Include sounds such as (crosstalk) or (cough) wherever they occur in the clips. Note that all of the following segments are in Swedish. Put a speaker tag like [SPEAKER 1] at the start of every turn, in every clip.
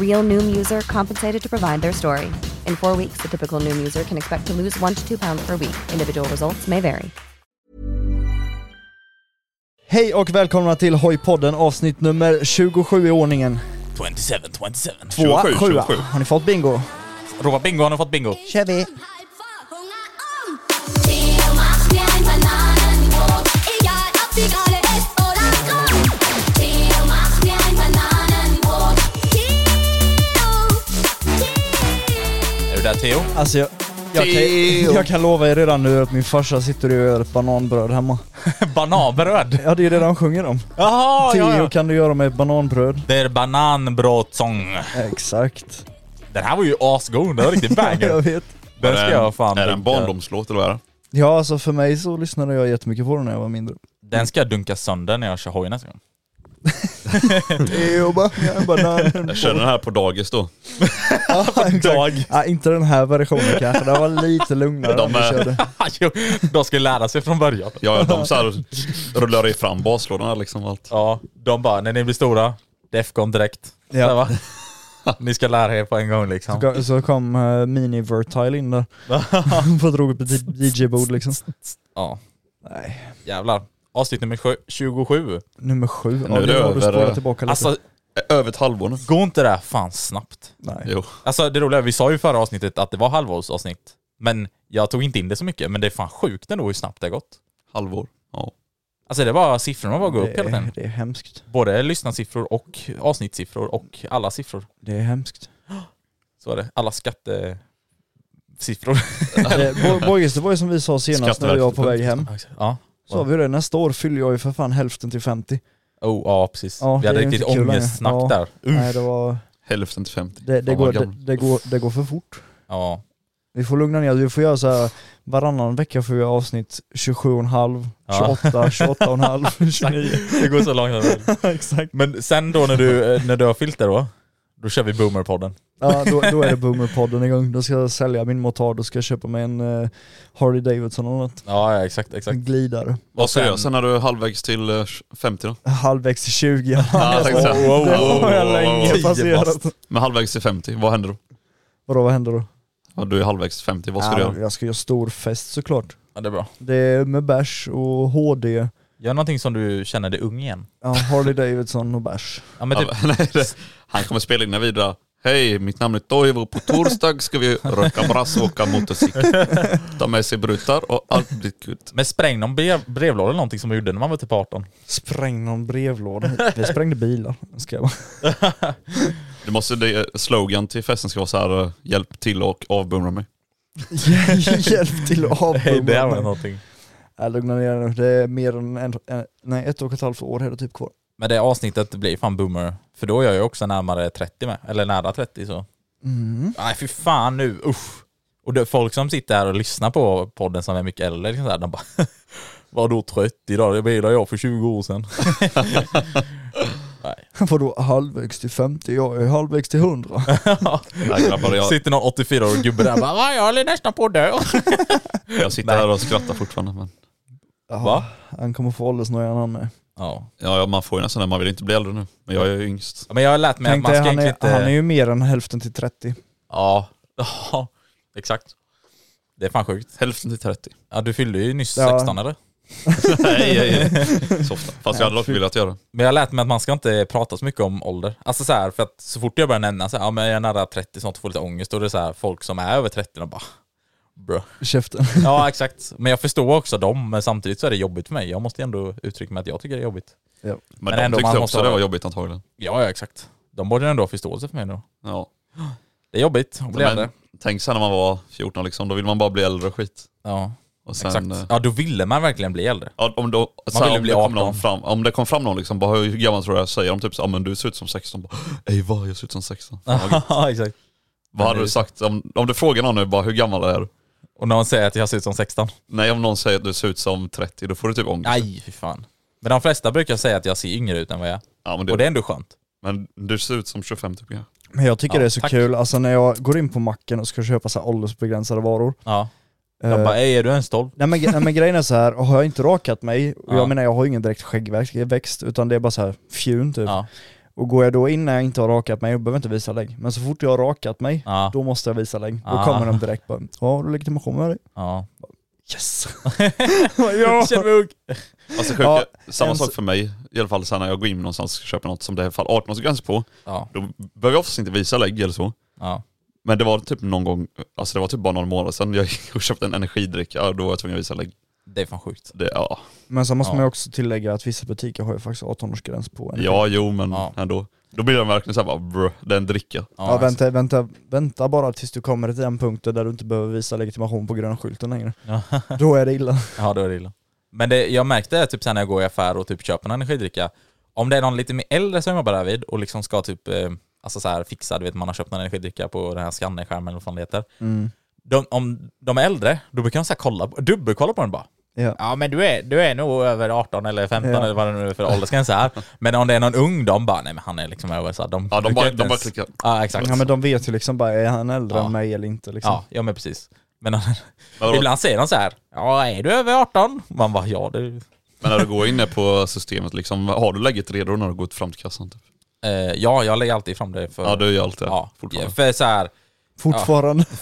[SPEAKER 1] Real Noom user compensated to provide their story. In four weeks, the typical Noom user can expect to lose one to two pounds per week. Individual results may vary.
[SPEAKER 2] Hej och välkomna till Hojpodden avsnitt nummer 27 i ordningen.
[SPEAKER 3] 27, 27.
[SPEAKER 2] Tvåa,
[SPEAKER 4] 27,
[SPEAKER 2] sjua.
[SPEAKER 4] 27.
[SPEAKER 2] Har ni fått bingo?
[SPEAKER 3] Ropa bingo, han har fått bingo.
[SPEAKER 2] kör vi!
[SPEAKER 3] Är du där Theo?
[SPEAKER 2] Alltså jag, jag, kan, jag kan lova er redan nu att min farsa sitter och gör ett bananbröd hemma.
[SPEAKER 3] (laughs) Bananbröd?
[SPEAKER 2] Ja det är det de sjunger om.
[SPEAKER 3] Jaha, ja,
[SPEAKER 2] Tio
[SPEAKER 3] ja.
[SPEAKER 2] kan du göra med ett bananbröd.
[SPEAKER 3] Det är bananbrödsång.
[SPEAKER 2] Exakt.
[SPEAKER 3] Den här var ju asgod, den var riktigt
[SPEAKER 2] jag (laughs)
[SPEAKER 3] banger.
[SPEAKER 2] vet.
[SPEAKER 3] Den ska jag fan
[SPEAKER 4] Är det en
[SPEAKER 3] dunka.
[SPEAKER 4] barndomslåt eller vad är det?
[SPEAKER 2] Ja alltså för mig så lyssnade jag jättemycket på den när jag var mindre.
[SPEAKER 3] Den ska jag dunka sönder när jag kör hoj nästa gång.
[SPEAKER 2] Tio bara, banan.
[SPEAKER 3] (laughs)
[SPEAKER 4] Jag körde den här på dagis då.
[SPEAKER 3] Dag.
[SPEAKER 2] Ja, inte den här versionen kanske, den var lite lugnare
[SPEAKER 4] De
[SPEAKER 2] de, vi
[SPEAKER 4] är-
[SPEAKER 2] körde.
[SPEAKER 3] (laughs) Jo, De ska lära sig från början.
[SPEAKER 4] Ja, ja, de så här rullar ju fram baslådorna liksom och allt.
[SPEAKER 3] Ja, de bara, när ni blir stora, Defcon direkt.
[SPEAKER 2] Ja.
[SPEAKER 3] Ja. Va? (laughs) Ni ska lära er på en gång liksom.
[SPEAKER 2] Ga- Så kom eh, Mini Vertile
[SPEAKER 4] (laughs)
[SPEAKER 2] in där. och drog upp ett DJ-bord liksom.
[SPEAKER 3] Ja,
[SPEAKER 2] Nej,
[SPEAKER 3] jävlar. Avsnitt nummer sju- 27.
[SPEAKER 2] nummer sju.
[SPEAKER 4] Nu är det
[SPEAKER 2] nu har du
[SPEAKER 4] över,
[SPEAKER 2] spårat
[SPEAKER 4] eh,
[SPEAKER 2] tillbaka lite.
[SPEAKER 3] Alltså,
[SPEAKER 4] Över ett halvår nu.
[SPEAKER 3] går inte det här fan snabbt?
[SPEAKER 2] Nej.
[SPEAKER 4] Jo.
[SPEAKER 3] Alltså det roliga, är, vi sa ju i förra avsnittet att det var halvårsavsnitt. Men jag tog inte in det så mycket, men det är fan sjukt ändå hur snabbt det har gått.
[SPEAKER 4] Halvår. Ja.
[SPEAKER 3] Alltså det är bara siffrorna bara går upp
[SPEAKER 2] Det
[SPEAKER 3] hela
[SPEAKER 2] är,
[SPEAKER 3] tiden.
[SPEAKER 2] det är hemskt.
[SPEAKER 3] Både lyssnarsiffror och avsnittssiffror och alla siffror.
[SPEAKER 2] Det är
[SPEAKER 4] (laughs)
[SPEAKER 2] hemskt.
[SPEAKER 3] Så är det. Alla skattesiffror.
[SPEAKER 4] Mm.
[SPEAKER 2] Eh, Bo- Boys, det var ju som vi sa senast när jag var på väg hem.
[SPEAKER 3] (laughs) ja.
[SPEAKER 2] Så har vi det, nästa år fyller jag ju för fan hälften till 50.
[SPEAKER 3] Oh, ja, precis.
[SPEAKER 2] Ja,
[SPEAKER 3] vi hade
[SPEAKER 2] det är
[SPEAKER 3] riktigt
[SPEAKER 2] inte kul längre.
[SPEAKER 3] ångestsnack
[SPEAKER 2] Ja. Mm.
[SPEAKER 3] där.
[SPEAKER 2] Nej det var,
[SPEAKER 4] Hälften till 50.
[SPEAKER 2] det, det,
[SPEAKER 4] Fan,
[SPEAKER 2] går,
[SPEAKER 4] vad
[SPEAKER 2] det,
[SPEAKER 4] gammal.
[SPEAKER 2] det, går, det går för fort. (laughs)
[SPEAKER 3] Ja.
[SPEAKER 2] Vi får lugna ner oss. vi får göra så här varannan vecka får vi göra avsnitt 27,5,
[SPEAKER 3] Ja.
[SPEAKER 2] 28,
[SPEAKER 4] (laughs)
[SPEAKER 2] 28,5, 29.
[SPEAKER 3] Det går så
[SPEAKER 2] (laughs)
[SPEAKER 3] långt.
[SPEAKER 2] Exakt.
[SPEAKER 3] Men sen då när du, eh, när du har fyllt det då, då kör vi Boomerpodden.
[SPEAKER 2] Ja då, då är det Boomerpodden igång, då ska jag sälja min motard, då ska jag köpa mig en eh, Harley Davidson eller något.
[SPEAKER 3] Ja, ja, exakt,
[SPEAKER 2] En
[SPEAKER 3] exakt.
[SPEAKER 2] glidare.
[SPEAKER 4] Vad
[SPEAKER 3] sen-
[SPEAKER 4] säger jag? Sen är du halvvägs till eh, 50 då?
[SPEAKER 2] Halvvägs till 20
[SPEAKER 4] Ja,
[SPEAKER 2] alltså,
[SPEAKER 4] exakt så. Wow,
[SPEAKER 2] Det har jag
[SPEAKER 4] wow,
[SPEAKER 2] länge
[SPEAKER 4] wow, wow.
[SPEAKER 2] passerat.
[SPEAKER 4] Men halvvägs till 50, vad händer då?
[SPEAKER 2] Vadå vad händer då?
[SPEAKER 4] Ja, du är halvvägs till 50, vad ska du
[SPEAKER 2] Ja,
[SPEAKER 4] göra?
[SPEAKER 2] Jag ska göra stor fest såklart.
[SPEAKER 3] Ja, det är bra.
[SPEAKER 2] Det är med bärs och HD,
[SPEAKER 3] Gör någonting som du känner dig ung igen.
[SPEAKER 2] ja, Harley Davidson och bärs.
[SPEAKER 3] Ja, men typ,
[SPEAKER 4] Ja, (laughs) men- nej, det- Han kommer spela in en vidare. Hej, mitt namn är Toivo. På torsdag ska vi röka brass och åka motorcykel. Ta med sig brutar och allt blir kul.
[SPEAKER 3] men spräng någon brev, brevlåda eller någonting som man gjorde när man var typ 18.
[SPEAKER 2] Spräng någon brevlåda. Vi sprängde bilar. Ska jag
[SPEAKER 4] (laughs) Du måste, det, slogan till festen ska vara så här, eh, hjälp till och avbeundra mig.
[SPEAKER 2] (laughs) Hjälp till att
[SPEAKER 3] (laughs)
[SPEAKER 4] (laughs)
[SPEAKER 3] Hej, det var
[SPEAKER 2] avbomma.
[SPEAKER 3] någonting.
[SPEAKER 2] Jag lugnar Äh, ner nu. Det är mer än en, en, nej, ett och ett halvt år är det typ kvar.
[SPEAKER 3] Men det avsnittet blir fan boomer. För då är jag ju också närmare 30 med. Eller nära 30 så.
[SPEAKER 2] Mm.
[SPEAKER 3] Nej fy fan nu, usch. Och det, folk som sitter här och lyssnar på podden som är mycket äldre, liksom så här, de bara (laughs) Vadå 30 idag? Det bilade jag för 20 år sedan.
[SPEAKER 2] Vadå halvvägs till 50? Jag är halvvägs
[SPEAKER 4] (laughs)
[SPEAKER 2] till 100.
[SPEAKER 4] Nej, grabbar, jag,
[SPEAKER 3] Sitter någon 84-årig gubbe där och bara "Va, jag håller nästan på att dö.
[SPEAKER 4] (laughs) jag sitter
[SPEAKER 3] Nej.
[SPEAKER 4] här och skrattar fortfarande. Men
[SPEAKER 2] Ja,
[SPEAKER 3] Va?
[SPEAKER 2] Han kommer få åldersnojan han med.
[SPEAKER 3] Ja.
[SPEAKER 4] Ja, ja, man får ju nästan det. Man vill inte bli äldre nu. Men jag är ju yngst.
[SPEAKER 3] Ja, Men jag har lärt mig
[SPEAKER 2] Tänk
[SPEAKER 3] att man
[SPEAKER 2] dig,
[SPEAKER 3] ska
[SPEAKER 2] han, är,
[SPEAKER 3] egentligen inte...
[SPEAKER 2] han är ju mer än hälften till 30.
[SPEAKER 3] Ja. ja, exakt. Det är fan sjukt.
[SPEAKER 4] Hälften till 30.
[SPEAKER 3] Ja, du fyllde ju nyss
[SPEAKER 2] Ja.
[SPEAKER 3] 16 eller?
[SPEAKER 4] (laughs) nej, nej,
[SPEAKER 3] (laughs)
[SPEAKER 4] nej. Så ofta. Fast jag hade dock velat göra.
[SPEAKER 3] Men jag har lärt mig att man ska inte prata så mycket om ålder. Alltså så här, för att så fort jag börjar nämna så här, ja men jag är nära 30 snart och får lite ångest, då är det så här folk som är över 30 och bara bro.
[SPEAKER 2] Käften. (laughs)
[SPEAKER 3] Ja exakt. Men jag förstår också dem, men samtidigt så är det jobbigt för mig. Jag måste ju ändå uttrycka mig att jag tycker det är jobbigt.
[SPEAKER 4] Men,
[SPEAKER 3] Men
[SPEAKER 4] de
[SPEAKER 3] ändå,
[SPEAKER 4] tyckte
[SPEAKER 3] man
[SPEAKER 4] också
[SPEAKER 3] måste
[SPEAKER 4] det
[SPEAKER 3] ha-
[SPEAKER 4] var jobbigt antagligen.
[SPEAKER 3] Ja, ja exakt. De borde ändå ha förståelse för mig då.
[SPEAKER 4] Ja.
[SPEAKER 3] Det är jobbigt att bli
[SPEAKER 4] Men,
[SPEAKER 3] äldre.
[SPEAKER 4] tänk sen när man var 14 liksom, då vill man bara bli äldre och skit.
[SPEAKER 3] Ja,
[SPEAKER 4] Och sen, eh,
[SPEAKER 3] exakt. Ja, då ville man verkligen bli äldre.
[SPEAKER 4] Ja, om, då, så
[SPEAKER 3] vill ju
[SPEAKER 4] här, om,
[SPEAKER 3] bli
[SPEAKER 4] det kom någon
[SPEAKER 3] 18.
[SPEAKER 4] fram, om det kom fram någon liksom, bara, hur gammal tror du jag är?" säger de typ så, "Ja, men du ser ut som 16. Bara, Ej vad, jag ser ut som 16. Fan, vad gött.
[SPEAKER 3] Ja, exakt.
[SPEAKER 4] vad hade du sagt om, om du frågar någon nu bara, hur gammal är du?
[SPEAKER 3] Och när man säger att jag ser ut som 16.
[SPEAKER 4] Nej om någon säger att du ser ut som 30, då får du typ ångest.
[SPEAKER 3] Aj, fy fan. Men de flesta brukar säga att jag ser yngre ut än vad jag är.
[SPEAKER 4] Ja, men, det,
[SPEAKER 3] Och det är ändå skönt.
[SPEAKER 4] men du ser ut som 25 typ. Ja.
[SPEAKER 2] Men jag tycker
[SPEAKER 3] Ja,
[SPEAKER 2] det är så
[SPEAKER 3] tack.
[SPEAKER 2] kul, alltså när jag går in på macken och ska köpa så här åldersbegränsade varor.
[SPEAKER 3] Ja.
[SPEAKER 2] eh,
[SPEAKER 3] De bara, "Ey, är du en stolp?
[SPEAKER 2] nej, men, nej men grejen är så här, har jag inte rakat mig, och
[SPEAKER 3] Ja.
[SPEAKER 2] jag menar jag har ju ingen direkt skäggväxt utan det är bara så här fjun typ.
[SPEAKER 3] Ja.
[SPEAKER 2] Och går jag då in när jag inte har rakat mig, jag behöver inte visa lägg. Men så fort jag har rakat mig,
[SPEAKER 3] Ja.
[SPEAKER 2] då måste jag visa lägg. Då
[SPEAKER 3] Ah.
[SPEAKER 2] kommer de direkt bara, ja har du legitimation med dig?
[SPEAKER 3] ja.
[SPEAKER 2] Yes! ja!
[SPEAKER 3] (laughs) Känner mig ung.
[SPEAKER 4] Alltså, sjukt,
[SPEAKER 2] Ja,
[SPEAKER 4] samma
[SPEAKER 2] en-
[SPEAKER 4] sak för mig, i alla fall sen när jag går in någonstans och ska köpa något som det är i alla fall 18-årsgräns på.
[SPEAKER 3] Ja.
[SPEAKER 4] Då behöver jag oftast inte visa lägg eller så.
[SPEAKER 3] Ja.
[SPEAKER 4] Men det var typ någon gång, alltså det var typ bara någon månad sedan jag gick och köpte en energidryck, ja, då var jag tvungen att visa lägg.
[SPEAKER 3] Det är fan sjukt.
[SPEAKER 4] Det, ja.
[SPEAKER 2] Men sen måste
[SPEAKER 3] Ja.
[SPEAKER 2] man ju också tillägga att vissa butiker har ju faktiskt 18-årsgräns på en.
[SPEAKER 4] Ja, jo men
[SPEAKER 3] Ja.
[SPEAKER 4] ändå. Då blir den verkligen såhär bara brr, det är en dricka.
[SPEAKER 2] Ja, vänta, vänta, vänta bara tills du kommer till den punkten där du inte behöver visa legitimation på gröna skylten längre.
[SPEAKER 3] Ja.
[SPEAKER 2] Då är det illa.
[SPEAKER 3] Ja, då är det illa. Men det, jag märkte typ sen när jag går i affär och typ köper en energidricka, om det är någon lite mer äldre som jobbar där vid och liksom ska typ eh, alltså så här fixa, du vet man har köpt en energidricka på den här scannerskärmen eller vad fan det heter. De, om de är äldre, då brukar de så här kolla, på- dubbelkolla på den bara.
[SPEAKER 2] Ja.
[SPEAKER 3] Ja men du är, du är nog över 18 eller 15
[SPEAKER 2] Ja.
[SPEAKER 3] eller vad det nu är för åldersgräns (laughs) här. Men om det är någon ung, de bara nej men han är liksom över så här, de,
[SPEAKER 4] Ja, de
[SPEAKER 3] brukar
[SPEAKER 4] bara-
[SPEAKER 3] inte
[SPEAKER 4] de bara
[SPEAKER 3] ens-
[SPEAKER 4] klickar.
[SPEAKER 3] Ja exakt.
[SPEAKER 2] Ja men de vet ju liksom bara, är han äldre
[SPEAKER 3] Ja.
[SPEAKER 2] än mig eller inte liksom?
[SPEAKER 3] Ja, ja men precis. Men
[SPEAKER 4] Men, vadå,
[SPEAKER 3] ibland säger de så här, ja är du över 18? Man bara ja det...
[SPEAKER 4] men när du går inne på systemet, liksom, har du läget redo när du går fram till kassan? Typ?
[SPEAKER 3] Eh, ja, jag lägger alltid fram det för...
[SPEAKER 4] Ja, du gör allt det
[SPEAKER 3] ja,
[SPEAKER 4] ja, fortfarande.
[SPEAKER 3] För så här,
[SPEAKER 2] Fortfarande. (laughs)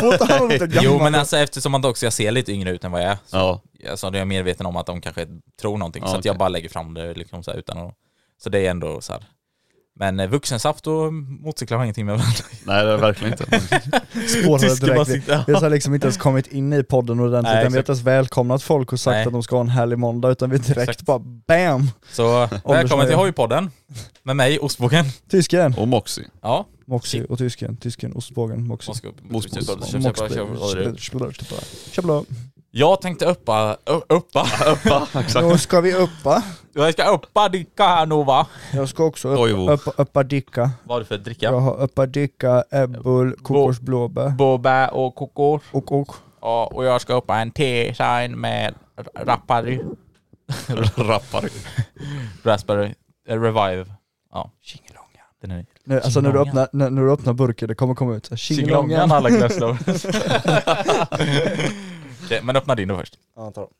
[SPEAKER 2] Fortfarande inte gammal.
[SPEAKER 3] (laughs) jo men alltså eftersom att också jag ser lite yngre ut än vad jag är, så,
[SPEAKER 4] Ja,
[SPEAKER 3] alltså, då är jag medveten om att de kanske tror någonting.
[SPEAKER 4] Ja,
[SPEAKER 3] så att jag
[SPEAKER 4] okej.
[SPEAKER 3] bara lägger fram det liksom så här, utan att... Så det är ändå så här. Men eh, vuxensaft och motorcyklar har ingenting med varandra
[SPEAKER 4] nej det är verkligen inte.
[SPEAKER 2] spårade
[SPEAKER 3] Tysken bara
[SPEAKER 2] direkt.
[SPEAKER 3] sitter-
[SPEAKER 2] Vi har liksom inte ens kommit in i podden ordentligt,
[SPEAKER 3] Nej,
[SPEAKER 2] vi har
[SPEAKER 3] exakt.
[SPEAKER 2] inte ens välkomnat folk och sagt
[SPEAKER 3] Nej.
[SPEAKER 2] att de ska ha en härlig måndag utan vi direkt
[SPEAKER 3] Exakt.
[SPEAKER 2] bara BAM!
[SPEAKER 3] Så välkommen till Hojpodden med mig, Ostbågen.
[SPEAKER 2] Tysken!
[SPEAKER 4] Och Moxie.
[SPEAKER 3] Ja,
[SPEAKER 2] Moxie och tysken, tysken, ostbågen, Moxie.
[SPEAKER 3] Moskva.
[SPEAKER 4] Mos- mos-
[SPEAKER 2] Tjabla.
[SPEAKER 3] Jag tänkte uppa, ö- uppa,
[SPEAKER 4] Va? Exakt.
[SPEAKER 2] Nu ska vi uppa.
[SPEAKER 3] (laughs) jag ska uppa dicka här nu va?
[SPEAKER 2] Jag ska också
[SPEAKER 4] Toivo.
[SPEAKER 2] uppa, uppa, uppa dicka.
[SPEAKER 3] Vad är det för dricka?
[SPEAKER 2] Jag har uppa dicka, ebbul, kokosblåbär
[SPEAKER 3] Boba och kokos.
[SPEAKER 2] och och.
[SPEAKER 3] Ja, och jag ska uppa en T-shine med r- Rapari.
[SPEAKER 4] Rappar.
[SPEAKER 3] (laughs) Raspberry. eh, Revive. Ja. Tjingelångan. Den är
[SPEAKER 2] Nu, alltså när du,
[SPEAKER 3] Tjingelångan.
[SPEAKER 2] öppnar, när, när du öppnar burken, det kommer komma ut så här,
[SPEAKER 3] Tjingelångan
[SPEAKER 2] Tjingelångan.
[SPEAKER 3] alla glasslower. Okej, men öppna din då först.
[SPEAKER 2] Ja, jag tar dem.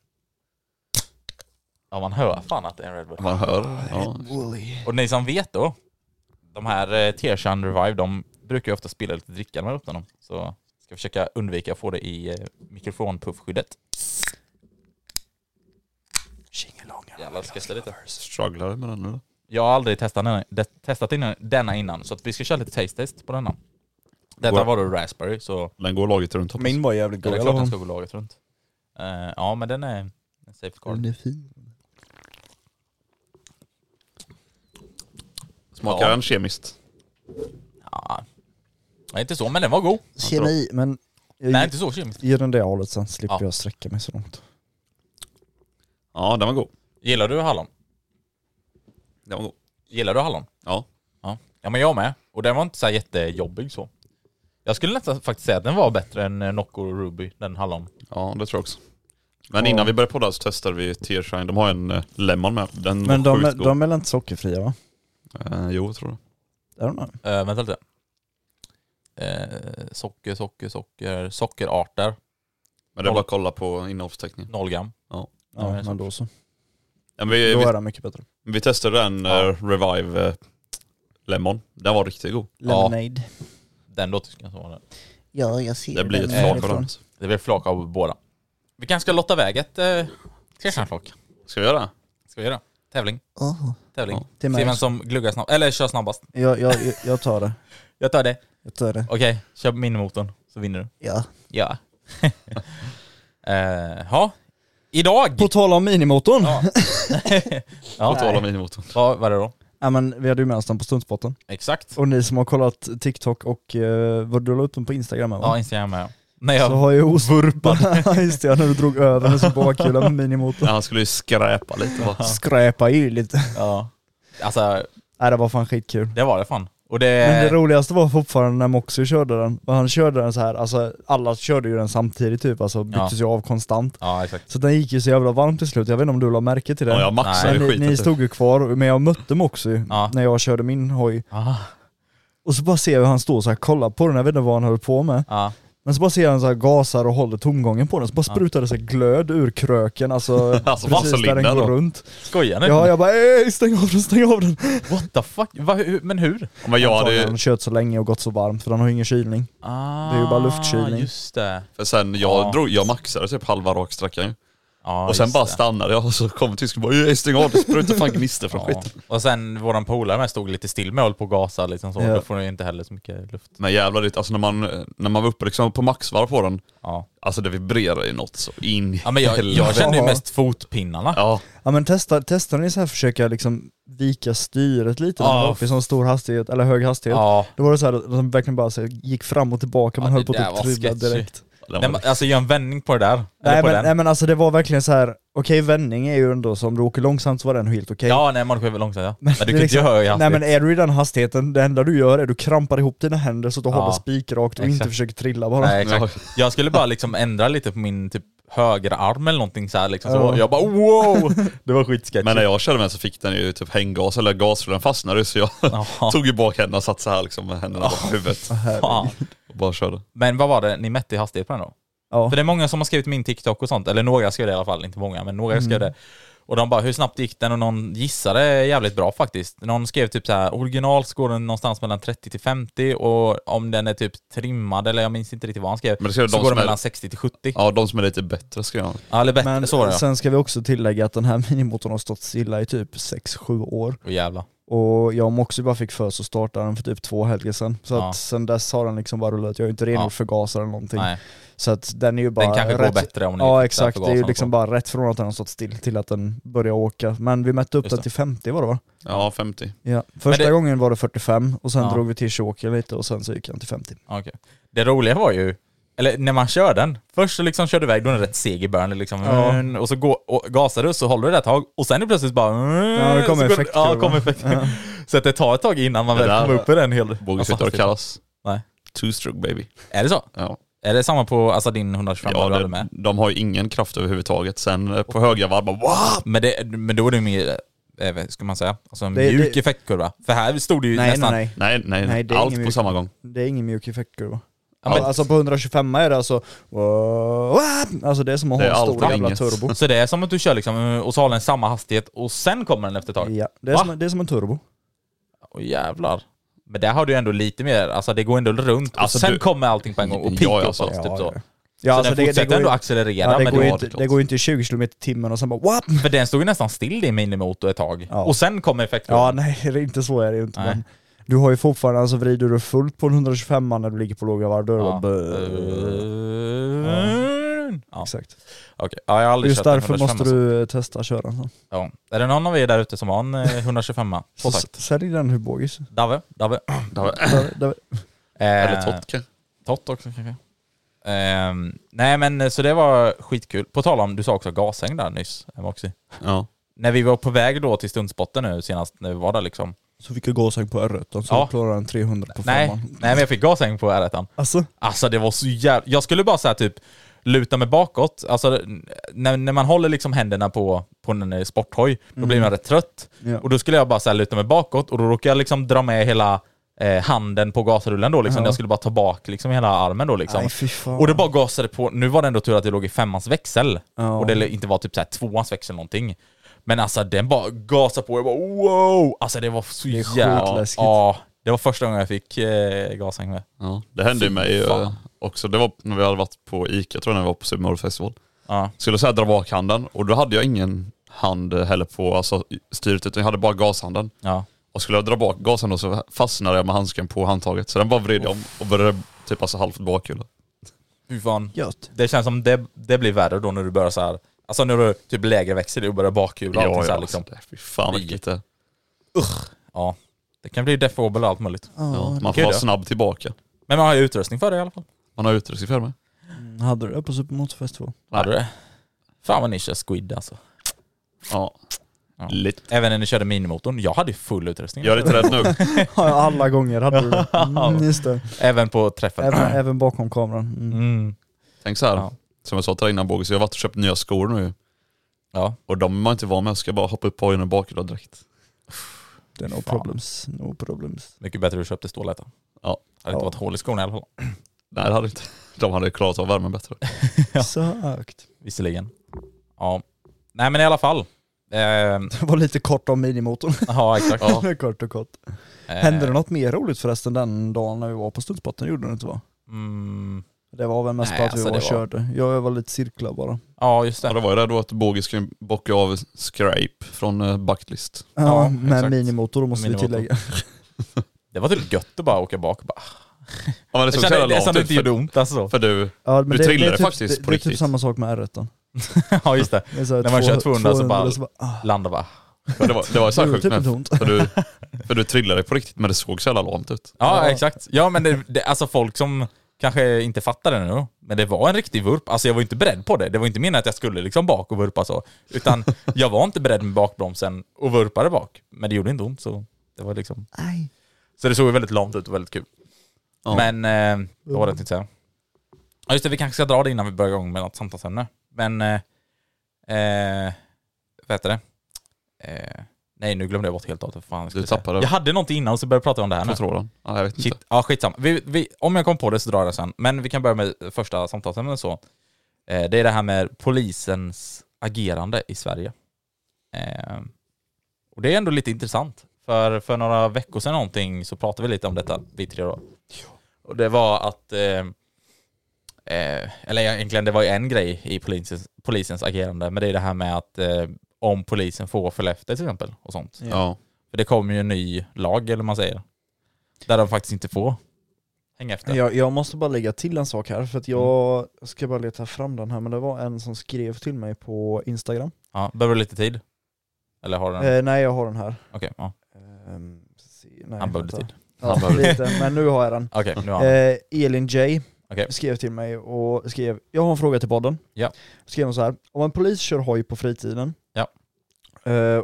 [SPEAKER 3] Ja, man hör fan att det är en Red Bull.
[SPEAKER 4] Man hör. Ja.
[SPEAKER 3] Och ni som vet då, de här eh, T-shine Revive, de brukar ju ofta spilla lite dricka när man öppnar dem. Så ska försöka undvika att få det i eh, mikrofonpuffskyddet.
[SPEAKER 2] Tjingelångan.
[SPEAKER 3] Jävlar, ska jag ställa lite?
[SPEAKER 4] Strugglar med den nu då?
[SPEAKER 3] Jag har aldrig testat denna, de, testat innan, denna innan, så att vi ska köra lite taste test på denna. Detta
[SPEAKER 4] Går-
[SPEAKER 3] var då raspberry, så
[SPEAKER 4] Den går laget runt hoppas.
[SPEAKER 2] Min var jävligt
[SPEAKER 3] det
[SPEAKER 2] god
[SPEAKER 3] är
[SPEAKER 2] i
[SPEAKER 3] klart
[SPEAKER 2] alla
[SPEAKER 3] den
[SPEAKER 2] fall.
[SPEAKER 3] ska gå laget runt. Eh, ja, men den är en safe card.
[SPEAKER 2] är fin.
[SPEAKER 4] Smakar
[SPEAKER 3] Ja.
[SPEAKER 4] den kemiskt?
[SPEAKER 3] Ja. Ja, inte så, men den var god.
[SPEAKER 2] Kemi, men jag
[SPEAKER 3] Nej, inte så kemiskt.
[SPEAKER 2] ger den det hållet sen slipper
[SPEAKER 3] Ja.
[SPEAKER 2] jag sträcka mig så långt.
[SPEAKER 4] Ja, den var god.
[SPEAKER 3] Gillar du hallon?
[SPEAKER 4] Den var god.
[SPEAKER 3] Gillar du hallon?
[SPEAKER 4] Ja.
[SPEAKER 3] Ja, ja men jag med. Och den var inte så här jättejobbig så. Jag skulle nästan faktiskt säga att den var bättre än eh, Nocco och Ruby, den hallon.
[SPEAKER 4] ja, det tror jag också. Men innan vi började podda så testade vi Tearshine. De har en eh, lemon med. Den
[SPEAKER 2] Men
[SPEAKER 4] var
[SPEAKER 2] de,
[SPEAKER 4] sjukt
[SPEAKER 2] är-
[SPEAKER 4] god.
[SPEAKER 2] de är väl inte sockerfria va?
[SPEAKER 4] Eh, jo, tror jag.
[SPEAKER 2] Är de det?
[SPEAKER 3] Eh, vänta lite. Eh, socker, socker, socker, sockerarter,
[SPEAKER 4] Men det är
[SPEAKER 3] Noll.
[SPEAKER 4] bara att kolla på innehållsförteckningen.
[SPEAKER 3] 0 gram.
[SPEAKER 4] Ja.
[SPEAKER 3] Ja,
[SPEAKER 2] Ja,
[SPEAKER 3] det är
[SPEAKER 2] men
[SPEAKER 3] sant.
[SPEAKER 2] då så.
[SPEAKER 4] Ja, men vi,
[SPEAKER 2] Då
[SPEAKER 4] vi,
[SPEAKER 2] är den mycket bättre.
[SPEAKER 4] vi testade den
[SPEAKER 3] Ja.
[SPEAKER 4] eh, Revive eh, Lemon. Den var riktigt god.
[SPEAKER 2] Lemonade.
[SPEAKER 3] Den då tycker jag som var den.
[SPEAKER 2] Ja, jag ser
[SPEAKER 4] Det blir ett flak av den.
[SPEAKER 3] Det blir flak av båda. Vi kanske ska lotta iväg ett eh, skräckarflak.
[SPEAKER 4] Ska vi göra det?
[SPEAKER 3] Ska vi göra? Tävling. Tävling.
[SPEAKER 4] Ja.
[SPEAKER 2] Till
[SPEAKER 3] Se
[SPEAKER 2] mig.
[SPEAKER 3] vem som gluggar snabbast. Eller kör snabbast.
[SPEAKER 2] Jag, jag, jag tar det.
[SPEAKER 3] Jag tar det.
[SPEAKER 2] Jag tar det.
[SPEAKER 3] Okej, kör minimotorn så vinner du.
[SPEAKER 2] Ja.
[SPEAKER 3] Ja. (laughs) Eh, Ja. Idag!
[SPEAKER 2] På tal om minimotorn. Ja. (laughs)
[SPEAKER 3] Ja. ja.
[SPEAKER 4] På tal om minimotorn.
[SPEAKER 3] Vad var det då?
[SPEAKER 2] men vi hade ju med oss den på stundspotten.
[SPEAKER 3] Exakt.
[SPEAKER 2] Och ni som har kollat TikTok och eh, vad du la upp den på Instagram va?
[SPEAKER 3] Ja, Instagram med. Nej,
[SPEAKER 2] Så
[SPEAKER 3] jag,
[SPEAKER 2] har ju Ost... (laughs) Ja just det, när du drog över den så
[SPEAKER 4] (laughs)
[SPEAKER 2] bakhjulen med minimotorn.
[SPEAKER 4] Ja, han skulle ju skräpa lite va?
[SPEAKER 2] Skräpa ju lite.
[SPEAKER 3] ja. Alltså,
[SPEAKER 2] Nej det var fan skitkul.
[SPEAKER 3] det var det fan. Och det...
[SPEAKER 2] Men det
[SPEAKER 4] Eh.
[SPEAKER 2] roligaste var fortfarande när Moxie körde den, och han körde den så här, alltså alla körde ju den samtidigt typ, alltså byttes ju av konstant.
[SPEAKER 3] ja, exakt.
[SPEAKER 2] Så den gick ju så jävla varmt till slut, jag vet inte om du la märke till det?
[SPEAKER 4] Ja, jag maxade ju
[SPEAKER 2] men ni, ni
[SPEAKER 4] skiten.
[SPEAKER 2] stod ju kvar, men jag mötte Moxie
[SPEAKER 3] Ja.
[SPEAKER 2] när jag körde min hoj,
[SPEAKER 3] Ah,
[SPEAKER 2] och så bara ser jag hur han står så här, kollar på den, jag vet inte vad han höll på med.
[SPEAKER 3] ja.
[SPEAKER 2] Men så bara ser han så här gasar och håller tomgången på den, så bara sprutar det så här glöd ur kröken,
[SPEAKER 3] (laughs)
[SPEAKER 2] alltså,
[SPEAKER 4] Alltså,
[SPEAKER 2] precis där den
[SPEAKER 4] vaselin
[SPEAKER 2] går
[SPEAKER 4] då.
[SPEAKER 2] runt.
[SPEAKER 3] Skojar ni?
[SPEAKER 2] Ja jag bara "Ey, stäng av den, stäng av den!
[SPEAKER 3] What the fuck? Va, hur, men hur?
[SPEAKER 4] Ja, Men jag hade
[SPEAKER 2] Antagligen har
[SPEAKER 4] ju,
[SPEAKER 2] den kört så länge och gått så varmt, för den har ju ingen kylning.
[SPEAKER 3] Ah,
[SPEAKER 2] Det är ju bara luftkylning.
[SPEAKER 3] Just det.
[SPEAKER 4] för sen jag
[SPEAKER 3] Ja.
[SPEAKER 4] drog, jag maxade typ halva raksträckan ju.
[SPEAKER 3] Ja,
[SPEAKER 4] Och sen
[SPEAKER 3] just
[SPEAKER 4] bara
[SPEAKER 3] det.
[SPEAKER 4] stannade jag och så kom tysken och bara "Ey, stäng av det, sprutar fan gnistor från
[SPEAKER 3] Ja.
[SPEAKER 4] skiten.
[SPEAKER 3] Och sen våran polare med stod lite still med och höll på att gasa liksom så.
[SPEAKER 2] Ja.
[SPEAKER 3] Då får du ju inte heller så mycket luft.
[SPEAKER 4] Men jävlar ditt, alltså när man, när man var uppe liksom på maxvarv på den,
[SPEAKER 3] Ja.
[SPEAKER 4] alltså det vibrerar ju något så in i
[SPEAKER 3] Ja men jag, jag
[SPEAKER 4] helvete.
[SPEAKER 3] kände ju mest fotpinnarna.
[SPEAKER 4] Ja,
[SPEAKER 2] Ja men testa, testar ni så här försöka liksom vika styret lite när
[SPEAKER 3] Ja,
[SPEAKER 2] man var uppe i sån stor hastighet, eller hög hastighet?
[SPEAKER 3] Ja.
[SPEAKER 2] Då var det så här att de verkligen bara så här, gick fram och tillbaka, man
[SPEAKER 3] Ja,
[SPEAKER 2] höll
[SPEAKER 3] det
[SPEAKER 2] på
[SPEAKER 3] där
[SPEAKER 2] att
[SPEAKER 3] var
[SPEAKER 2] typ trilla
[SPEAKER 3] sketchy.
[SPEAKER 2] direkt.
[SPEAKER 4] den
[SPEAKER 3] Nej,
[SPEAKER 4] var,
[SPEAKER 3] men, alltså gör en vändning på det där. Eller
[SPEAKER 2] Nej
[SPEAKER 3] på
[SPEAKER 2] men,
[SPEAKER 3] den.
[SPEAKER 2] nej men alltså det var verkligen så här. okej vändning är ju ändå som, om du åker långsamt så var den helt okej.
[SPEAKER 3] Ja nej man kör väl långsamt ja. Men
[SPEAKER 2] det är
[SPEAKER 3] du kan ju inte
[SPEAKER 2] liksom-
[SPEAKER 3] göra i
[SPEAKER 2] Nej
[SPEAKER 3] hastighet.
[SPEAKER 2] men är du i den hastigheten, det enda du gör är att du krampar ihop dina händer så att du
[SPEAKER 3] Ja.
[SPEAKER 2] håller spikrakt och inte
[SPEAKER 3] Exakt.
[SPEAKER 2] försöker trilla bara.
[SPEAKER 3] Nej, exakt. Jag skulle bara liksom ändra lite på min typ högra arm eller någonting så här liksom. Så
[SPEAKER 2] Ja.
[SPEAKER 3] jag bara wow! Det var skitsketchigt.
[SPEAKER 4] men när jag körde med så fick den ju typ hänggas eller gas för den fastnade ju, så jag
[SPEAKER 3] Ja.
[SPEAKER 4] (laughs) tog ju bak händerna och satt så här liksom med händerna bakom huvudet
[SPEAKER 3] Fan.
[SPEAKER 4] och bara körde.
[SPEAKER 3] Men vad var det ni mätte i hastighet på den då?
[SPEAKER 2] Ja.
[SPEAKER 3] För det är många som har skrivit min TikTok och sånt, eller några skrev det i alla fall, inte många, men några
[SPEAKER 4] Mm.
[SPEAKER 3] skrev det. Och de bara, hur snabbt gick den? Och någon gissade jävligt bra faktiskt. Någon skrev typ så här, originalt går den någonstans mellan 30 till 50 och om den är typ trimmad, eller jag minns inte riktigt vad han skrev,
[SPEAKER 4] Men det skrev
[SPEAKER 3] så
[SPEAKER 4] de
[SPEAKER 3] går
[SPEAKER 4] som
[SPEAKER 3] den
[SPEAKER 4] är-
[SPEAKER 3] mellan 60 till 70. Ja,
[SPEAKER 4] Ja, de som är lite bättre skrev han.
[SPEAKER 3] eller bättre,
[SPEAKER 2] Men
[SPEAKER 3] så var det ja.
[SPEAKER 2] sen ska vi också tillägga att den här minimotorn har stått stilla i typ 6-7 år.
[SPEAKER 3] Åh jävlar.
[SPEAKER 2] Och jag och Moxie bara fick för oss att starta den för typ två helger sedan. Så
[SPEAKER 3] Ja.
[SPEAKER 2] att sen dess har den liksom bara rullat, jag har ju inte rengjort
[SPEAKER 3] Ja.
[SPEAKER 2] förgasare eller någonting.
[SPEAKER 3] Nej.
[SPEAKER 2] Så att den är ju bara
[SPEAKER 3] Den kanske går
[SPEAKER 2] rätt...
[SPEAKER 3] bättre om ni
[SPEAKER 2] Ja
[SPEAKER 3] fixar
[SPEAKER 2] exakt, det är ju
[SPEAKER 3] förgasaren
[SPEAKER 2] liksom
[SPEAKER 3] och
[SPEAKER 2] bara rätt från att den har stått still till att den börjar åka. Men vi mätte upp
[SPEAKER 3] Just
[SPEAKER 2] den
[SPEAKER 3] det.
[SPEAKER 2] till 50 var det va?
[SPEAKER 4] Ja, 50.
[SPEAKER 2] Ja. Första
[SPEAKER 3] det-
[SPEAKER 2] gången var det 45 och sen
[SPEAKER 3] Ja.
[SPEAKER 2] drog vi till tjoken lite och sen så gick den till 50.
[SPEAKER 3] Ja, Okej. Det roliga var ju, eller när man kör den, först så liksom kör du iväg, då är den rätt seg i början, liksom, mm, och så går, och gasar du så håller du det ett tag, och sen är det plötsligt bara... mm,
[SPEAKER 2] Ja, det kommer
[SPEAKER 3] så går-
[SPEAKER 2] effektkurvan.
[SPEAKER 3] Ja, kommer effekt. Så att det tar ett tag innan man
[SPEAKER 4] Det
[SPEAKER 3] väl
[SPEAKER 4] där-
[SPEAKER 3] kommer upp i den hel...
[SPEAKER 4] Vågar inte vad det
[SPEAKER 3] hastigt.
[SPEAKER 4] kallas.
[SPEAKER 3] Nej.
[SPEAKER 4] Two-stroke baby.
[SPEAKER 3] Är det så?
[SPEAKER 4] Ja,
[SPEAKER 3] Är det samma på alltså, din 125
[SPEAKER 4] ja
[SPEAKER 3] du hade
[SPEAKER 4] det,
[SPEAKER 3] med?
[SPEAKER 4] de har ju ingen kraft överhuvudtaget. Sen eh, på höga varv bara wow!
[SPEAKER 3] Men, det, men då är det ju mer, eh, vad ska man säga, alltså en
[SPEAKER 2] Det-
[SPEAKER 3] mjuk
[SPEAKER 2] det-
[SPEAKER 3] effektkurva. För här stod det ju
[SPEAKER 2] Nej
[SPEAKER 3] nästan...
[SPEAKER 2] nej
[SPEAKER 4] Nej, nej,
[SPEAKER 2] Nej, det är
[SPEAKER 4] allt
[SPEAKER 2] ingen
[SPEAKER 4] på
[SPEAKER 2] mjuk-
[SPEAKER 4] samma gång.
[SPEAKER 2] nej, det är ingen mjuk effektkurva.
[SPEAKER 3] Ja, men-
[SPEAKER 2] Alltså på 125 är det alltså... Alltså det är som att ha
[SPEAKER 4] Det är
[SPEAKER 2] en
[SPEAKER 4] allt och
[SPEAKER 2] stor jävla
[SPEAKER 4] inget. (laughs)
[SPEAKER 2] turbo.
[SPEAKER 3] Så det är som att du kör liksom, eh, och så har den samma hastighet, och sen kommer den efter ett tag?
[SPEAKER 2] Ja, det är,
[SPEAKER 3] Va?
[SPEAKER 2] som, det är som en turbo.
[SPEAKER 3] Åh jävlar. Men där har du ju ändå lite mer, alltså det går ändå runt
[SPEAKER 4] Alltså,
[SPEAKER 3] och sen
[SPEAKER 4] du-
[SPEAKER 3] kommer allting på en gång och
[SPEAKER 4] Ja,
[SPEAKER 3] pikar upp
[SPEAKER 4] alltså.
[SPEAKER 3] oss typ
[SPEAKER 2] Ja,
[SPEAKER 3] så.
[SPEAKER 2] ja.
[SPEAKER 3] Så
[SPEAKER 2] Ja, alltså
[SPEAKER 3] den
[SPEAKER 2] det, det
[SPEAKER 3] fortsätter
[SPEAKER 2] går ju,
[SPEAKER 3] ändå accelerera
[SPEAKER 2] ja, det,
[SPEAKER 3] men
[SPEAKER 2] går
[SPEAKER 3] det
[SPEAKER 2] ju
[SPEAKER 4] var
[SPEAKER 2] inte,
[SPEAKER 4] det klart.
[SPEAKER 2] det går ju inte 20 km i timmen och sen bara WAP!
[SPEAKER 3] för den stod ju nästan still i minimotor ett tag.
[SPEAKER 2] Ja.
[SPEAKER 3] Och sen kommer effektkurvan.
[SPEAKER 2] Ja, nej, det är inte så är det ju inte.
[SPEAKER 3] Nej.
[SPEAKER 2] Men du har ju fortfarande, alltså vrider du fullt på en 125 när du ligger på låga varv, då är det
[SPEAKER 3] Ja.
[SPEAKER 2] bara bö-
[SPEAKER 3] Burn. Ja.
[SPEAKER 2] Exakt.
[SPEAKER 3] okej. Ja, jag har aldrig
[SPEAKER 2] Just
[SPEAKER 3] kört en
[SPEAKER 2] därför
[SPEAKER 3] 125
[SPEAKER 2] måste du eh, testa att köra en sån.
[SPEAKER 3] alltså. Ja. Är det någon av er där ute som har en eh, 125
[SPEAKER 2] (laughs) Så
[SPEAKER 3] Tvåtakt?
[SPEAKER 2] s- Sälj den
[SPEAKER 3] (clears throat)
[SPEAKER 2] hybogis.
[SPEAKER 3] Dave? Dave?
[SPEAKER 2] Där- där-
[SPEAKER 4] Eller
[SPEAKER 3] Eh,
[SPEAKER 4] Totke.
[SPEAKER 3] Tott också kanske? Ehm, nej men eh, så det var skitkul. På tal om, du sa också gashäng där nyss, Moxie.
[SPEAKER 4] Ja.
[SPEAKER 3] När vi var på väg då till stundspotten nu senast, när vi var där liksom.
[SPEAKER 2] Så fick jag gåshäng på R1, så
[SPEAKER 3] Ja.
[SPEAKER 2] klarar den 300 på
[SPEAKER 3] Nej,
[SPEAKER 2] femman.
[SPEAKER 3] nej men jag fick gashäng på r
[SPEAKER 2] Alltså,
[SPEAKER 3] Alltså det var så jävla... Jag skulle bara säga typ luta mig bakåt. Alltså när, när man håller liksom händerna på, på en sporthoj, då blir man rätt trött.
[SPEAKER 2] Mm. Ja.
[SPEAKER 3] Och då skulle jag bara så här luta mig bakåt och då råkade jag liksom dra med hela eh, handen på gasrullen då liksom. Jag skulle bara ta bak liksom hela armen då liksom.
[SPEAKER 2] Nej, fy fan.
[SPEAKER 3] Och det bara gasade på. Nu var det ändå tur att det låg i femmans växel.
[SPEAKER 2] Ja.
[SPEAKER 3] Och det inte var typ så här tvåans växel eller någonting. Men alltså den bara gasade på. Jag bara wow! Alltså det var så
[SPEAKER 2] Det är sjukt
[SPEAKER 3] jävla...
[SPEAKER 2] läskigt.
[SPEAKER 3] Ja, det var första gången jag fick eh, gashäng med.
[SPEAKER 4] Ja, det hände ju mig
[SPEAKER 3] Fy fan.
[SPEAKER 4] eh, också. Det var när vi hade varit på Ica, tror jag, när vi var på Super Bowl Festival.
[SPEAKER 3] Ja.
[SPEAKER 4] Skulle så här dra bak handen och då hade jag ingen hand heller på alltså, styret utan jag hade bara gashanden.
[SPEAKER 3] Ja.
[SPEAKER 4] Och skulle jag dra bak gasen då så fastnade jag med handsken på handtaget. Så den bara vred jag om och började typ alltså halvt bakhjulet.
[SPEAKER 3] Fy fan.
[SPEAKER 2] Gött.
[SPEAKER 3] Det känns som det, det blir värre då när du börjar så här. Alltså när du typ lägre växel och börjar bakhjula och allting så här liksom.
[SPEAKER 4] alltså, det- Fy fan vad
[SPEAKER 3] Ligger.
[SPEAKER 4] äckligt det är.
[SPEAKER 3] Ja. Det kan bli defobel och allt möjligt.
[SPEAKER 4] ja, Man får
[SPEAKER 3] Kul
[SPEAKER 4] vara
[SPEAKER 3] då.
[SPEAKER 4] snabb tillbaka.
[SPEAKER 3] Men man har ju utrustning för det i alla fall.
[SPEAKER 4] Man har utrustning för mig.
[SPEAKER 2] Hade du det på Supermotorfestival?
[SPEAKER 3] Hade du det? Fan vad ni kör squid alltså.
[SPEAKER 4] Ja.
[SPEAKER 3] Ja.
[SPEAKER 4] Lite.
[SPEAKER 3] Även när ni körde minimotorn. Jag hade ju full utrustning.
[SPEAKER 4] Jag är lite rädd nu.
[SPEAKER 3] (laughs)
[SPEAKER 2] Ja, alla gånger hade du det. Mm, just
[SPEAKER 3] (clears throat)
[SPEAKER 2] det.
[SPEAKER 3] Även på träffen.
[SPEAKER 2] Även, även bakom kameran. Mm.
[SPEAKER 3] Mm.
[SPEAKER 4] Tänk så här,
[SPEAKER 3] Ja.
[SPEAKER 4] som jag sa till dig innan Bogus, jag har varit och köpt nya skor nu
[SPEAKER 3] Ja.
[SPEAKER 4] och de är man inte van med. Jag ska bara hoppa upp på hojen och bakhjula direkt.
[SPEAKER 2] Det är no
[SPEAKER 3] Fan.
[SPEAKER 2] problems. No
[SPEAKER 4] (laughs)
[SPEAKER 2] problems.
[SPEAKER 3] Mycket bättre du köpte ståläta.
[SPEAKER 4] Ja.
[SPEAKER 3] Hade inte
[SPEAKER 2] Ja.
[SPEAKER 3] varit hål i skorna i alla fall.
[SPEAKER 4] Nej det hade inte. De hade klarat av värmen bättre.
[SPEAKER 3] Ja.
[SPEAKER 2] Exakt.
[SPEAKER 3] Visserligen. Ja. Nej men i alla fall. Eh,
[SPEAKER 2] Det var lite kort om minimotorn.
[SPEAKER 4] (laughs)
[SPEAKER 2] (laughs)
[SPEAKER 3] ja exakt.
[SPEAKER 2] Ja. kort och kort.
[SPEAKER 3] Eh,
[SPEAKER 2] Hände det något mer roligt förresten den dagen när vi var på Studsbotten? gjorde det inte va?
[SPEAKER 3] Mm,
[SPEAKER 2] Det var väl mest
[SPEAKER 3] Nej,
[SPEAKER 2] bara att vi
[SPEAKER 3] alltså,
[SPEAKER 2] var och
[SPEAKER 3] det var-
[SPEAKER 2] körde. Jag var lite cirklar bara.
[SPEAKER 3] ja just
[SPEAKER 4] Ja,
[SPEAKER 3] det.
[SPEAKER 4] det var ju det då att Bogus skulle bocka av Scrape från eh, Bucketlist.
[SPEAKER 2] Ja,
[SPEAKER 3] Ja,
[SPEAKER 2] med
[SPEAKER 3] exakt.
[SPEAKER 2] minimotor då måste
[SPEAKER 3] Minimotor.
[SPEAKER 2] vi tillägga.
[SPEAKER 3] Det var typ gött att bara åka bak och bara...
[SPEAKER 4] Ja, men det
[SPEAKER 3] Det
[SPEAKER 4] såg så
[SPEAKER 3] kände-
[SPEAKER 4] jävla
[SPEAKER 3] det kände
[SPEAKER 4] lamt ut
[SPEAKER 3] inte gjorde
[SPEAKER 4] för,
[SPEAKER 3] ont alltså.
[SPEAKER 4] för du,
[SPEAKER 2] Ja, men
[SPEAKER 4] Du
[SPEAKER 2] det,
[SPEAKER 4] trillade
[SPEAKER 2] det är typ,
[SPEAKER 4] faktiskt
[SPEAKER 2] det,
[SPEAKER 4] på
[SPEAKER 2] det är typ
[SPEAKER 4] riktigt.
[SPEAKER 2] samma sak med R1.
[SPEAKER 3] (laughs) Ja just det.
[SPEAKER 2] Det är så här
[SPEAKER 3] När man
[SPEAKER 2] två-
[SPEAKER 3] kör 200 så bara-
[SPEAKER 2] ah,
[SPEAKER 3] Landa bara.
[SPEAKER 4] för det var, det var så
[SPEAKER 2] det
[SPEAKER 4] här
[SPEAKER 2] gjorde
[SPEAKER 4] sjukt
[SPEAKER 2] typ inte
[SPEAKER 4] med,
[SPEAKER 2] ont.
[SPEAKER 4] för du, för du trillade på riktigt men det såg så jävla lamt ut.
[SPEAKER 3] Ja,
[SPEAKER 2] Ja.
[SPEAKER 3] exakt. Ja men det, det, alltså folk som kanske inte fattar det nu, men det var en riktig vurp. Alltså jag var ju inte beredd på det. Det var inte meningen att jag skulle liksom bak och vurpa så. Utan jag var inte beredd med bakbromsen och vurpade bak. Men det gjorde inte ont så det var liksom...
[SPEAKER 2] Nej.
[SPEAKER 3] Så det såg ju väldigt lamt ut och väldigt kul.
[SPEAKER 4] Ja.
[SPEAKER 3] Men eh, det var det jag tänkte säga. Ja just det, vi kanske ska dra det innan vi börjar igång med något samtalsämne. Men... Eh, eh, vad heter det? Eh, nej nu glömde jag bort helt och hållet vad fan jag skulle säga.
[SPEAKER 4] tappade-
[SPEAKER 3] Jag hade någonting innan och så började jag prata om det här nu.
[SPEAKER 4] På tråden. Ja, jag vet inte.
[SPEAKER 3] Shit. Ja, skitsamma. Vi, vi, om jag kom på det så drar jag det sen. Men vi kan börja med första samtalsämnet så. Eh, det är det här med polisens agerande i Sverige. Eh, och det är ändå lite intressant. För, för några veckor sedan någonting så pratade vi lite om detta, vi tre då. Och det var att, eh, eh, eller egentligen det var ju en grej i polisens, polisens agerande, men det är det här med att eh, om polisen får följa efter till exempel och sånt.
[SPEAKER 4] Ja.
[SPEAKER 3] För det kommer ju en ny lag, eller vad man säger. Där de faktiskt inte får hänga efter.
[SPEAKER 2] Jag, jag måste bara lägga till en sak här, för att jag ska bara leta fram den här, men det var en som skrev till mig på Instagram.
[SPEAKER 3] Ja, behöver du lite tid? Eller har du den? Okej,
[SPEAKER 2] Eh, nej, jag har den här.
[SPEAKER 3] ja.
[SPEAKER 2] Ehm, se- nej,
[SPEAKER 3] Han
[SPEAKER 2] vänta.
[SPEAKER 3] behövde tid.
[SPEAKER 2] Ja, lite, men nu har jag den.
[SPEAKER 3] Okej, nu har han.
[SPEAKER 2] Eh, Elin J
[SPEAKER 3] Okej.
[SPEAKER 2] skrev till mig och skrev, jag har en fråga till podden.
[SPEAKER 3] Ja.
[SPEAKER 2] Skrev hon så här, om en polis kör hoj på fritiden
[SPEAKER 3] Ja.
[SPEAKER 2] eh,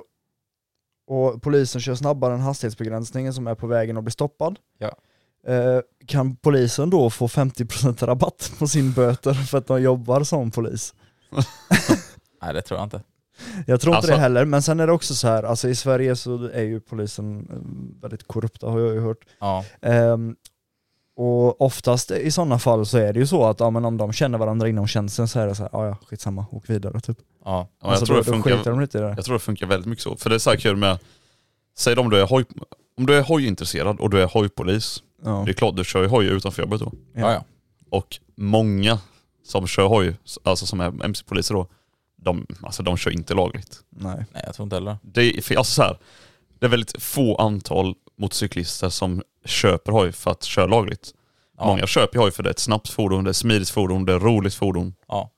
[SPEAKER 2] och polisen kör snabbare än hastighetsbegränsningen som är på vägen och blir stoppad,
[SPEAKER 3] Ja.
[SPEAKER 2] eh, kan polisen då få 50% rabatt på sin böter för att de jobbar som polis?
[SPEAKER 3] Nej, det tror jag inte.
[SPEAKER 2] Jag tror inte
[SPEAKER 4] Alltså-
[SPEAKER 2] det heller, men sen är det också så här, alltså i Sverige så är ju polisen eh, väldigt korrupta har jag ju hört.
[SPEAKER 3] Ja,
[SPEAKER 2] Ehm, och oftast i sådana fall så är det ju så att ja, men om de känner varandra inom tjänsten så är det så här, "Ah, ja ja skitsamma, åk vidare typ.
[SPEAKER 3] ja,
[SPEAKER 4] Ja, jag, tror
[SPEAKER 2] då,
[SPEAKER 4] Alltså, det
[SPEAKER 2] då skiter
[SPEAKER 4] funkar,
[SPEAKER 2] de lite i det.
[SPEAKER 4] jag tror det funkar väldigt mycket så. För det är så här kul med, säg då om du är hoj, om du är hojintresserad och du är hojpolis,
[SPEAKER 2] Ja.
[SPEAKER 4] det är klart du kör ju hoj utanför jobbet då.
[SPEAKER 3] ja, ja.
[SPEAKER 4] Och många som kör hoj, alltså som är mc-poliser då, de, alltså de kör inte lagligt.
[SPEAKER 2] Nej. (laughs)
[SPEAKER 3] Nej, jag tror inte heller.
[SPEAKER 4] Det är, för- alltså så här, det är väldigt få antal motorcyklister som köper hoj för att köra lagligt.
[SPEAKER 3] Ja.
[SPEAKER 4] Många köper ju hoj för det är ett snabbt fordon, det är ett smidigt fordon, det är ett roligt fordon.
[SPEAKER 3] Ja,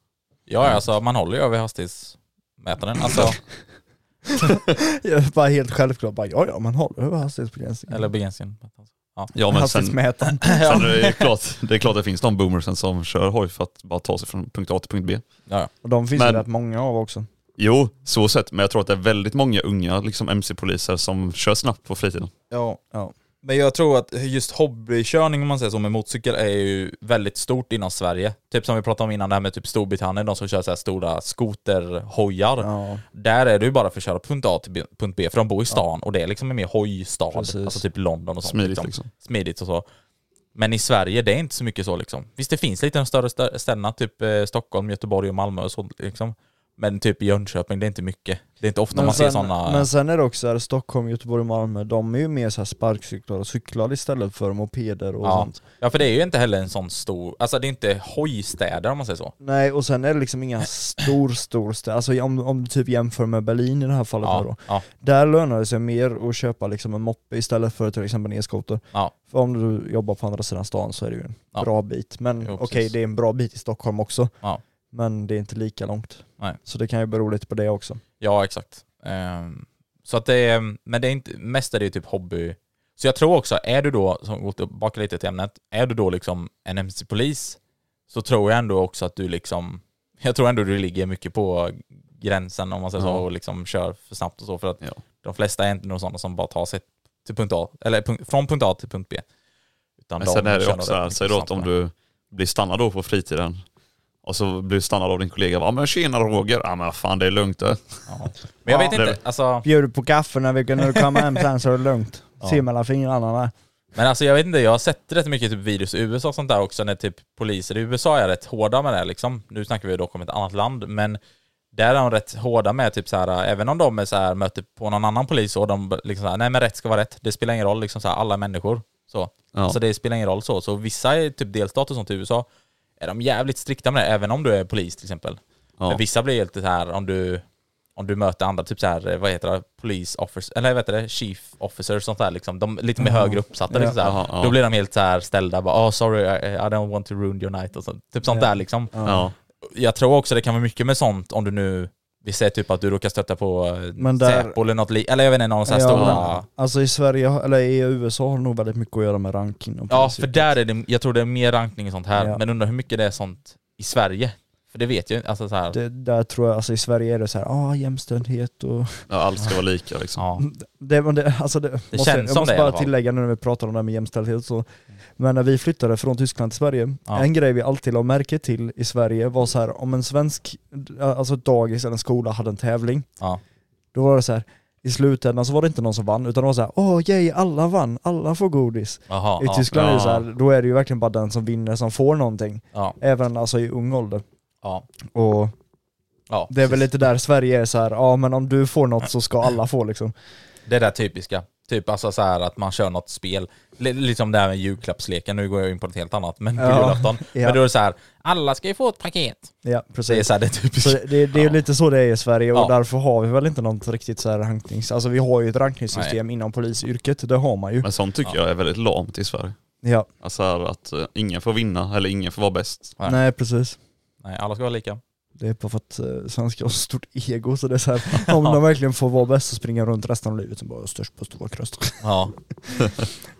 [SPEAKER 3] ja alltså man håller ju över hastighetsmätaren. Alltså,
[SPEAKER 2] (clears throat) Jag är bara helt självklart bara, ja ja man håller över hastighetsbegränsningen.
[SPEAKER 3] eller begränsningen. Ja.
[SPEAKER 4] Ja men sen,
[SPEAKER 2] Hastighetsmätaren.
[SPEAKER 4] (laughs) sen är det, ju klart, det är klart det finns de boomersen som kör hoj för att bara ta sig från punkt A till punkt B.
[SPEAKER 3] Ja,
[SPEAKER 2] Och de finns
[SPEAKER 4] Men-
[SPEAKER 2] det rätt många av också.
[SPEAKER 4] Jo, så sett, men jag tror att det är väldigt många unga liksom mc-poliser som kör snabbt på fritiden.
[SPEAKER 2] Ja. ja.
[SPEAKER 3] Men jag tror att just hobbykörning om man säger så med motorcykel är ju väldigt stort inom Sverige. Typ som vi pratade om innan det här med typ Storbritannien, de som kör så här stora skoterhojar.
[SPEAKER 2] Ja.
[SPEAKER 3] Där är det ju bara för att köra punkt A till B- punkt B, för de bor i stan och det är liksom en mer hojstad.
[SPEAKER 2] Precis.
[SPEAKER 3] Alltså typ London och sånt.
[SPEAKER 4] Smidigt liksom.
[SPEAKER 3] Smidigt och så. Men i Sverige, det är inte så mycket så liksom. Visst, det finns lite de större stö- städerna, typ eh, Stockholm, Göteborg och Malmö och sånt liksom. Men typ i Jönköping, det är inte mycket. Det är inte ofta man ser sådana...
[SPEAKER 2] men sen är det också här, Stockholm, Göteborg, Malmö, de är ju mer så här sparkcyklar och cyklar istället för mopeder och
[SPEAKER 3] Ja.
[SPEAKER 2] sånt.
[SPEAKER 3] ja, för det är ju inte heller en sån stor, alltså det är inte hojstäder om man säger så.
[SPEAKER 2] Nej, och sen är det liksom inga stor, stor stä- Alltså om, om du typ jämför med Berlin i det här fallet här då.
[SPEAKER 3] Ja, ja,
[SPEAKER 2] Där lönar det sig mer att köpa liksom en moppe istället för till exempel en e-skoter.
[SPEAKER 3] ja,
[SPEAKER 2] För om du jobbar på andra sidan stan så är det ju en
[SPEAKER 3] Ja.
[SPEAKER 2] bra bit. Men
[SPEAKER 3] Jo,
[SPEAKER 2] okej,
[SPEAKER 3] precis.
[SPEAKER 2] det är en bra bit i Stockholm också.
[SPEAKER 3] Ja.
[SPEAKER 2] Men det är inte lika långt.
[SPEAKER 3] Nej.
[SPEAKER 2] Så det kan ju bero lite på det också.
[SPEAKER 3] ja exakt. Ehm, så att det är, men det är inte, mest är det ju typ hobby. Så jag tror också, är du då, som går tillbaka lite till ämnet, är du då liksom en MC-polis så tror jag ändå också att du liksom, jag tror ändå du ligger mycket på gränsen om man säger så
[SPEAKER 4] Ja.
[SPEAKER 3] och liksom kör för snabbt och så för att
[SPEAKER 4] Ja.
[SPEAKER 3] de flesta är inte några sådana som bara tar sig till punkt A, eller punkt, från punkt A till punkt B. Utan
[SPEAKER 4] Men
[SPEAKER 3] de
[SPEAKER 4] sen är det
[SPEAKER 3] kör
[SPEAKER 4] ju
[SPEAKER 3] nog
[SPEAKER 4] också, så här,
[SPEAKER 3] rätt
[SPEAKER 4] säg
[SPEAKER 3] mycket
[SPEAKER 4] då att om
[SPEAKER 3] snabbare.
[SPEAKER 4] du blir stannad då på fritiden och så blir du stannad av din kollega. Ja men tjena Roger. Ja men fan det är lugnt det.
[SPEAKER 3] Ja. Men jag vet
[SPEAKER 4] Ja,
[SPEAKER 3] inte,
[SPEAKER 4] det-
[SPEAKER 3] alltså,
[SPEAKER 2] Bjuder på kaffe när vi när du kommer hem sen så är det lugnt.
[SPEAKER 3] Ja.
[SPEAKER 2] Se mellan fingrarna där.
[SPEAKER 3] men alltså jag vet inte, jag har sett rätt mycket typ videos i USA och sånt där också när typ poliser i USA är rätt hårda med det här, liksom. Nu snackar vi dock om ett annat land, men där är de rätt hårda med typ så här, även om de är så här, möter på någon annan polis och de liksom så här, nej men rätt ska vara rätt, det spelar ingen roll liksom så här, alla är människor. Så.
[SPEAKER 4] Ja.
[SPEAKER 3] så det spelar ingen roll så. Så vissa i typ delstater och sånt i USA är de jävligt strikta med det, även om du är polis till exempel.
[SPEAKER 4] Ja.
[SPEAKER 3] Men vissa blir helt så här om du, om du möter andra, typ så här, vad heter det, police officer, eller vad heter det, chief officer sånt där liksom. De är lite mer högre uppsatta liksom så här.
[SPEAKER 4] Ja, ja.
[SPEAKER 3] Då blir de helt så här ställda, bara oh, sorry I, I don't want to ruin your night och sånt. Typ sånt där liksom.
[SPEAKER 4] Ja.
[SPEAKER 3] Jag tror också det kan vara mycket med sånt om du nu, vi säger typ att du råkar stöta på eh,
[SPEAKER 2] Men där-
[SPEAKER 3] Säpo eller något li- eller jag vet inte, någon sån här
[SPEAKER 2] Ja,
[SPEAKER 3] stora...
[SPEAKER 2] men, alltså i Sverige, eller i USA har det nog väldigt mycket att göra med ranking. och
[SPEAKER 3] Ja,
[SPEAKER 2] policy.
[SPEAKER 3] för där är det, jag tror det är mer rankning och sånt här,
[SPEAKER 2] Ja.
[SPEAKER 3] men undrar hur mycket det är sånt i Sverige? För det vet jag inte, alltså så här.
[SPEAKER 2] det, där tror jag, alltså i Sverige är det så här, ah, jämställdhet och...
[SPEAKER 4] Ja, allt ska vara lika liksom.
[SPEAKER 3] Ja.
[SPEAKER 2] Det, men det, alltså det, måste,
[SPEAKER 3] känns
[SPEAKER 2] jag
[SPEAKER 3] som
[SPEAKER 2] måste
[SPEAKER 3] det i alla
[SPEAKER 2] bara
[SPEAKER 3] fall.
[SPEAKER 2] tillägga nu när vi pratar om det här med jämställdhet och så. Men när vi flyttade från Tyskland till Sverige,
[SPEAKER 3] Ja.
[SPEAKER 2] en grej vi alltid la märke till i Sverige var så här, om en svensk, alltså ett dagis eller en skola hade en tävling,
[SPEAKER 3] Ja.
[SPEAKER 2] då var det så här, i slutändan så var det inte någon som vann, utan det var så här, åh yay, alla vann, alla får godis.
[SPEAKER 3] Jaha,
[SPEAKER 2] I
[SPEAKER 3] ja,
[SPEAKER 2] Tyskland är det
[SPEAKER 4] Ja.
[SPEAKER 2] så här, då är det ju verkligen bara den som vinner som får någonting.
[SPEAKER 3] ja,
[SPEAKER 2] Även alltså i ung ålder.
[SPEAKER 3] ja,
[SPEAKER 2] Och
[SPEAKER 3] ja,
[SPEAKER 2] det är väl
[SPEAKER 3] precis.
[SPEAKER 2] lite där Sverige är så här, ja men om du får något så ska alla få liksom.
[SPEAKER 3] Det där typiska. Typ alltså så här att man kör något spel. L- lite som det här med julklappsleken, nu går jag in på något helt annat. Men på
[SPEAKER 2] Ja.
[SPEAKER 3] julafton.
[SPEAKER 2] (laughs) Ja.
[SPEAKER 3] Men då är det så här, alla ska ju få ett paket.
[SPEAKER 2] Ja,
[SPEAKER 3] Så det är
[SPEAKER 2] precis.
[SPEAKER 3] så här, det typiska.
[SPEAKER 2] Så det, det är ju
[SPEAKER 3] Ja.
[SPEAKER 2] lite så det är i Sverige och
[SPEAKER 3] Ja.
[SPEAKER 2] därför har vi väl inte något riktigt så här ranknings... Alltså vi har ju ett rankningssystem inom polisyrket, det har man ju.
[SPEAKER 4] Men sånt tycker jag är väldigt lamt i Sverige.
[SPEAKER 2] Ja,
[SPEAKER 4] Alltså här, att eh, ingen får vinna eller ingen får vara bäst.
[SPEAKER 3] Nej.
[SPEAKER 2] nej. precis.
[SPEAKER 3] Nej, alla ska vara lika.
[SPEAKER 2] Det är bara för att eh, svenskar har så stort ego så det är så här, om de verkligen får vara bäst så springer de runt resten av livet som bara störst på stora kröst.
[SPEAKER 3] Ja.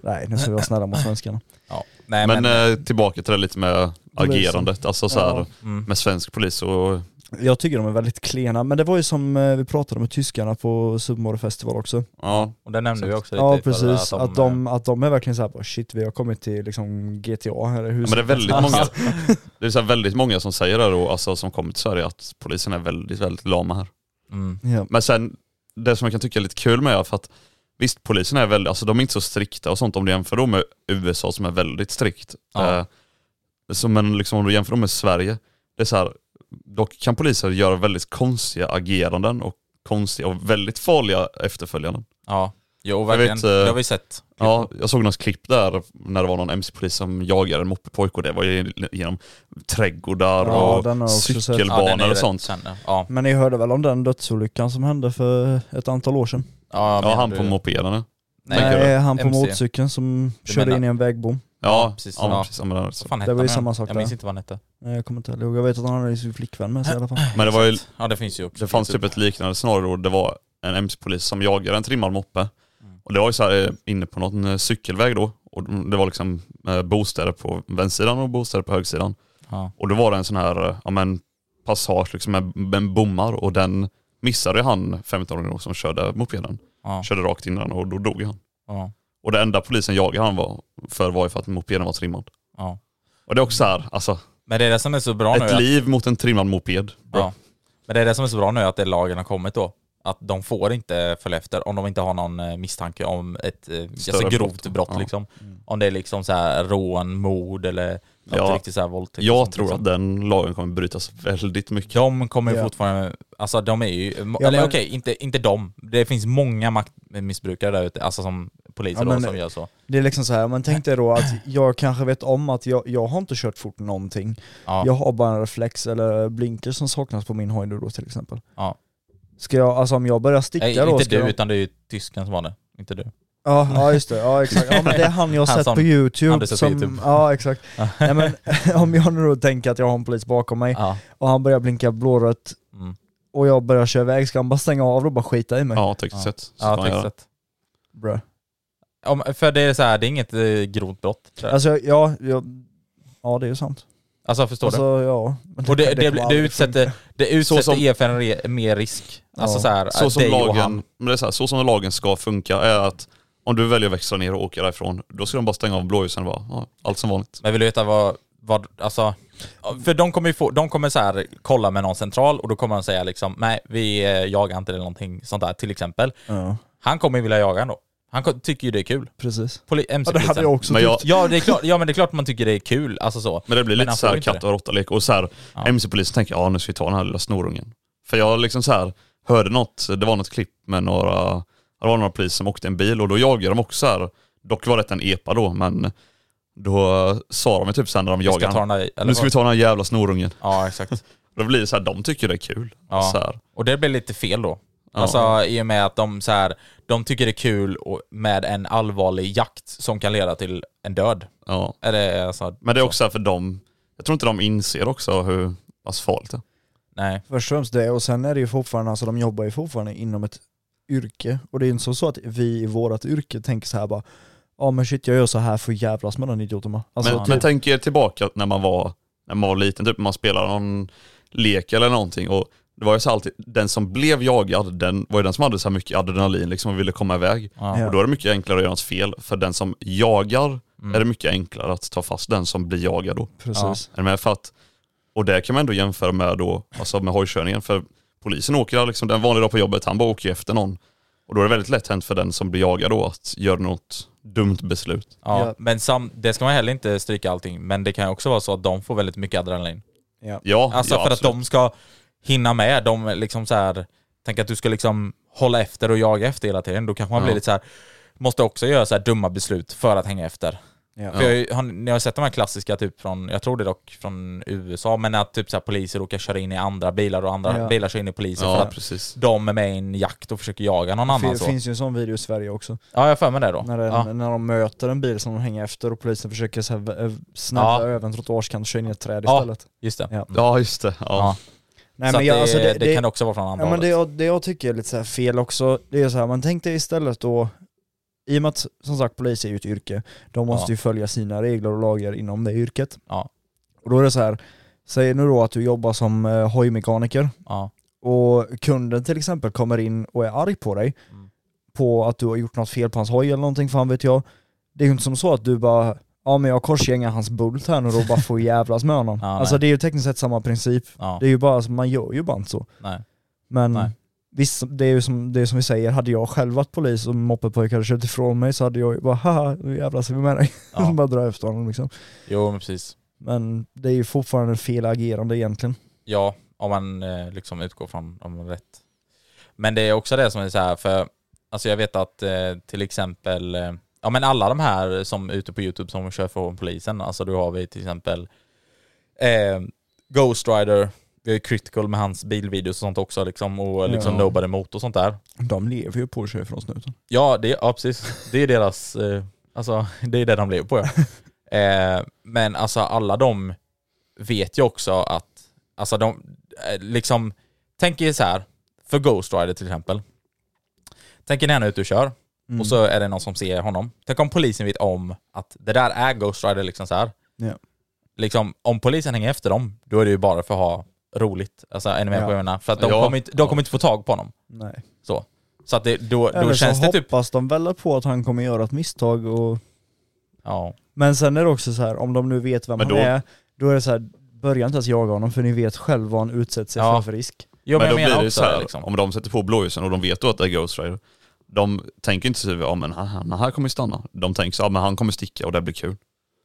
[SPEAKER 2] Nej, nu ska vi vara snälla mot svenskarna.
[SPEAKER 3] ja. Nej, men,
[SPEAKER 4] Men eh, tillbaka till det lite med agerandet. Alltså så här,
[SPEAKER 2] Ja.
[SPEAKER 3] mm,
[SPEAKER 4] med svensk polis och
[SPEAKER 2] Jag tycker de är väldigt klena, men det var ju som eh, vi pratade med tyskarna på Supermore Festival också.
[SPEAKER 4] ja,
[SPEAKER 3] och det nämnde vi också lite
[SPEAKER 2] Ja
[SPEAKER 4] typ
[SPEAKER 3] i förra,
[SPEAKER 2] precis, att
[SPEAKER 3] eh,
[SPEAKER 2] de, att de är verkligen så här, bara, shit vi har kommit till liksom GTA här i
[SPEAKER 4] Ja,
[SPEAKER 2] huset.
[SPEAKER 4] Men det är väldigt många, det är så här väldigt många som säger det då, alltså som kommer till Sverige, att polisen är väldigt, väldigt lama här.
[SPEAKER 3] Mm,
[SPEAKER 2] Ja.
[SPEAKER 4] Men sen, det som jag kan tycka är lite kul med är för att visst, polisen är väldigt, alltså de är inte så strikta och sånt om du jämför dem med USA som är väldigt strikt.
[SPEAKER 3] Ja.
[SPEAKER 4] Eh, så, men liksom om du jämför dem med Sverige, det är så här, dock kan poliser göra väldigt konstiga ageranden och konstiga och väldigt farliga efterföljanden.
[SPEAKER 3] ja. Jo, verkligen.
[SPEAKER 4] vet, eh,
[SPEAKER 3] det har vi sett.
[SPEAKER 4] Ja, jag såg något klipp där när det var någon MC-polis som jagade en moppepojke och det var ju genom trädgårdar
[SPEAKER 2] Ja, den har
[SPEAKER 4] och
[SPEAKER 2] jag också sett.
[SPEAKER 3] Ja, den är
[SPEAKER 4] cykelbanor
[SPEAKER 3] ju
[SPEAKER 4] och
[SPEAKER 3] rätt
[SPEAKER 4] sånt.
[SPEAKER 3] känd, ja. Ja,
[SPEAKER 2] Men ni hörde väl om den dödsolyckan som hände för ett antal år sedan?
[SPEAKER 3] ja,
[SPEAKER 4] Ja,
[SPEAKER 3] men
[SPEAKER 4] han
[SPEAKER 3] du-
[SPEAKER 4] på mopederna.
[SPEAKER 3] Nej,
[SPEAKER 4] tänker
[SPEAKER 2] Nej, han på
[SPEAKER 3] MC.
[SPEAKER 2] motorcykeln som
[SPEAKER 3] Du
[SPEAKER 2] körde
[SPEAKER 3] menar-
[SPEAKER 2] in i en vägbom.
[SPEAKER 4] Ja,
[SPEAKER 3] precis.
[SPEAKER 4] precis. Ja,
[SPEAKER 3] Ja.
[SPEAKER 4] men precis ja, men det, är så.
[SPEAKER 3] vad fan hette
[SPEAKER 2] Det var ju
[SPEAKER 3] han?
[SPEAKER 2] samma sak
[SPEAKER 3] Jag minns
[SPEAKER 2] där.
[SPEAKER 3] inte vad han hette.
[SPEAKER 2] Nej, Eh, jag kommer inte ihåg. Jag vet att han hade sin flickvän med sig i alla fall.
[SPEAKER 4] men det, var ju,
[SPEAKER 3] Ja, det finns ju också.
[SPEAKER 4] det fanns typ ett liknande scenario då det var en MC-polis som jagade en trimmad moppe. Och det var ju så här eh, inne på någon eh, cykelväg då. Och det var liksom eh, bostäder på vänstersidan och bostäder på högersidan.
[SPEAKER 3] Ja.
[SPEAKER 4] Och då var det en sån här eh, ja, men, passage liksom med, med bommar och den missade han 15-åringen som körde mopeden.
[SPEAKER 3] Ja.
[SPEAKER 4] Körde rakt in i den och då dog han.
[SPEAKER 3] Ja.
[SPEAKER 4] Och det enda polisen jagade han var, för var ju för att mopeden var trimmad.
[SPEAKER 3] Ja.
[SPEAKER 4] Och det är också så här, alltså,
[SPEAKER 3] Men det är det som är så bra nu.
[SPEAKER 4] ett
[SPEAKER 3] att-
[SPEAKER 4] liv mot en trimmad moped. bro.
[SPEAKER 3] Ja. Men det är det som är så bra nu, att det lagen har kommit då. Att de får inte följa efter om de inte har någon eh, misstanke om ett eh, ganska
[SPEAKER 4] brott.
[SPEAKER 3] grovt brott.
[SPEAKER 4] Ja. Mm.
[SPEAKER 3] Liksom. Om det är liksom så här rån, mord eller något
[SPEAKER 4] Ja.
[SPEAKER 3] riktigt så här våldtäkt. och
[SPEAKER 4] Jag
[SPEAKER 3] sånt,
[SPEAKER 4] tror
[SPEAKER 3] liksom.
[SPEAKER 4] att den lagen kommer brytas väldigt mycket.
[SPEAKER 3] De kommer ju
[SPEAKER 2] Ja.
[SPEAKER 3] fortfarande, alltså de är ju,
[SPEAKER 2] Ja,
[SPEAKER 3] eller
[SPEAKER 2] men-
[SPEAKER 3] okej, inte, inte de. Det finns många maktmissbrukare där ute, alltså som poliser
[SPEAKER 2] Ja,
[SPEAKER 3] då,
[SPEAKER 2] men-
[SPEAKER 3] som gör så.
[SPEAKER 2] Det är liksom så här, men tänk dig då
[SPEAKER 3] (clears throat)
[SPEAKER 2] att jag kanske vet om att jag, jag har inte kört fort någonting.
[SPEAKER 3] Ja.
[SPEAKER 2] Jag har bara en reflex eller blinker som saknas på min hoj nu då till exempel.
[SPEAKER 3] Ja.
[SPEAKER 2] Ska jag, alltså om jag börjar sticka
[SPEAKER 3] Nej,
[SPEAKER 2] då?
[SPEAKER 3] inte
[SPEAKER 2] ska
[SPEAKER 3] du,
[SPEAKER 2] jag...
[SPEAKER 3] utan det är ju tysken som var det. Inte du.
[SPEAKER 2] Ja, ja just det,
[SPEAKER 3] (laughs)
[SPEAKER 2] ja exakt. Ja men det är han jag har
[SPEAKER 3] Han
[SPEAKER 2] sett
[SPEAKER 3] som-
[SPEAKER 2] på youtube.
[SPEAKER 3] han du sett på
[SPEAKER 2] som,
[SPEAKER 3] YouTube.
[SPEAKER 2] Ja exakt. (laughs) Nej, men, om jag nu då tänker att jag har en polis bakom mig
[SPEAKER 3] Ja.
[SPEAKER 2] och han börjar blinka blårött
[SPEAKER 3] Mm.
[SPEAKER 2] och jag börjar köra iväg, ska han bara stänga av och bara skita i mig?
[SPEAKER 4] Ja, typ. tekniskt sett. så kan
[SPEAKER 3] Ja,
[SPEAKER 4] man göra.
[SPEAKER 3] textet.
[SPEAKER 2] Bruh.
[SPEAKER 3] Om, för det är så här, det är inget eh, grovt brott. tror jag.
[SPEAKER 2] Alltså ja, ja, ja det är ju sant.
[SPEAKER 3] Alltså förstår du?
[SPEAKER 2] Alltså ja. Men
[SPEAKER 3] Och det, det,
[SPEAKER 2] kommer
[SPEAKER 3] det,
[SPEAKER 2] aldrig funka.
[SPEAKER 3] utsätter, det utsätter
[SPEAKER 4] som-
[SPEAKER 3] er för en re, mer risk. Alltså
[SPEAKER 2] Ja.
[SPEAKER 3] så här,
[SPEAKER 4] Så som,
[SPEAKER 3] dig och
[SPEAKER 4] lagen,
[SPEAKER 3] han.
[SPEAKER 4] men det är så, här, så som lagen ska funka är att om du väljer att växla ner och åka därifrån, då ska de bara stänga av blåljusen och bara, ja, allt som vanligt.
[SPEAKER 3] Men vill du veta vad, vad alltså, för de kommer ju få, de kommer så här kolla med någon central och då kommer de säga liksom, nej vi eh, jagar inte eller någonting sånt där till exempel.
[SPEAKER 2] Ja,
[SPEAKER 3] Han kommer ju vilja jaga ändå. Han ko- tycker ju det är kul.
[SPEAKER 2] precis.
[SPEAKER 3] Poli,
[SPEAKER 2] Ja, det hade
[SPEAKER 3] MC-polisen.
[SPEAKER 2] jag också
[SPEAKER 4] Men jag-
[SPEAKER 2] tyckt.
[SPEAKER 3] Ja, det är klart, ja men det är klart man tycker det är kul, alltså så.
[SPEAKER 4] Men det blir lite
[SPEAKER 3] han
[SPEAKER 4] så
[SPEAKER 3] får
[SPEAKER 4] här
[SPEAKER 3] inte
[SPEAKER 4] katt
[SPEAKER 3] det.
[SPEAKER 4] och råttalek och så här,
[SPEAKER 3] Ja.
[SPEAKER 4] MC-polisen tänker, ja nu ska vi ta den här lilla snorungen. För jag liksom så här, hörde något, det var något klipp med några, det var några poliser som åkte en bil och då jagade de också så här, dock var det en epa då, men då sa de ju typ sen när de
[SPEAKER 3] Vi ska
[SPEAKER 4] jagade
[SPEAKER 3] ta
[SPEAKER 4] han,
[SPEAKER 3] den där, eller
[SPEAKER 4] nu ska
[SPEAKER 3] vad?
[SPEAKER 4] vi ta den här jävla snorungen.
[SPEAKER 3] Ja exakt.
[SPEAKER 4] Då blir det så här, de tycker det är kul.
[SPEAKER 3] Ja.
[SPEAKER 4] Så här.
[SPEAKER 3] Och det blir lite fel då.
[SPEAKER 4] Ja.
[SPEAKER 3] Alltså i och med att de så här, de tycker det är kul och, med en allvarlig jakt som kan leda till en död.
[SPEAKER 4] Ja.
[SPEAKER 3] Eller alltså,
[SPEAKER 4] Men det är också så här för dem, jag tror inte de inser också hur alltså, farligt det är.
[SPEAKER 3] nej.
[SPEAKER 2] Först och främst det, och sen är det ju fortfarande, alltså de jobbar ju fortfarande inom ett yrke. Och det är ju inte så, så att vi i vårt yrke tänker så här bara Ja men shit jag gör så här för att jävlas med den idioten med. Alltså,
[SPEAKER 4] Men,
[SPEAKER 2] typ,
[SPEAKER 4] men tänk er tillbaka när man var, när man var liten, typ när man spelade någon lek eller någonting och det var ju så alltid, den som blev jagad, den var ju den som hade så här mycket adrenalin liksom och ville komma iväg.
[SPEAKER 3] Ja.
[SPEAKER 4] Och då är det mycket enklare att göra något fel, för den som jagar
[SPEAKER 3] Mm.
[SPEAKER 4] är det mycket enklare att ta fast den som blir jagad då.
[SPEAKER 2] precis.
[SPEAKER 4] Är ni med? För att, och det kan man ändå jämföra med då, alltså med hojkörningen. För polisen åker där liksom, den vanliga dag på jobbet, han bara åker ju efter någon. Och då är det väldigt lätt hänt för den som blir jagad då att göra något dumt beslut.
[SPEAKER 3] Ja.
[SPEAKER 2] Ja.
[SPEAKER 3] Men sam, det ska man heller inte stryka allting, men det kan ju också vara så att de får väldigt mycket adrenalin.
[SPEAKER 4] Ja,
[SPEAKER 3] Alltså
[SPEAKER 4] ja, absolut.
[SPEAKER 3] för att de ska hinna med, de liksom så här, tänk att du ska liksom hålla efter och jaga efter hela tiden, då kanske man blir
[SPEAKER 4] Ja.
[SPEAKER 3] lite så här måste också göra så här dumma beslut för att hänga efter.
[SPEAKER 2] Ja.
[SPEAKER 3] För jag, har ju- har, ni har sett de här klassiska typ från, jag tror det är dock från USA, men att typ så här poliser råkar köra in i andra bilar och andra
[SPEAKER 2] Ja.
[SPEAKER 3] bilar kör in i poliser för
[SPEAKER 4] Ja,
[SPEAKER 3] att
[SPEAKER 4] precis.
[SPEAKER 3] de är med i en jakt och försöker jaga någon annan.
[SPEAKER 2] Det
[SPEAKER 3] så.
[SPEAKER 2] finns ju en sån video i Sverige också.
[SPEAKER 3] Ja, jag har för mig det då.
[SPEAKER 2] När, det,
[SPEAKER 3] ja.
[SPEAKER 2] när de möter en bil som de hänger efter och polisen försöker så här, v- ö- snabba
[SPEAKER 3] Ja.
[SPEAKER 2] över en trottoarkant och köra in i ett träd
[SPEAKER 3] Ja.
[SPEAKER 2] istället.
[SPEAKER 3] Just det.
[SPEAKER 2] Ja.
[SPEAKER 4] Ja, just det.
[SPEAKER 3] Ja.
[SPEAKER 4] Ja.
[SPEAKER 2] Nej,
[SPEAKER 3] så
[SPEAKER 2] men
[SPEAKER 3] att
[SPEAKER 2] jag,
[SPEAKER 3] det,
[SPEAKER 2] alltså,
[SPEAKER 3] det, kan också vara från andra
[SPEAKER 2] Ja, men det,
[SPEAKER 3] hållet.
[SPEAKER 2] jag, det jag tycker är lite så här fel också, det är så här, man tänkte istället då, i och med att som sagt polis är ju ett yrke, de måste
[SPEAKER 3] Ja.
[SPEAKER 2] ju följa sina regler och lagar inom det yrket.
[SPEAKER 3] Ja.
[SPEAKER 2] Och då är det så här, säg nu då att du jobbar som eh, hojmekaniker
[SPEAKER 3] Ja.
[SPEAKER 2] och kunden till exempel kommer in och är arg på dig
[SPEAKER 3] Mm.
[SPEAKER 2] på att du har gjort något fel på hans hoj eller någonting, fan vet jag. Det är ju inte som så att du bara Ja men jag korsgängar hans bult här nu och bara får jävlas med honom.
[SPEAKER 3] (laughs) Ja,
[SPEAKER 2] alltså
[SPEAKER 3] nej.
[SPEAKER 2] det är ju tekniskt sett samma princip.
[SPEAKER 3] Ja.
[SPEAKER 2] Det är ju bara, alltså, man gör ju bara inte så.
[SPEAKER 3] Nej.
[SPEAKER 2] Men
[SPEAKER 3] Nej.
[SPEAKER 2] visst, det är ju som, det är som vi säger, hade jag själv varit polis och moppepojkar hade kört ifrån mig så hade jag ju bara haha, nu jävlas vi med dig.
[SPEAKER 3] Ja.
[SPEAKER 2] (laughs) bara dra efter honom liksom.
[SPEAKER 3] Jo, men precis.
[SPEAKER 2] Men det är ju fortfarande fel agerande egentligen.
[SPEAKER 3] Ja, om man eh, liksom utgår från om man är rätt. Men det är också det som är så här, för alltså jag vet att eh, till exempel, eh, ja men alla de här som är ute på YouTube som kör från polisen, alltså då har vi till exempel eh, Ghost Rider, vi har ju Critical med hans bilvideos och sånt också liksom, och liksom
[SPEAKER 2] Ja.
[SPEAKER 3] Nobody Mot och sånt där.
[SPEAKER 2] De lever ju på sig från snuten.
[SPEAKER 3] Ja, det, ja precis. Det är deras, eh, alltså det är det de lever på ja.
[SPEAKER 2] (laughs)
[SPEAKER 3] eh, men alltså alla de vet ju också att, alltså de, eh, liksom, tänk er så här, för Ghost Rider till exempel. Tänk er när han är ute och kör,
[SPEAKER 2] Mm.
[SPEAKER 3] och så är det någon som ser honom. Tänk om polisen vet om att det där är Ghost Rider liksom så här.
[SPEAKER 2] Ja.
[SPEAKER 3] Liksom, om polisen hänger efter dem, då är det ju bara för att ha roligt. Alltså, är ni med
[SPEAKER 2] Ja.
[SPEAKER 3] på vad jag menar? För att de
[SPEAKER 4] Ja.
[SPEAKER 3] kommer inte, de
[SPEAKER 4] Ja.
[SPEAKER 3] kommer inte få tag på honom.
[SPEAKER 2] Nej.
[SPEAKER 3] Så. Så att det, då,
[SPEAKER 2] Eller
[SPEAKER 3] då
[SPEAKER 2] så
[SPEAKER 3] känns det typ...
[SPEAKER 2] hoppas de väl på att han kommer göra ett misstag och...
[SPEAKER 3] Ja.
[SPEAKER 2] Men sen är det också så här, om de nu vet vem
[SPEAKER 4] Men
[SPEAKER 2] han
[SPEAKER 4] då-
[SPEAKER 2] är, då är det så här, börja inte ens jaga honom för ni vet själv vad han utsätter sig
[SPEAKER 3] Ja.
[SPEAKER 2] för för risk.
[SPEAKER 3] Jo, men,
[SPEAKER 4] men då blir
[SPEAKER 3] jag menar
[SPEAKER 4] det ju
[SPEAKER 3] också
[SPEAKER 4] så här,
[SPEAKER 3] liksom.
[SPEAKER 4] om de sätter på blåljusen och de vet då att det är Ghost Rider, de tänker inte så ja men han, han här kommer ju stanna. De tänker så ja men han kommer sticka och det blir kul.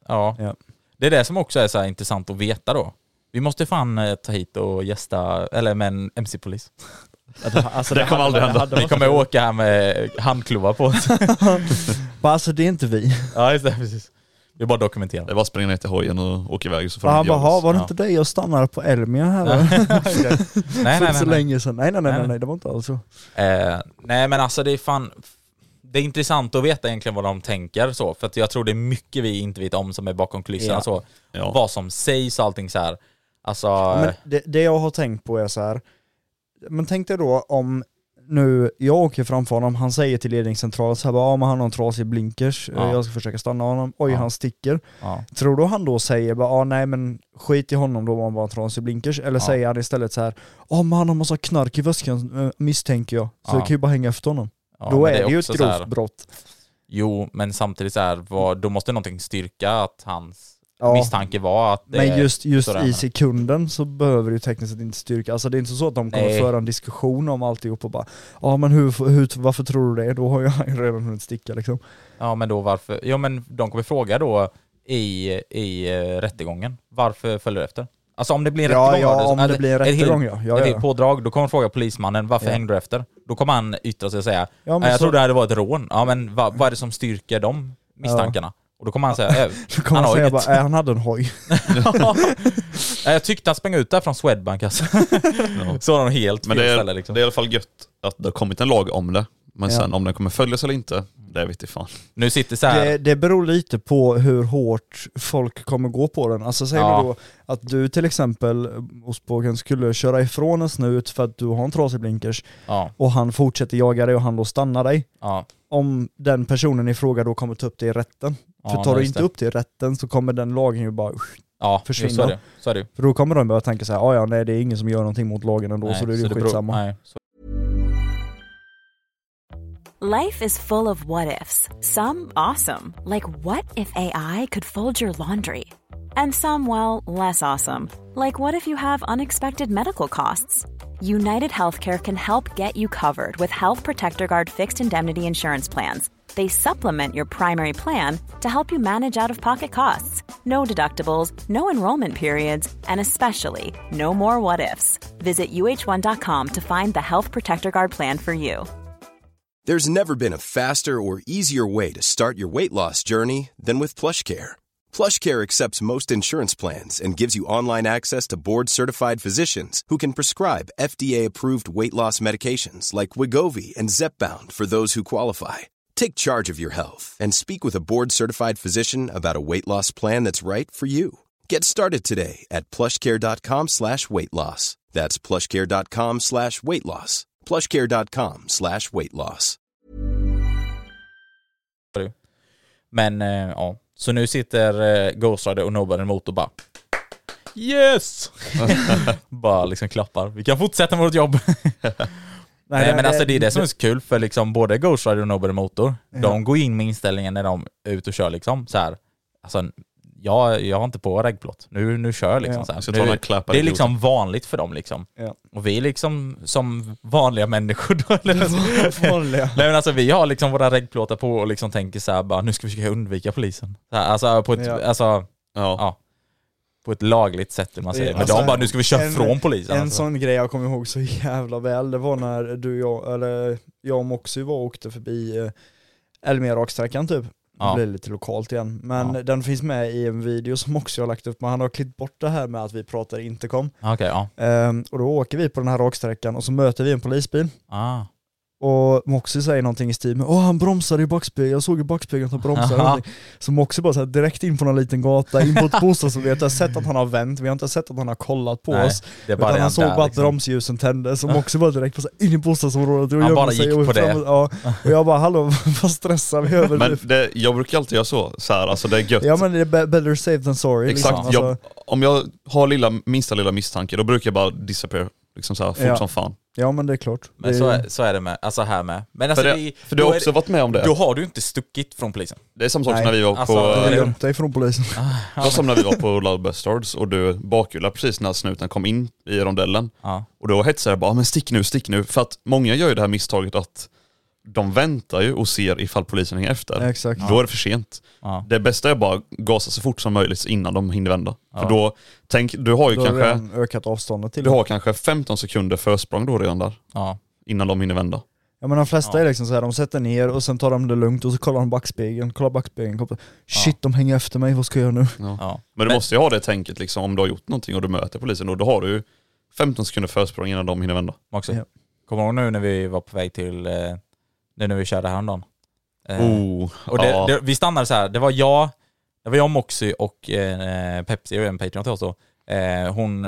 [SPEAKER 3] Ja.
[SPEAKER 2] Ja.
[SPEAKER 3] Det är det som också är så här intressant att veta då. Vi måste fan eh, ta hit och gästa, eller med en MC-polis.
[SPEAKER 2] Att det- Alltså,
[SPEAKER 4] Det kommer
[SPEAKER 2] hade-
[SPEAKER 4] aldrig hända.
[SPEAKER 2] hade
[SPEAKER 3] Vi
[SPEAKER 2] varit-
[SPEAKER 3] kommer åka här med handklovar på oss.
[SPEAKER 2] Bara, alltså det är inte vi.
[SPEAKER 3] ja, just det. Precis. Det är bara att
[SPEAKER 4] Det är
[SPEAKER 3] dokumentera.
[SPEAKER 4] bara att springa ner till hojen och åka iväg så får
[SPEAKER 2] För han bara, "Ha,
[SPEAKER 4] jagas.
[SPEAKER 2] var det
[SPEAKER 3] Ja.
[SPEAKER 2] inte dig jag stannade på Elmia här va?
[SPEAKER 3] nej,
[SPEAKER 2] För
[SPEAKER 3] nej,
[SPEAKER 2] inte (laughs)
[SPEAKER 3] nej,
[SPEAKER 2] så
[SPEAKER 3] nej.
[SPEAKER 2] länge sedan. Nej nej nej,
[SPEAKER 3] Nej,
[SPEAKER 2] nej
[SPEAKER 3] nej.
[SPEAKER 2] nej, det var inte alls så.
[SPEAKER 3] Eh, nej men alltså det är fan, det är intressant att veta egentligen vad de tänker så, för att jag tror det är mycket vi inte vet om som är bakom kulisserna
[SPEAKER 2] Ja.
[SPEAKER 3] så.
[SPEAKER 4] Ja.
[SPEAKER 3] Vad som sägs och allting så här. Alltså,
[SPEAKER 2] Men det, det jag har tänkt på är så här. men tänk dig då om nu, jag åker framför honom, han säger till ledningscentralen så här bara, ja men han har en trasig blinkers,
[SPEAKER 3] Ja.
[SPEAKER 2] jag ska försöka stanna honom, oj
[SPEAKER 3] Ja.
[SPEAKER 2] han sticker.
[SPEAKER 3] ja.
[SPEAKER 2] Tror du han då säger bara, ah, nej men skit i honom då om han bara har en trasig blinkers, eller
[SPEAKER 3] Ja.
[SPEAKER 2] säger han istället så här, ja men han har massa knark i väskan eh, misstänker jag, så
[SPEAKER 3] Ja.
[SPEAKER 2] jag kan ju bara hänga efter honom.
[SPEAKER 3] Ja,
[SPEAKER 2] då
[SPEAKER 3] men
[SPEAKER 2] är det, ju ett
[SPEAKER 3] också så här-
[SPEAKER 2] grovt brott.
[SPEAKER 3] Jo, men samtidigt så här, vad, då måste någonting styrka att hans
[SPEAKER 2] Ja.
[SPEAKER 3] misstanke var att det
[SPEAKER 2] Men just, just
[SPEAKER 3] sådär.
[SPEAKER 2] i sekunden så behöver du tekniskt sett inte styrka, alltså det är inte så att de kommer
[SPEAKER 3] Nej.
[SPEAKER 2] föra en diskussion om alltihop och bara ja men hur, hur, varför tror du det? Då har jag ju redan hunnit sticka liksom.
[SPEAKER 3] Ja men då varför, ja men de kommer fråga då i, i eh, rättegången, varför följer du efter? Alltså om det blir en
[SPEAKER 2] Ja,
[SPEAKER 3] rättegång
[SPEAKER 2] ja,
[SPEAKER 3] har du-
[SPEAKER 2] om det
[SPEAKER 3] eller
[SPEAKER 2] blir en
[SPEAKER 3] ett helt-
[SPEAKER 2] rättegång, ja. Ja,
[SPEAKER 3] ett
[SPEAKER 2] ja,
[SPEAKER 3] helt
[SPEAKER 2] ja.
[SPEAKER 3] pådrag, då kommer de fråga polismannen, varför
[SPEAKER 2] Ja.
[SPEAKER 3] hängde du efter? Då kommer han yttra sig och säga,
[SPEAKER 2] Ja,
[SPEAKER 3] ja,
[SPEAKER 2] men
[SPEAKER 3] jag
[SPEAKER 2] så-
[SPEAKER 3] trodde det här var ett rån. Ja men va, vad är det som styrker de misstankarna? Och då kommer han säga, "Eh,
[SPEAKER 2] (laughs) Då kommer han
[SPEAKER 3] har
[SPEAKER 2] säga "Eh."
[SPEAKER 3] inget."
[SPEAKER 2] bara, äh, han hade en hoj.
[SPEAKER 3] (laughs) Ja, jag tyckte han sprang ut där från Swedbank alltså. Så har de helt fel
[SPEAKER 4] Men det är,
[SPEAKER 3] ställe liksom.
[SPEAKER 4] det är i alla fall gött att det har kommit en lag om det. Men
[SPEAKER 2] Ja.
[SPEAKER 4] sen om den kommer följas eller inte, det vet jag fan.
[SPEAKER 3] Nu sitter så här,
[SPEAKER 2] Det, det beror lite på hur hårt folk kommer gå på den. Alltså säger
[SPEAKER 3] Ja.
[SPEAKER 2] du då att du till exempel, ostbågen, skulle köra ifrån en snut för att du har en trasig blinkers
[SPEAKER 3] ja,
[SPEAKER 2] och han fortsätter jaga dig och han då stannar dig.
[SPEAKER 3] ja,
[SPEAKER 2] om den personen i fråga då kommer ta upp det i rätten.
[SPEAKER 3] Ja,
[SPEAKER 2] för tar
[SPEAKER 3] nej,
[SPEAKER 2] du
[SPEAKER 3] just
[SPEAKER 2] inte
[SPEAKER 3] det.
[SPEAKER 2] upp det i rätten så kommer den lagen ju bara... usch.
[SPEAKER 3] ja,
[SPEAKER 2] försvinna.
[SPEAKER 3] försvinna. Så är det, så är det. ju.
[SPEAKER 2] För då kommer de börja tänka så här, "Ah, ja nej det är ingen som gör någonting mot lagen ändå så då är det ju
[SPEAKER 3] beror-
[SPEAKER 2] skitsamma.
[SPEAKER 3] nej, så
[SPEAKER 5] Life is full of what ifs. Some awesome, like what if AI could fold your laundry? And some, well, less awesome, like what if you have unexpected medical costs? United Healthcare can help get you covered with Health Protector Guard fixed indemnity insurance plans. They supplement your primary plan to help you manage out of pocket costs. No deductibles, no enrollment periods, and especially no more what ifs. Visit uh1.com to find the Health Protector Guard plan for you.
[SPEAKER 6] There's never been a faster or easier way to start your weight loss journey than with PlushCare. PlushCare accepts most insurance plans and gives you online access to board-certified physicians who can prescribe FDA-approved weight loss medications like Wigovi and Zepbound for those who qualify. Take charge of your health and speak with a board-certified physician about a weight loss plan that's right for you. Get started today at plushcare.com slash weight loss. That's plushcare.com slash weight loss. plushcare.com slash weight loss.
[SPEAKER 3] är det. ju. Men eh, ja, så nu sitter eh, Ghost Rider och nobbar emot och bara
[SPEAKER 2] (laughs)
[SPEAKER 3] Yes! bara liksom klappar. Vi kan fortsätta med
[SPEAKER 2] (laughs)
[SPEAKER 3] vårt jobb. Nej, men alltså det är det som är så kul för liksom både Ghost Rider och Nobody Motor, de går in med inställningen när de är ute och kör liksom så här. Alltså, jag, jag har inte på regplåt. Nu, nu kör jag liksom
[SPEAKER 2] Ja.
[SPEAKER 3] så här.
[SPEAKER 4] Så tar
[SPEAKER 3] Nu-
[SPEAKER 4] man klappar
[SPEAKER 3] det är
[SPEAKER 4] i
[SPEAKER 3] liksom vanligt för dem liksom.
[SPEAKER 2] Ja.
[SPEAKER 3] Och vi är liksom som vanliga människor då.
[SPEAKER 2] (laughs)
[SPEAKER 3] Eller? (laughs)
[SPEAKER 2] Vanliga.
[SPEAKER 3] Nej men alltså vi har liksom våra regplåtar på och liksom tänker så här bara nu ska vi försöka undvika polisen. Så här, alltså på ett,
[SPEAKER 2] Ja.
[SPEAKER 3] alltså,
[SPEAKER 4] Ja.
[SPEAKER 3] ja. På ett lagligt sätt hur man säger. Men
[SPEAKER 2] Alltså,
[SPEAKER 3] de bara nu ska vi köra
[SPEAKER 2] en-
[SPEAKER 3] från polisen.
[SPEAKER 2] En
[SPEAKER 3] alltså.
[SPEAKER 2] sån grej jag kommer ihåg så jävla väl, det var när du och jag, eller jag och Moxie var och åkte förbi eh, Elmia-raksträckan typ.
[SPEAKER 3] Ja.
[SPEAKER 2] Det blir lite lokalt igen. Men
[SPEAKER 3] Ja.
[SPEAKER 2] den finns med i en video som Moxie har lagt upp, men han har klippt bort det här med att vi pratar intercom.
[SPEAKER 3] Ah, Okej ja.
[SPEAKER 2] Ehm, och då åker vi på den här raksträckan och så möter vi en polisbil.
[SPEAKER 3] Ah.
[SPEAKER 2] Och Moxie säger någonting i stil med Åh han bromsade i backspegeln, jag såg i backspegeln att han bromsade eller någonting." Så Moxie bara så här, direkt in på någon liten gata, in på ett bostadsområde, jag har sett att han har vänt, vi har inte sett att han har kollat på
[SPEAKER 3] Nej,
[SPEAKER 2] oss
[SPEAKER 3] det är bara
[SPEAKER 2] Utan han
[SPEAKER 3] det han
[SPEAKER 2] såg
[SPEAKER 3] där,
[SPEAKER 2] bara att
[SPEAKER 3] liksom.
[SPEAKER 2] bromsljusen tändes och Moxie bara direkt på så här, in i bostadsområdet och
[SPEAKER 3] Han
[SPEAKER 2] gömmer
[SPEAKER 3] bara
[SPEAKER 2] sig
[SPEAKER 3] gick
[SPEAKER 2] och
[SPEAKER 3] på det.
[SPEAKER 2] framåt. Ja, och jag bara hallå (laughs) vad stressar vi över
[SPEAKER 4] Men
[SPEAKER 2] nu?
[SPEAKER 4] det, jag brukar alltid göra så, så här, alltså det är gött.
[SPEAKER 2] (laughs) Ja men det är be- better safe than sorry
[SPEAKER 4] Exakt,
[SPEAKER 2] liksom.
[SPEAKER 4] jag, om jag har lilla, minsta lilla misstanke då brukar jag bara disappear. Liksom så här, fort
[SPEAKER 2] Ja.
[SPEAKER 4] som fan.
[SPEAKER 2] Ja men det är klart.
[SPEAKER 3] Men
[SPEAKER 2] det,
[SPEAKER 3] så är, så är det med, alltså här med. Men
[SPEAKER 4] För,
[SPEAKER 3] alltså
[SPEAKER 4] det,
[SPEAKER 3] vi-
[SPEAKER 4] för du
[SPEAKER 3] då
[SPEAKER 4] har
[SPEAKER 3] är
[SPEAKER 4] också varit med om
[SPEAKER 3] det, Då
[SPEAKER 4] det.
[SPEAKER 3] har du inte stuckit från polisen.
[SPEAKER 4] Det är samma sak som
[SPEAKER 2] Nej,
[SPEAKER 4] när vi var
[SPEAKER 3] alltså,
[SPEAKER 4] på...
[SPEAKER 2] Du
[SPEAKER 3] det
[SPEAKER 2] har
[SPEAKER 3] är-
[SPEAKER 2] gömt dig från polisen.
[SPEAKER 4] Det var som när vi var på Loud Bastards och du bakhjulade precis när snuten kom in i rondellen.
[SPEAKER 3] Ja.
[SPEAKER 4] Och då hetsade jag bara, men stick nu, stick nu. För att många gör ju det här misstaget att de väntar ju och ser ifall polisen hänger efter.
[SPEAKER 2] Exakt.
[SPEAKER 4] Då är det för sent.
[SPEAKER 3] Ja.
[SPEAKER 4] Det bästa är bara att gasa så fort som möjligt innan de hinner vända.
[SPEAKER 3] Ja.
[SPEAKER 4] För då, tänk, du har ju
[SPEAKER 2] Du har
[SPEAKER 4] kanske,
[SPEAKER 2] redan ökat avståndet till
[SPEAKER 4] du har kanske 15 sekunder försprång då redan där,
[SPEAKER 3] Ja.
[SPEAKER 4] innan de hinner vända.
[SPEAKER 2] Ja men de flesta är liksom så här, de sätter ner och sen tar de det lugnt och så kollar de backspegeln, kollar backspegeln, kollar, shit de hänger efter mig, vad ska jag göra
[SPEAKER 4] (laughs)
[SPEAKER 2] nu?
[SPEAKER 3] Ja.
[SPEAKER 4] Men du
[SPEAKER 3] Men-
[SPEAKER 4] måste ju ha det tänket liksom, om du har gjort någonting och du möter polisen, och då har du ju 15 sekunder försprång innan de hinner vända.
[SPEAKER 3] Också.
[SPEAKER 2] Ja.
[SPEAKER 3] Kommer du ihåg nu när vi var på väg till, eh, nu när vi körde häromdagen? Eh,
[SPEAKER 4] Oh,
[SPEAKER 3] Och det,
[SPEAKER 4] ja.
[SPEAKER 3] det, vi stannade så här, det var jag, det var jag, Moxie och eh, Pepsi och en Patreon till oss då. Eh, hon,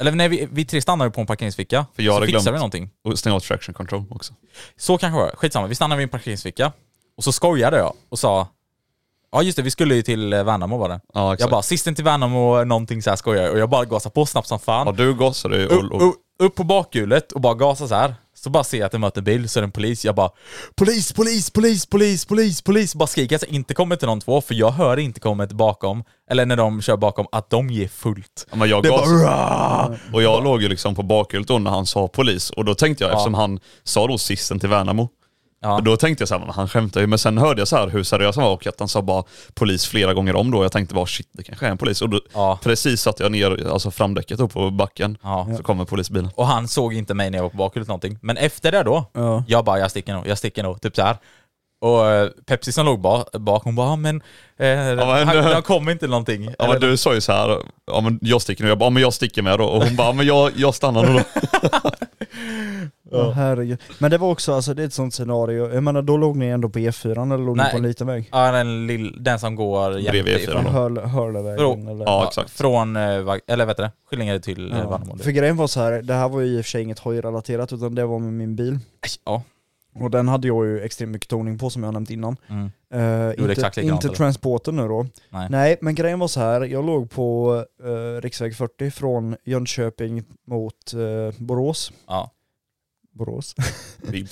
[SPEAKER 3] eller nej, vi, vi tre stannade på en parkeringsficka.
[SPEAKER 4] För jag
[SPEAKER 3] så
[SPEAKER 4] hade
[SPEAKER 3] fixade
[SPEAKER 4] glömt.
[SPEAKER 3] vi någonting.
[SPEAKER 4] Och stänga av traction control också.
[SPEAKER 3] Så kanske det var, skitsamma. Vi stannade vid en parkeringsficka. Och så skojade jag och sa, ja just det, vi skulle ju till eh, Värnamo var det.
[SPEAKER 4] Ja, exakt.
[SPEAKER 3] jag bara, sisten till Värnamo, någonting så här skojar jag. Och jag bara gasade på snabbt som fan.
[SPEAKER 4] Ja, du gasade ju
[SPEAKER 3] upp,
[SPEAKER 4] och, och,
[SPEAKER 2] Uh,
[SPEAKER 3] upp, upp på bakhjulet och bara gasa så här. Så bara ser jag att det möter en bil, så är det en polis. Jag bara polis, polis, polis, polis, polis, polis. Bara skriker. Alltså inte kommer till någon två, för jag hör inte kommet bakom, eller när de kör bakom, att de ger fullt.
[SPEAKER 4] Ja, men jag
[SPEAKER 3] Det
[SPEAKER 4] gasade.
[SPEAKER 3] bara,
[SPEAKER 4] Och jag låg ju liksom på bakhjulet då när han sa polis. Och då tänkte jag, eftersom han sa då sisten till Värnamo,
[SPEAKER 3] Ja.
[SPEAKER 4] då tänkte jag så här, men han skämtar ju. Men sen hörde jag så här hur seriös han var och att han sa bara polis flera gånger om då. Jag tänkte bara shit, det kanske är en polis. Och då,
[SPEAKER 3] Ja.
[SPEAKER 4] precis satte jag ner alltså framdäcket upp på backen,
[SPEAKER 3] Ja.
[SPEAKER 4] så kommer polisbilen.
[SPEAKER 3] Och han såg inte mig när jag var på bakhjulet någonting. Men efter det då,
[SPEAKER 2] Ja.
[SPEAKER 3] jag bara jag sticker nog, jag sticker nog, typ så här. Och eh, Pepsi som låg ba- bak, hon bara "Ja, men, eh,
[SPEAKER 4] men-
[SPEAKER 3] han, han kom inte någonting.
[SPEAKER 4] Ja, men
[SPEAKER 3] Eller-
[SPEAKER 4] du sa ju så här, ja men jag sticker nu. Jag bara, ja, men jag sticker med då. Och hon bara, ja, men jag, jag stannar nog då.
[SPEAKER 2] Ja. Herregud. Men det var också, alltså det är ett sånt scenario, jag menar då låg ni ändå på E4 eller låg ni
[SPEAKER 3] Nej.
[SPEAKER 2] på en liten väg?
[SPEAKER 3] Ja, den, lill, den som går jämte
[SPEAKER 4] Bredvid E4
[SPEAKER 3] ifrån.
[SPEAKER 4] då.
[SPEAKER 2] Hörl, Hörlevägen
[SPEAKER 3] Bro.
[SPEAKER 2] Mm, eller?
[SPEAKER 4] Ja, exakt.
[SPEAKER 3] Från, eh, Vag- eller vet du det, Skillinge till ja. Värnamo. typ.
[SPEAKER 2] För grejen var så här, det här var ju i och för sig inget hojrelaterat utan det var med min bil.
[SPEAKER 3] Ja.
[SPEAKER 2] Och den hade jag ju extremt mycket toning på som jag har nämnt innan.
[SPEAKER 3] Mm.
[SPEAKER 2] Eh,
[SPEAKER 3] är
[SPEAKER 2] inte
[SPEAKER 3] exakt likadant,
[SPEAKER 2] inte
[SPEAKER 3] eller?
[SPEAKER 2] transporten nu då.
[SPEAKER 3] Nej.
[SPEAKER 2] Nej, men grejen var så här. jag låg på eh, riksväg 40 från Jönköping mot eh, Borås.
[SPEAKER 3] Ja.
[SPEAKER 2] Borås. (laughs)
[SPEAKER 4] Bip,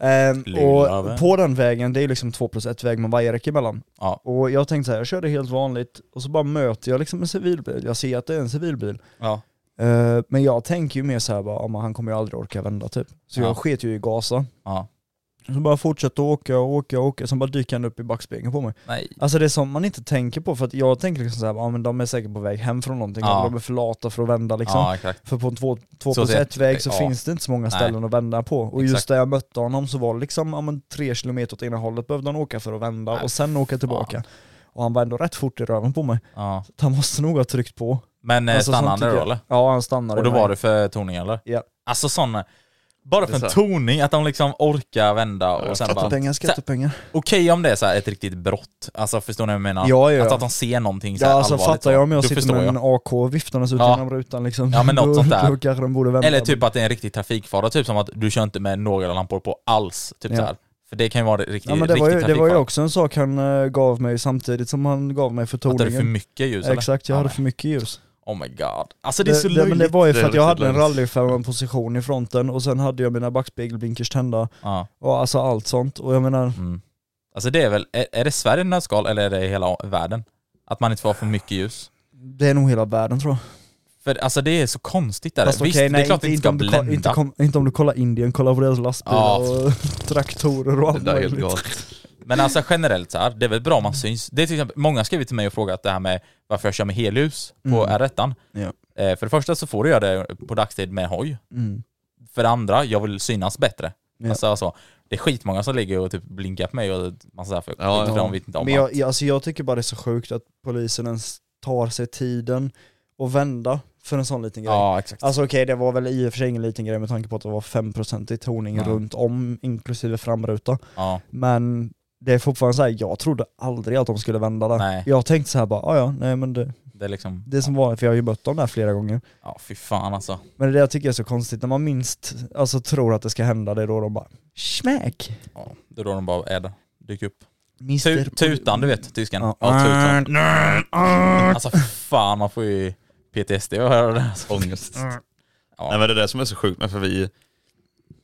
[SPEAKER 2] Ehm,
[SPEAKER 3] Lilla
[SPEAKER 2] och
[SPEAKER 3] vän.
[SPEAKER 2] på den vägen, det är liksom två plus ett väg med vajerräcke emellan.
[SPEAKER 3] Ja.
[SPEAKER 2] Och jag tänkte så här, jag körde helt vanligt och så bara möter jag liksom en civilbil. Jag ser att det är en civilbil.
[SPEAKER 3] Ja.
[SPEAKER 2] Eh, men jag tänker ju mer så här bara, "Ja, men han kommer ju aldrig orka vända typ. Så
[SPEAKER 3] Ja.
[SPEAKER 2] jag sket ju i gasa.
[SPEAKER 3] ja.
[SPEAKER 2] Så bara fortsätter åka och åka och åka, sen bara dyker han upp i backspegeln på mig.
[SPEAKER 3] Nej.
[SPEAKER 2] Alltså det är sånt man inte tänker på för att jag tänker liksom såhär, ja men de är säkert på väg hem från någonting,
[SPEAKER 3] Ja.
[SPEAKER 2] eller de är för lata för att vända liksom.
[SPEAKER 3] Ja, exakt.
[SPEAKER 2] För på en 2
[SPEAKER 3] Så
[SPEAKER 2] plus
[SPEAKER 3] ser-
[SPEAKER 2] 1 väg så
[SPEAKER 3] ja.
[SPEAKER 2] finns det inte så många ställen att vända på. Och
[SPEAKER 3] Exakt.
[SPEAKER 2] just där jag mötte honom så var det liksom, ja men 3 kilometer åt ena hållet behövde han åka för att vända
[SPEAKER 3] Nej,
[SPEAKER 2] och sen åka tillbaka. Och han var ändå rätt fort i röven på mig.
[SPEAKER 3] Ja.
[SPEAKER 2] Så Han måste nog ha tryckt på.
[SPEAKER 3] Men eh,
[SPEAKER 2] Alltså, sånt
[SPEAKER 3] stannade
[SPEAKER 2] tycker
[SPEAKER 3] stannade då
[SPEAKER 2] jag.
[SPEAKER 3] eller?
[SPEAKER 2] Ja han stannade
[SPEAKER 3] Och då
[SPEAKER 2] mig.
[SPEAKER 3] var det för toning eller?
[SPEAKER 2] Ja.
[SPEAKER 3] Alltså sån, bara
[SPEAKER 4] Det
[SPEAKER 3] för
[SPEAKER 4] är
[SPEAKER 3] en
[SPEAKER 4] så
[SPEAKER 3] toning, att de liksom orkar vända och sen bara...
[SPEAKER 2] Skattepengar,
[SPEAKER 3] Så här,
[SPEAKER 2] skattepengar.
[SPEAKER 3] Okej om det är så här ett riktigt brott, alltså förstår ni vad jag
[SPEAKER 2] Ja,
[SPEAKER 3] menar?
[SPEAKER 2] ja, ja.
[SPEAKER 3] Alltså att de ser någonting så
[SPEAKER 2] Ja
[SPEAKER 3] här
[SPEAKER 2] alltså
[SPEAKER 3] allvarligt
[SPEAKER 2] fattar
[SPEAKER 3] så,
[SPEAKER 2] jag om jag
[SPEAKER 3] då
[SPEAKER 2] sitter
[SPEAKER 3] förstår
[SPEAKER 2] med
[SPEAKER 3] jag.
[SPEAKER 2] en AK viftandes ut
[SPEAKER 3] Ja.
[SPEAKER 2] genom rutan liksom.
[SPEAKER 3] Ja, men något
[SPEAKER 2] då,
[SPEAKER 3] sånt där.
[SPEAKER 2] Då kanske de borde vända.
[SPEAKER 3] Eller typ att det är en riktig trafikfara, typ som att du kör inte med några lampor på alls. Typ
[SPEAKER 2] Ja.
[SPEAKER 3] så här. För det kan ju vara riktigt
[SPEAKER 2] Ja men det
[SPEAKER 3] riktig
[SPEAKER 2] var, ju, det var ju
[SPEAKER 3] trafikfara.
[SPEAKER 2] också en sak han eh, gav mig samtidigt som han gav mig
[SPEAKER 3] Att det är för
[SPEAKER 2] förtroningen.
[SPEAKER 3] mycket ljus eller?
[SPEAKER 2] Exakt, jag hade
[SPEAKER 3] Ja,
[SPEAKER 2] för mycket ljus.
[SPEAKER 3] Oh my god. Alltså det är så
[SPEAKER 2] det, men
[SPEAKER 3] löjligt.
[SPEAKER 2] det var ju
[SPEAKER 4] Det är
[SPEAKER 2] för att jag
[SPEAKER 4] riktigt
[SPEAKER 2] hade en
[SPEAKER 4] löjligt.
[SPEAKER 2] rallyfällan-position i fronten och sen hade jag mina backspegelblinkers tända
[SPEAKER 3] Ja.
[SPEAKER 2] och alltså allt sånt. Och jag menar,
[SPEAKER 3] Mm. Alltså det är väl, är, är det Sverige nötskal eller är det hela världen? Att man inte får ha för mycket ljus.
[SPEAKER 2] det är nog hela världen tror jag.
[SPEAKER 3] För alltså det är så konstigt där.
[SPEAKER 2] Fast
[SPEAKER 3] Visst,
[SPEAKER 2] okej,
[SPEAKER 3] det är
[SPEAKER 2] nej,
[SPEAKER 3] klart att
[SPEAKER 2] inte,
[SPEAKER 3] det inte
[SPEAKER 2] inte,
[SPEAKER 3] ska
[SPEAKER 2] om du, ko-
[SPEAKER 3] blända.
[SPEAKER 2] inte, kom, inte om du kollar Indien, kolla på deras lastbilar
[SPEAKER 3] Ja.
[SPEAKER 2] och (laughs) traktorer och
[SPEAKER 4] Det
[SPEAKER 2] allt
[SPEAKER 4] där är helt
[SPEAKER 2] möjligt.
[SPEAKER 4] galet.
[SPEAKER 3] Men alltså generellt så här, det är väl bra om man syns. Det är till exempel, många har skrivit till mig och frågat det här med varför jag kör med helljus på
[SPEAKER 2] Mm.
[SPEAKER 3] R1.
[SPEAKER 2] Ja.
[SPEAKER 3] Eh, för det första så får du göra det på dagstid med hoj.
[SPEAKER 2] Mm.
[SPEAKER 3] För det andra, jag vill synas bättre.
[SPEAKER 2] Ja.
[SPEAKER 3] Alltså, alltså, det är skitmånga som ligger och typ blinkar på mig och massa sådär för,
[SPEAKER 4] Ja,
[SPEAKER 3] för
[SPEAKER 4] ja.
[SPEAKER 3] de vet inte om
[SPEAKER 2] Men
[SPEAKER 3] allt.
[SPEAKER 2] jag, jag, alltså jag tycker bara det är så sjukt att polisen ens tar sig tiden och vända för en sån liten grej.
[SPEAKER 3] Ja, exakt.
[SPEAKER 2] Alltså okej, det var väl i och för sig ingen liten grej med tanke på att det var 5% i toning
[SPEAKER 3] Ja.
[SPEAKER 2] runt om, inklusive framruta.
[SPEAKER 3] ja.
[SPEAKER 2] Men det är fortfarande så här, jag trodde aldrig att de skulle vända där.
[SPEAKER 3] Nej.
[SPEAKER 2] Jag tänkte så här bara, "Ah, ja nej men det,
[SPEAKER 3] Det är liksom,
[SPEAKER 2] det är som vanligt, för jag har ju mött dem där flera gånger.
[SPEAKER 3] ja fy fan alltså.
[SPEAKER 2] Men det är det jag tycker är så konstigt, när man minst alltså, tror att det ska hända, det är då de bara smäck!
[SPEAKER 3] Ja, det är då de bara är där, dyker upp.
[SPEAKER 2] Mister
[SPEAKER 3] Tu, tutan du vet, tysken.
[SPEAKER 2] Ja.
[SPEAKER 3] Ja, tutan. Alltså fy fan man får ju PTSD av att höra det. här.
[SPEAKER 4] Ångest.
[SPEAKER 3] Ja.
[SPEAKER 4] Nej men det är det som är så sjukt men för vi,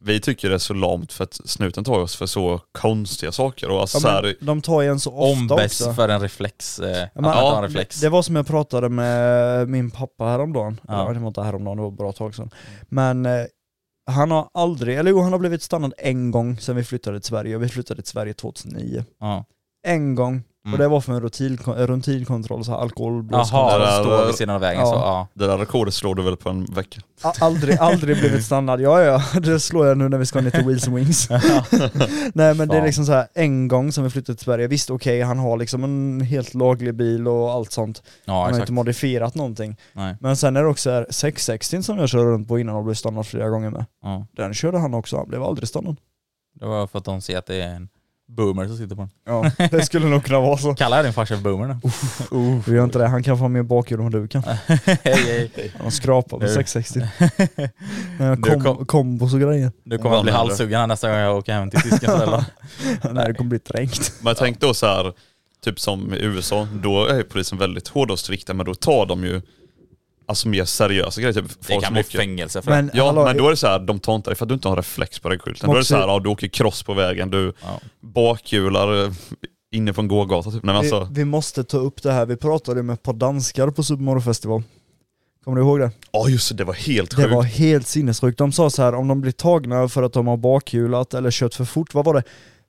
[SPEAKER 4] vi tycker det är så lamt för att snuten tar oss för så konstiga saker och alltså
[SPEAKER 2] Ja,
[SPEAKER 4] så
[SPEAKER 2] men
[SPEAKER 4] här,
[SPEAKER 2] de tar ju en så ofta
[SPEAKER 3] Ombeds
[SPEAKER 2] också.
[SPEAKER 3] för en reflex. Eh, att
[SPEAKER 2] men-
[SPEAKER 3] man tar en
[SPEAKER 4] Ja,
[SPEAKER 3] reflex.
[SPEAKER 2] Det var som jag pratade med min pappa häromdagen.
[SPEAKER 3] Ja.
[SPEAKER 2] Ja. Det var inte häromdagen, det var ett bra tag sedan. Men eh, han har aldrig, eller jo han har blivit stannad en gång sedan vi flyttade till Sverige. Vi flyttade till Sverige 2009.
[SPEAKER 3] ja.
[SPEAKER 2] En gång.
[SPEAKER 3] Mm.
[SPEAKER 2] Och det var för en rutin, rutinkontroll, så här alkoholblåskontroll.
[SPEAKER 3] Jaha,
[SPEAKER 4] där-
[SPEAKER 3] de står vid sidan av vägen
[SPEAKER 2] Ja.
[SPEAKER 3] så, ja.
[SPEAKER 4] det där rekordet slår du väl på en
[SPEAKER 3] (laughs)
[SPEAKER 4] vecka?
[SPEAKER 2] A- Aldrig, aldrig blivit stannad. Ja, ja, (laughs) ja, det slår jag nu när vi ska ner till Wheels and
[SPEAKER 3] (laughs)
[SPEAKER 2] Wings. (laughs) Nej men det är
[SPEAKER 3] Fan.
[SPEAKER 2] liksom så här en gång som vi flyttade till Sverige. Visst okej, han har liksom en helt laglig bil och allt sånt.
[SPEAKER 3] Ja,
[SPEAKER 2] han har
[SPEAKER 3] exakt.
[SPEAKER 2] inte modifierat någonting.
[SPEAKER 3] Nej.
[SPEAKER 2] Men sen är det också här 660 som jag körde runt på innan och blev stannad flera gånger med.
[SPEAKER 3] Ja.
[SPEAKER 2] Den körde han också, han blev aldrig stannad.
[SPEAKER 3] Det var för att de ser att det är en boomer som sitter på den.
[SPEAKER 2] Ja, (laughs) det skulle nog
[SPEAKER 4] (laughs)
[SPEAKER 2] kunna vara så.
[SPEAKER 3] Kallar jag din farsa för boomer
[SPEAKER 2] (laughs)
[SPEAKER 3] nu?
[SPEAKER 2] Vi gör inte det, han kan få mer bakhjul än vad du kan.
[SPEAKER 3] hej, hej.
[SPEAKER 2] Han skrapar på
[SPEAKER 3] Nu.
[SPEAKER 2] 660.
[SPEAKER 4] (laughs)
[SPEAKER 2] Men
[SPEAKER 3] Nu
[SPEAKER 2] kom,
[SPEAKER 3] kom-
[SPEAKER 2] kombos och grejer.
[SPEAKER 3] Nu kommer jag bli
[SPEAKER 4] Vann ändå.
[SPEAKER 3] halshuggen här nästa gång jag åker hem till tysken föräldrar.
[SPEAKER 2] Nej det kommer bli trängt.
[SPEAKER 4] (laughs) Men tänk då så här, typ som i USA, då är ju polisen väldigt hård och strikta men då tar de ju alltså mer seriösa grejer. Typ
[SPEAKER 3] Det
[SPEAKER 4] folk
[SPEAKER 3] kan
[SPEAKER 4] som
[SPEAKER 3] bli
[SPEAKER 4] åker-
[SPEAKER 3] fängelse för
[SPEAKER 2] Men,
[SPEAKER 4] Ja
[SPEAKER 2] hallå,
[SPEAKER 4] men då är det så här, de tar inte dig för att du inte har reflex på regskylten. Då är det
[SPEAKER 2] Moxie-
[SPEAKER 4] så här, ja, du åker cross på vägen, du
[SPEAKER 3] Ja.
[SPEAKER 4] bakhjular eh, inne på en gågata typ. Nej, men alltså,
[SPEAKER 2] vi, vi måste ta upp det här, vi pratade med ett par danskar på Supermorgon festival. Kommer du ihåg det?
[SPEAKER 4] ja just det, det var helt
[SPEAKER 2] Det
[SPEAKER 4] sjukt.
[SPEAKER 2] var helt sinnessjukt. De sa så här om de blir tagna för att de har bakhjulat eller kört för fort, vad var det?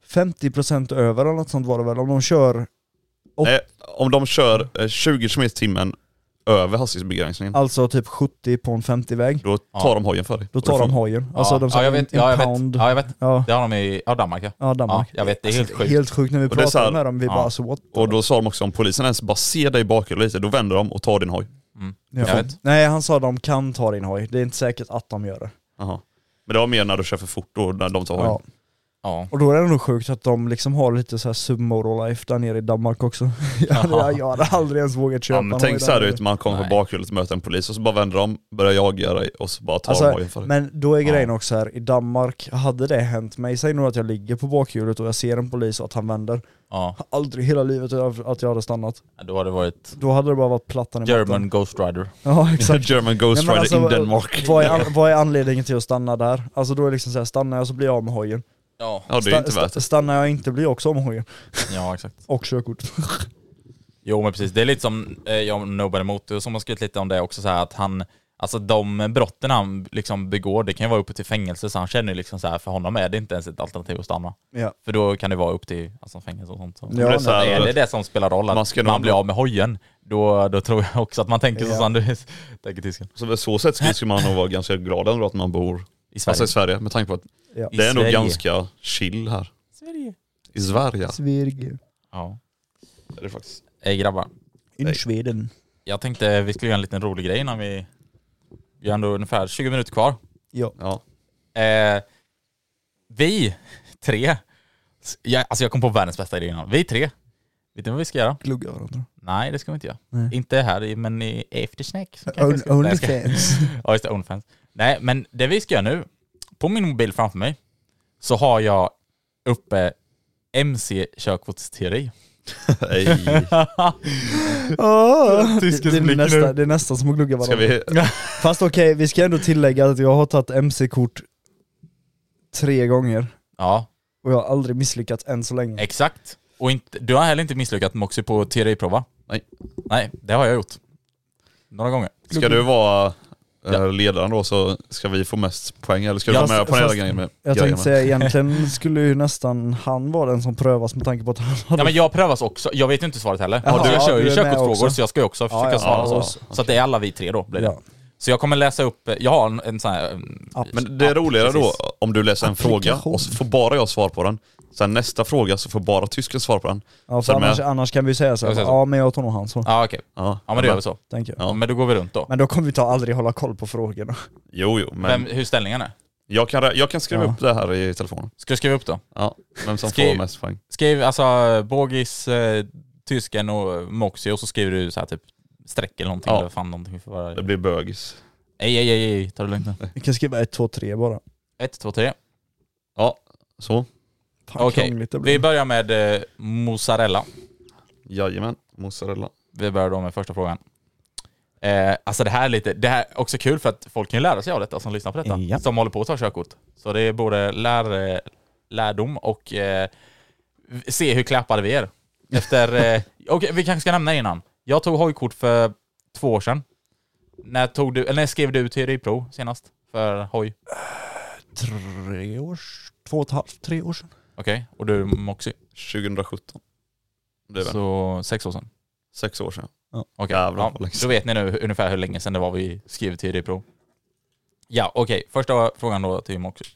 [SPEAKER 2] 50% över eller något sånt var det väl? Om de
[SPEAKER 4] Mm.
[SPEAKER 2] kör,
[SPEAKER 4] Nej, om de kör eh, 20 km i timmen över hastighetsbegränsningen,
[SPEAKER 2] alltså typ 70 på en 50-väg,
[SPEAKER 4] då tar
[SPEAKER 3] Ja.
[SPEAKER 4] de hojen för dig.
[SPEAKER 2] då tar de hojen. Alltså
[SPEAKER 3] ja.
[SPEAKER 2] de sa
[SPEAKER 3] ja, jag
[SPEAKER 2] en-
[SPEAKER 3] vet,
[SPEAKER 2] en
[SPEAKER 3] ja, jag
[SPEAKER 2] pound.
[SPEAKER 3] vet. Ja, jag vet.
[SPEAKER 2] Ja.
[SPEAKER 3] Det har de i ja, Danmark ja.
[SPEAKER 2] Ja, Danmark.
[SPEAKER 3] Ja, jag vet, det är helt
[SPEAKER 2] Alltså,
[SPEAKER 3] sjukt.
[SPEAKER 2] Helt sjukt när vi
[SPEAKER 4] Och det är så
[SPEAKER 2] pratade
[SPEAKER 4] här-
[SPEAKER 2] med dem, vi
[SPEAKER 3] ja.
[SPEAKER 2] bara så what?
[SPEAKER 4] Och då sa de också om polisen ens bara ser dig i bakhjulet lite, då vänder de och tar din hoj.
[SPEAKER 3] Mm.
[SPEAKER 2] Ja.
[SPEAKER 3] Jag vet.
[SPEAKER 2] Nej han sa de kan ta din hoj, det är inte säkert att de gör det.
[SPEAKER 4] Jaha. Men det var mer när du kör för fort då, när de tar hojen.
[SPEAKER 2] Ja.
[SPEAKER 4] Ja.
[SPEAKER 3] Ja.
[SPEAKER 2] Och då är det nog sjukt att de liksom har lite så här submoral life där nere i Danmark också. (laughs) Jag hade, jag, jag hade aldrig ens vågat köpa
[SPEAKER 4] men
[SPEAKER 2] en
[SPEAKER 4] tänk
[SPEAKER 2] hoj
[SPEAKER 4] så här
[SPEAKER 2] där
[SPEAKER 4] ut, man kommer
[SPEAKER 3] Nej.
[SPEAKER 4] på bakhjulet och möter en polis och så bara vänder de, börjar jaga dig och så bara tar de
[SPEAKER 2] Alltså,
[SPEAKER 4] hojen för dig.
[SPEAKER 2] men då är
[SPEAKER 3] Ja.
[SPEAKER 2] grejen också här, i Danmark, hade det hänt mig, säg nog att jag ligger på bakhjulet och jag ser en polis och att han vänder,
[SPEAKER 3] ja.
[SPEAKER 2] Har aldrig i hela livet jag- att jag hade stannat.
[SPEAKER 3] Då har det varit
[SPEAKER 2] Då hade det bara varit plattan i
[SPEAKER 3] German
[SPEAKER 2] mattan.
[SPEAKER 4] (laughs)
[SPEAKER 3] Ghost Rider.
[SPEAKER 2] Ja exakt.
[SPEAKER 4] German Ghost
[SPEAKER 2] Nej, men
[SPEAKER 4] Rider
[SPEAKER 2] alltså,
[SPEAKER 4] in Denmark.
[SPEAKER 2] Vad är, an- vad är anledningen till att stanna där? Alltså då är det liksom såhär, stannar jag så blir jag av med hojen.
[SPEAKER 3] Ja.
[SPEAKER 4] Ja det är ju inte
[SPEAKER 2] Sta-
[SPEAKER 4] värt det.
[SPEAKER 2] Stannar jag inte blir jag också av med hojen.
[SPEAKER 3] ja, exakt.
[SPEAKER 2] Och körkort. (laughs)
[SPEAKER 3] Jo men precis, det är lite som eh, jag Nobody Motor som har skrivit lite om det också så här att han Alltså de brotten han liksom begår, det kan ju vara uppe till fängelse så han känner ju liksom så här för honom är det inte ens ett alternativ att stanna.
[SPEAKER 2] Ja.
[SPEAKER 3] För då kan det vara upp till alltså, fängelse och sånt. Så.
[SPEAKER 2] Ja,
[SPEAKER 4] det är så här-
[SPEAKER 3] är det det som spelar roll? Att
[SPEAKER 4] Man ska
[SPEAKER 3] man,
[SPEAKER 4] nog-
[SPEAKER 3] blir av med hojen, då, då tror jag också att man tänker
[SPEAKER 2] Ja.
[SPEAKER 3] så som du (laughs) tänker tysken.
[SPEAKER 4] Så på så sätt skulle- skulle man nog vara ganska glad ändå att man bor
[SPEAKER 3] I Sverige.
[SPEAKER 4] alltså, i Sverige med tanke på att
[SPEAKER 2] Ja.
[SPEAKER 3] I
[SPEAKER 4] det är nog
[SPEAKER 3] Sverige.
[SPEAKER 4] ganska chill här.
[SPEAKER 3] Sverige.
[SPEAKER 4] I Sverige.
[SPEAKER 2] Sverige.
[SPEAKER 3] Ja.
[SPEAKER 4] Är det faktiskt.
[SPEAKER 3] Hej grabbar.
[SPEAKER 2] In
[SPEAKER 4] Nej.
[SPEAKER 2] Sweden.
[SPEAKER 3] Jag tänkte vi skulle göra en liten rolig grej innan vi... Vi har ändå ungefär 20 minuter kvar.
[SPEAKER 2] Ja.
[SPEAKER 4] Ja.
[SPEAKER 3] Eh, vi tre... s- Jag, alltså jag kom på världens bästa idé innan. Vi tre. Vet ni vad vi ska göra?
[SPEAKER 2] Glugga varandra.
[SPEAKER 3] Nej, det ska vi inte göra.
[SPEAKER 2] Nej.
[SPEAKER 3] Inte här, i- men i eftersnack. så kanske vi ska- Nej, jag ska- (laughs)
[SPEAKER 2] Onlyfans.
[SPEAKER 3] Ja just det, Onlyfans. Nej men det vi ska göra nu, på min mobil framför mig så har jag uppe MC
[SPEAKER 2] (laughs)
[SPEAKER 3] körkortsteori.
[SPEAKER 4] Hej.
[SPEAKER 2] Ah, det,
[SPEAKER 3] Tysken
[SPEAKER 2] det, är
[SPEAKER 3] blick
[SPEAKER 2] nästa,
[SPEAKER 3] nu.
[SPEAKER 2] det är nästan som att glugga
[SPEAKER 4] Ska
[SPEAKER 2] varandra.
[SPEAKER 4] vi...
[SPEAKER 2] Fast okej, vi ska ändå tillägga att jag har tagit MC-kort tre gånger
[SPEAKER 3] (laughs) Ja,
[SPEAKER 2] och jag har aldrig misslyckats än så länge.
[SPEAKER 3] exakt. Och inte, du har heller inte misslyckats Moxie på teoriprova?
[SPEAKER 4] Nej.
[SPEAKER 3] Nej, det har jag gjort. Några gånger.
[SPEAKER 4] Ska du vara eh,
[SPEAKER 3] Ja.
[SPEAKER 4] ledaren då så ska vi få mest poäng eller ska du
[SPEAKER 3] Ja,
[SPEAKER 4] vara med på den
[SPEAKER 2] fast-
[SPEAKER 4] hela grejen med?
[SPEAKER 2] Jag
[SPEAKER 4] grejen
[SPEAKER 2] tänkte
[SPEAKER 4] med?
[SPEAKER 2] säga egentligen skulle ju nästan han vara den som prövas med tanke på att han hade...
[SPEAKER 3] Ja men jag prövas också, jag vet ju inte svaret heller.
[SPEAKER 2] Jaha,
[SPEAKER 3] Jaha, jag
[SPEAKER 2] ja,
[SPEAKER 3] kör
[SPEAKER 2] du
[SPEAKER 3] ju
[SPEAKER 2] är med
[SPEAKER 3] körkortsfrågor
[SPEAKER 2] också.
[SPEAKER 3] så jag ska ju också försöka
[SPEAKER 2] Ja, ja,
[SPEAKER 3] svara
[SPEAKER 2] ja,
[SPEAKER 3] så.
[SPEAKER 2] ja,
[SPEAKER 3] Så att det är alla vi tre då blir det.
[SPEAKER 2] Ja.
[SPEAKER 3] Så jag kommer läsa upp, jag har en, en sån här... En,
[SPEAKER 2] App.
[SPEAKER 4] Men det är roligare då
[SPEAKER 3] precis.
[SPEAKER 4] om du läser en fråga
[SPEAKER 2] Applikation.
[SPEAKER 4] och så får bara jag svar på den. Sen nästa fråga så får bara tysken svar på den.
[SPEAKER 2] ja, för
[SPEAKER 4] Sen
[SPEAKER 2] annars,
[SPEAKER 4] med-
[SPEAKER 2] annars kan vi ju säga så här,
[SPEAKER 3] Jag säger så.
[SPEAKER 2] ja men jag tar nog han så,
[SPEAKER 3] Ja okej,
[SPEAKER 4] Ja,
[SPEAKER 3] ja men då gör vi så.
[SPEAKER 2] tänker jag.
[SPEAKER 4] Ja.
[SPEAKER 3] Men då går vi runt då.
[SPEAKER 2] Men då kommer vi ta aldrig hålla koll på frågorna.
[SPEAKER 4] Jo, jo, men
[SPEAKER 3] Vem, hur ställningen är?
[SPEAKER 4] jag kan, rä- jag kan skriva
[SPEAKER 2] Ja.
[SPEAKER 4] upp det här i telefonen.
[SPEAKER 3] Ska du skriva upp då?
[SPEAKER 4] Ja, vem som
[SPEAKER 3] Skriv-
[SPEAKER 4] får mest poäng.
[SPEAKER 3] Skriv alltså Bogis, eh, tysken och Moxie och så skriver du så här typ streck eller någonting
[SPEAKER 4] Ja.
[SPEAKER 3] eller fan någonting för
[SPEAKER 4] Det
[SPEAKER 3] vara...
[SPEAKER 4] blir bögis.
[SPEAKER 3] Ej, ej, ej, ej, ta det lugnt nu.
[SPEAKER 4] (laughs)
[SPEAKER 2] Vi kan skriva ett, två, tre bara.
[SPEAKER 3] Ett, två, tre.
[SPEAKER 4] Ja, så.
[SPEAKER 2] Fan
[SPEAKER 3] Okej,
[SPEAKER 2] krångligt det
[SPEAKER 3] vi
[SPEAKER 2] blir.
[SPEAKER 3] börjar med eh, mozzarella.
[SPEAKER 4] Jajamän, mozzarella.
[SPEAKER 3] Vi börjar då med första frågan. Eh, Eh, alltså det här är lite, det här är också kul för att folk kan ju lära sig av detta som lyssnar på detta,
[SPEAKER 2] Ja.
[SPEAKER 3] som håller på att ta körkort. Så det är både lär, eh, lärdom och eh, se hur klappade vi är. Efter, eh, (laughs) okej, vi kanske ska nämna innan. Jag tog hojkort för två år sedan. När, tog du, eller när skrev du teoriprov senast för hoj?
[SPEAKER 7] Tre års, två och ett halvt, tre år sedan.
[SPEAKER 3] Okej, och du är Moxie.
[SPEAKER 8] 2017. Det är väl
[SPEAKER 3] Så sex år sedan.
[SPEAKER 8] sex år sedan.
[SPEAKER 3] Okej,
[SPEAKER 8] Jävlar,
[SPEAKER 3] ja,
[SPEAKER 8] vad länge
[SPEAKER 3] då
[SPEAKER 8] sedan.
[SPEAKER 3] vet ni nu ungefär hur länge sedan det var vi skrev teoriprov. Ja, okej. Första frågan då till Moxie.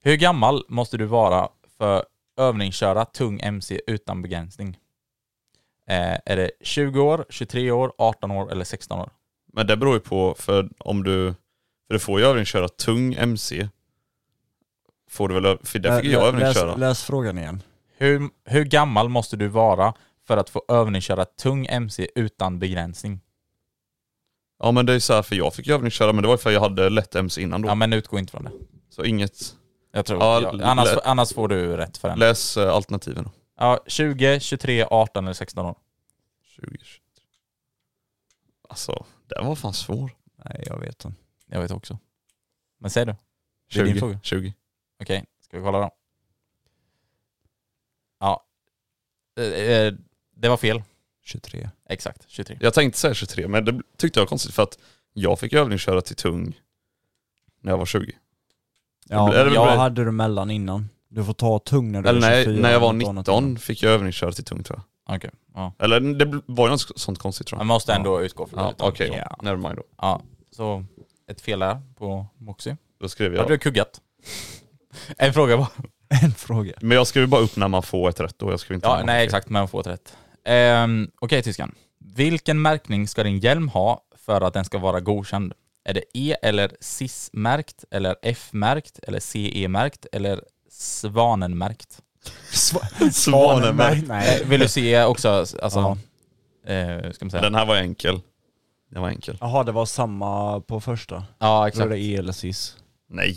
[SPEAKER 3] Hur gammal måste du vara för övningsköra tung MC utan begränsning? Eh, är det 20 år, 23 år, 18 år eller 16 år?
[SPEAKER 8] Men det beror ju på, för om du, för du får ju övningsköra tung MC. Får du väl, ö- för det fick ju jag
[SPEAKER 2] Läs,
[SPEAKER 8] övningsköra.
[SPEAKER 2] läs frågan igen.
[SPEAKER 3] Hur, hur gammal måste du vara för att få övningsköra tung MC utan begränsning?
[SPEAKER 8] Ja men det är så här, för jag fick ju övningsköra men det var ju för att jag hade lätt MC innan då.
[SPEAKER 3] Ja, men utgå inte från det.
[SPEAKER 8] Så inget,
[SPEAKER 3] Jag tror.
[SPEAKER 8] Ja,
[SPEAKER 3] Ja,
[SPEAKER 8] l-
[SPEAKER 3] annars,
[SPEAKER 8] lä-
[SPEAKER 3] annars får du rätt för den.
[SPEAKER 8] läs eh, alternativen då.
[SPEAKER 3] Ja, 20, 23, 18 eller 16 år.
[SPEAKER 8] 20, 23. Alltså, den var fan svår.
[SPEAKER 2] Nej, jag vet inte.
[SPEAKER 3] Jag vet också. Men säg du. Det är din
[SPEAKER 8] 20,
[SPEAKER 3] fråga.
[SPEAKER 8] 20.
[SPEAKER 3] Okej, ska vi kolla då? Ja. Eh, eh, Det var fel.
[SPEAKER 2] 23.
[SPEAKER 3] Exakt, 23.
[SPEAKER 8] Jag tänkte säga 23 men det tyckte jag var konstigt för att jag fick övningsköra till tung när jag var 20.
[SPEAKER 2] Ja,
[SPEAKER 8] blir- det
[SPEAKER 2] men
[SPEAKER 8] blir-
[SPEAKER 2] jag hade du mellan innan. Du får ta tung när du
[SPEAKER 8] Eller
[SPEAKER 2] är
[SPEAKER 8] nej,
[SPEAKER 2] 24,
[SPEAKER 8] när jag var
[SPEAKER 2] eller något
[SPEAKER 8] 19
[SPEAKER 2] annat.
[SPEAKER 8] fick jag övningsköra till tung tror jag.
[SPEAKER 3] Okej. Ja.
[SPEAKER 8] Eller det bl- var ju något sånt konstigt tror jag.
[SPEAKER 3] Man måste ändå utgå från
[SPEAKER 8] Ja,
[SPEAKER 3] utan-
[SPEAKER 8] Okej,
[SPEAKER 3] Ja.
[SPEAKER 8] nevermind då.
[SPEAKER 3] ja. Så ett fel där på Moxie.
[SPEAKER 8] Då skrev
[SPEAKER 3] Hade du
[SPEAKER 8] jag. (laughs)
[SPEAKER 3] kuggat? en fråga bara.
[SPEAKER 2] (laughs) En fråga.
[SPEAKER 8] Men jag skrev bara upp när man får ett rätt då. Jag skrev inte när
[SPEAKER 3] Ja,
[SPEAKER 8] man
[SPEAKER 3] nej
[SPEAKER 8] får
[SPEAKER 3] exakt, men får ett rätt. Ehm, Okej tyskan. Vilken märkning ska din hjälm ha för att den ska vara godkänd? Är det E eller CIS-märkt, eller F-märkt, eller CE-märkt, eller Svanen-märkt?
[SPEAKER 8] fel. Svanen.
[SPEAKER 2] Nej,
[SPEAKER 8] men-
[SPEAKER 2] nej.
[SPEAKER 3] Eh, Vill du se också, alltså,
[SPEAKER 2] Ja.
[SPEAKER 3] eh, hur ska man säga?
[SPEAKER 8] Den här var enkel. Den var enkel.
[SPEAKER 2] Jaha, det var samma på första.
[SPEAKER 3] ja,
[SPEAKER 2] Då är
[SPEAKER 3] exakt.
[SPEAKER 2] det E eller CIS.
[SPEAKER 8] Nej.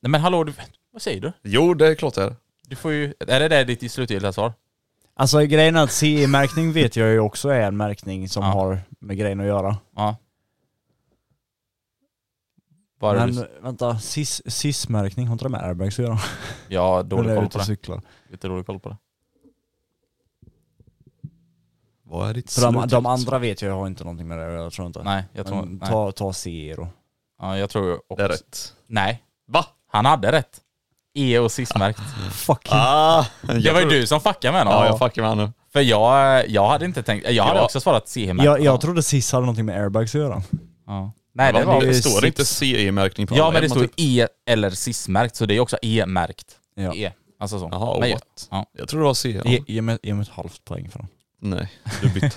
[SPEAKER 3] Nej men hallå, du, vad säger du?
[SPEAKER 8] Jo, det är klart det är.
[SPEAKER 3] Du får ju, är det det ditt slutgiltiga svar?
[SPEAKER 2] Alltså grejen är att CE-märkning vet jag ju också är en märkning som
[SPEAKER 3] Ja.
[SPEAKER 2] har med grejen att göra.
[SPEAKER 3] Ja. Bara
[SPEAKER 2] Men
[SPEAKER 3] du,
[SPEAKER 2] vänta, CIS- CIS-märkning har inte det med airbags att göra?
[SPEAKER 3] ja, dålig
[SPEAKER 2] Eller
[SPEAKER 3] koll
[SPEAKER 2] ute
[SPEAKER 3] på
[SPEAKER 2] och
[SPEAKER 3] det.
[SPEAKER 2] cyklar.
[SPEAKER 3] Lite dålig koll på det.
[SPEAKER 8] Vad är ditt
[SPEAKER 2] För de, de andra vet jag har inte någonting med det att göra, tror jag inte.
[SPEAKER 3] Nej, jag tror,
[SPEAKER 2] Men
[SPEAKER 3] nej.
[SPEAKER 2] ta, ta CE då.
[SPEAKER 3] Ja, jag tror också.
[SPEAKER 8] Det är rätt.
[SPEAKER 3] Nej,
[SPEAKER 8] Va?
[SPEAKER 3] han hade rätt. E och
[SPEAKER 8] (laughs)
[SPEAKER 3] CIS-märkt.
[SPEAKER 2] Fuck you.
[SPEAKER 8] Ah, jag
[SPEAKER 3] Det var ju
[SPEAKER 8] trodde-
[SPEAKER 3] du som fuckade med honom.
[SPEAKER 8] Ja, jag fuckar med honom.
[SPEAKER 3] För jag, jag hade inte tänkt, jag hade
[SPEAKER 8] Ja.
[SPEAKER 3] också svarat CE-märkt.
[SPEAKER 2] Jag, jag trodde CIS hade någonting med airbags att göra.
[SPEAKER 3] Ja. Nej, det
[SPEAKER 8] Men
[SPEAKER 3] var
[SPEAKER 8] det
[SPEAKER 2] ju
[SPEAKER 8] står det inte
[SPEAKER 2] six.
[SPEAKER 8] CE-märkning på
[SPEAKER 3] Ja
[SPEAKER 8] alla
[SPEAKER 3] men det står
[SPEAKER 8] hjälmar, typ?
[SPEAKER 3] E eller CIS-märkt, så det är också E-märkt.
[SPEAKER 2] Ja.
[SPEAKER 3] E. Alltså så.
[SPEAKER 8] Jaha,
[SPEAKER 3] men,
[SPEAKER 8] what?
[SPEAKER 3] jag, ja.
[SPEAKER 8] Jag tror det var CE.
[SPEAKER 2] Ge, ge, mig, ge mig ett halvt poäng för den.
[SPEAKER 8] Nej, du bytte.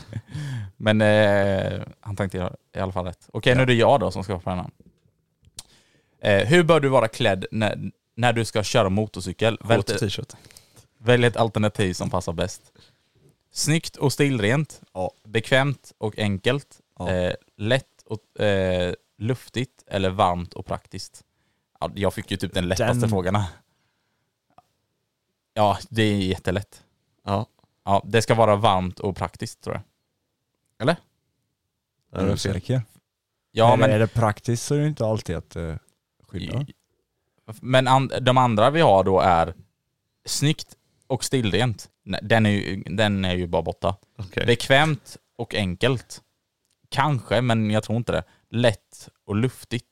[SPEAKER 3] men eh, han tänkte göra i alla fall rätt. Okej, nu är det jag då som ska på den här. Eh, hur bör du vara klädd när, när du ska köra motorcykel? Välj,
[SPEAKER 8] Shorts och t-shirt.
[SPEAKER 3] välj ett alternativ som passar bäst. Snyggt och stilrent.
[SPEAKER 2] Ja.
[SPEAKER 3] Bekvämt och enkelt.
[SPEAKER 2] Ja.
[SPEAKER 3] Eh, lätt och eh, luftigt eller varmt och praktiskt? Ja, jag fick ju typ den lättaste
[SPEAKER 2] Den-
[SPEAKER 3] frågan. Ja, det är jättelätt.
[SPEAKER 8] Ja,
[SPEAKER 3] Ja, det ska vara varmt och praktiskt tror jag.
[SPEAKER 8] där är du fel.
[SPEAKER 2] säker?
[SPEAKER 3] Ja,
[SPEAKER 2] men... Är
[SPEAKER 3] men,
[SPEAKER 2] det praktiskt så är det inte alltid att uh, skydda.
[SPEAKER 3] men an, de andra vi har då är snyggt och stilrent. Nej, Den är ju, den är ju bara borta.
[SPEAKER 8] Okej.
[SPEAKER 3] Bekvämt och enkelt. Kanske, men jag tror inte det. Lätt och luftigt.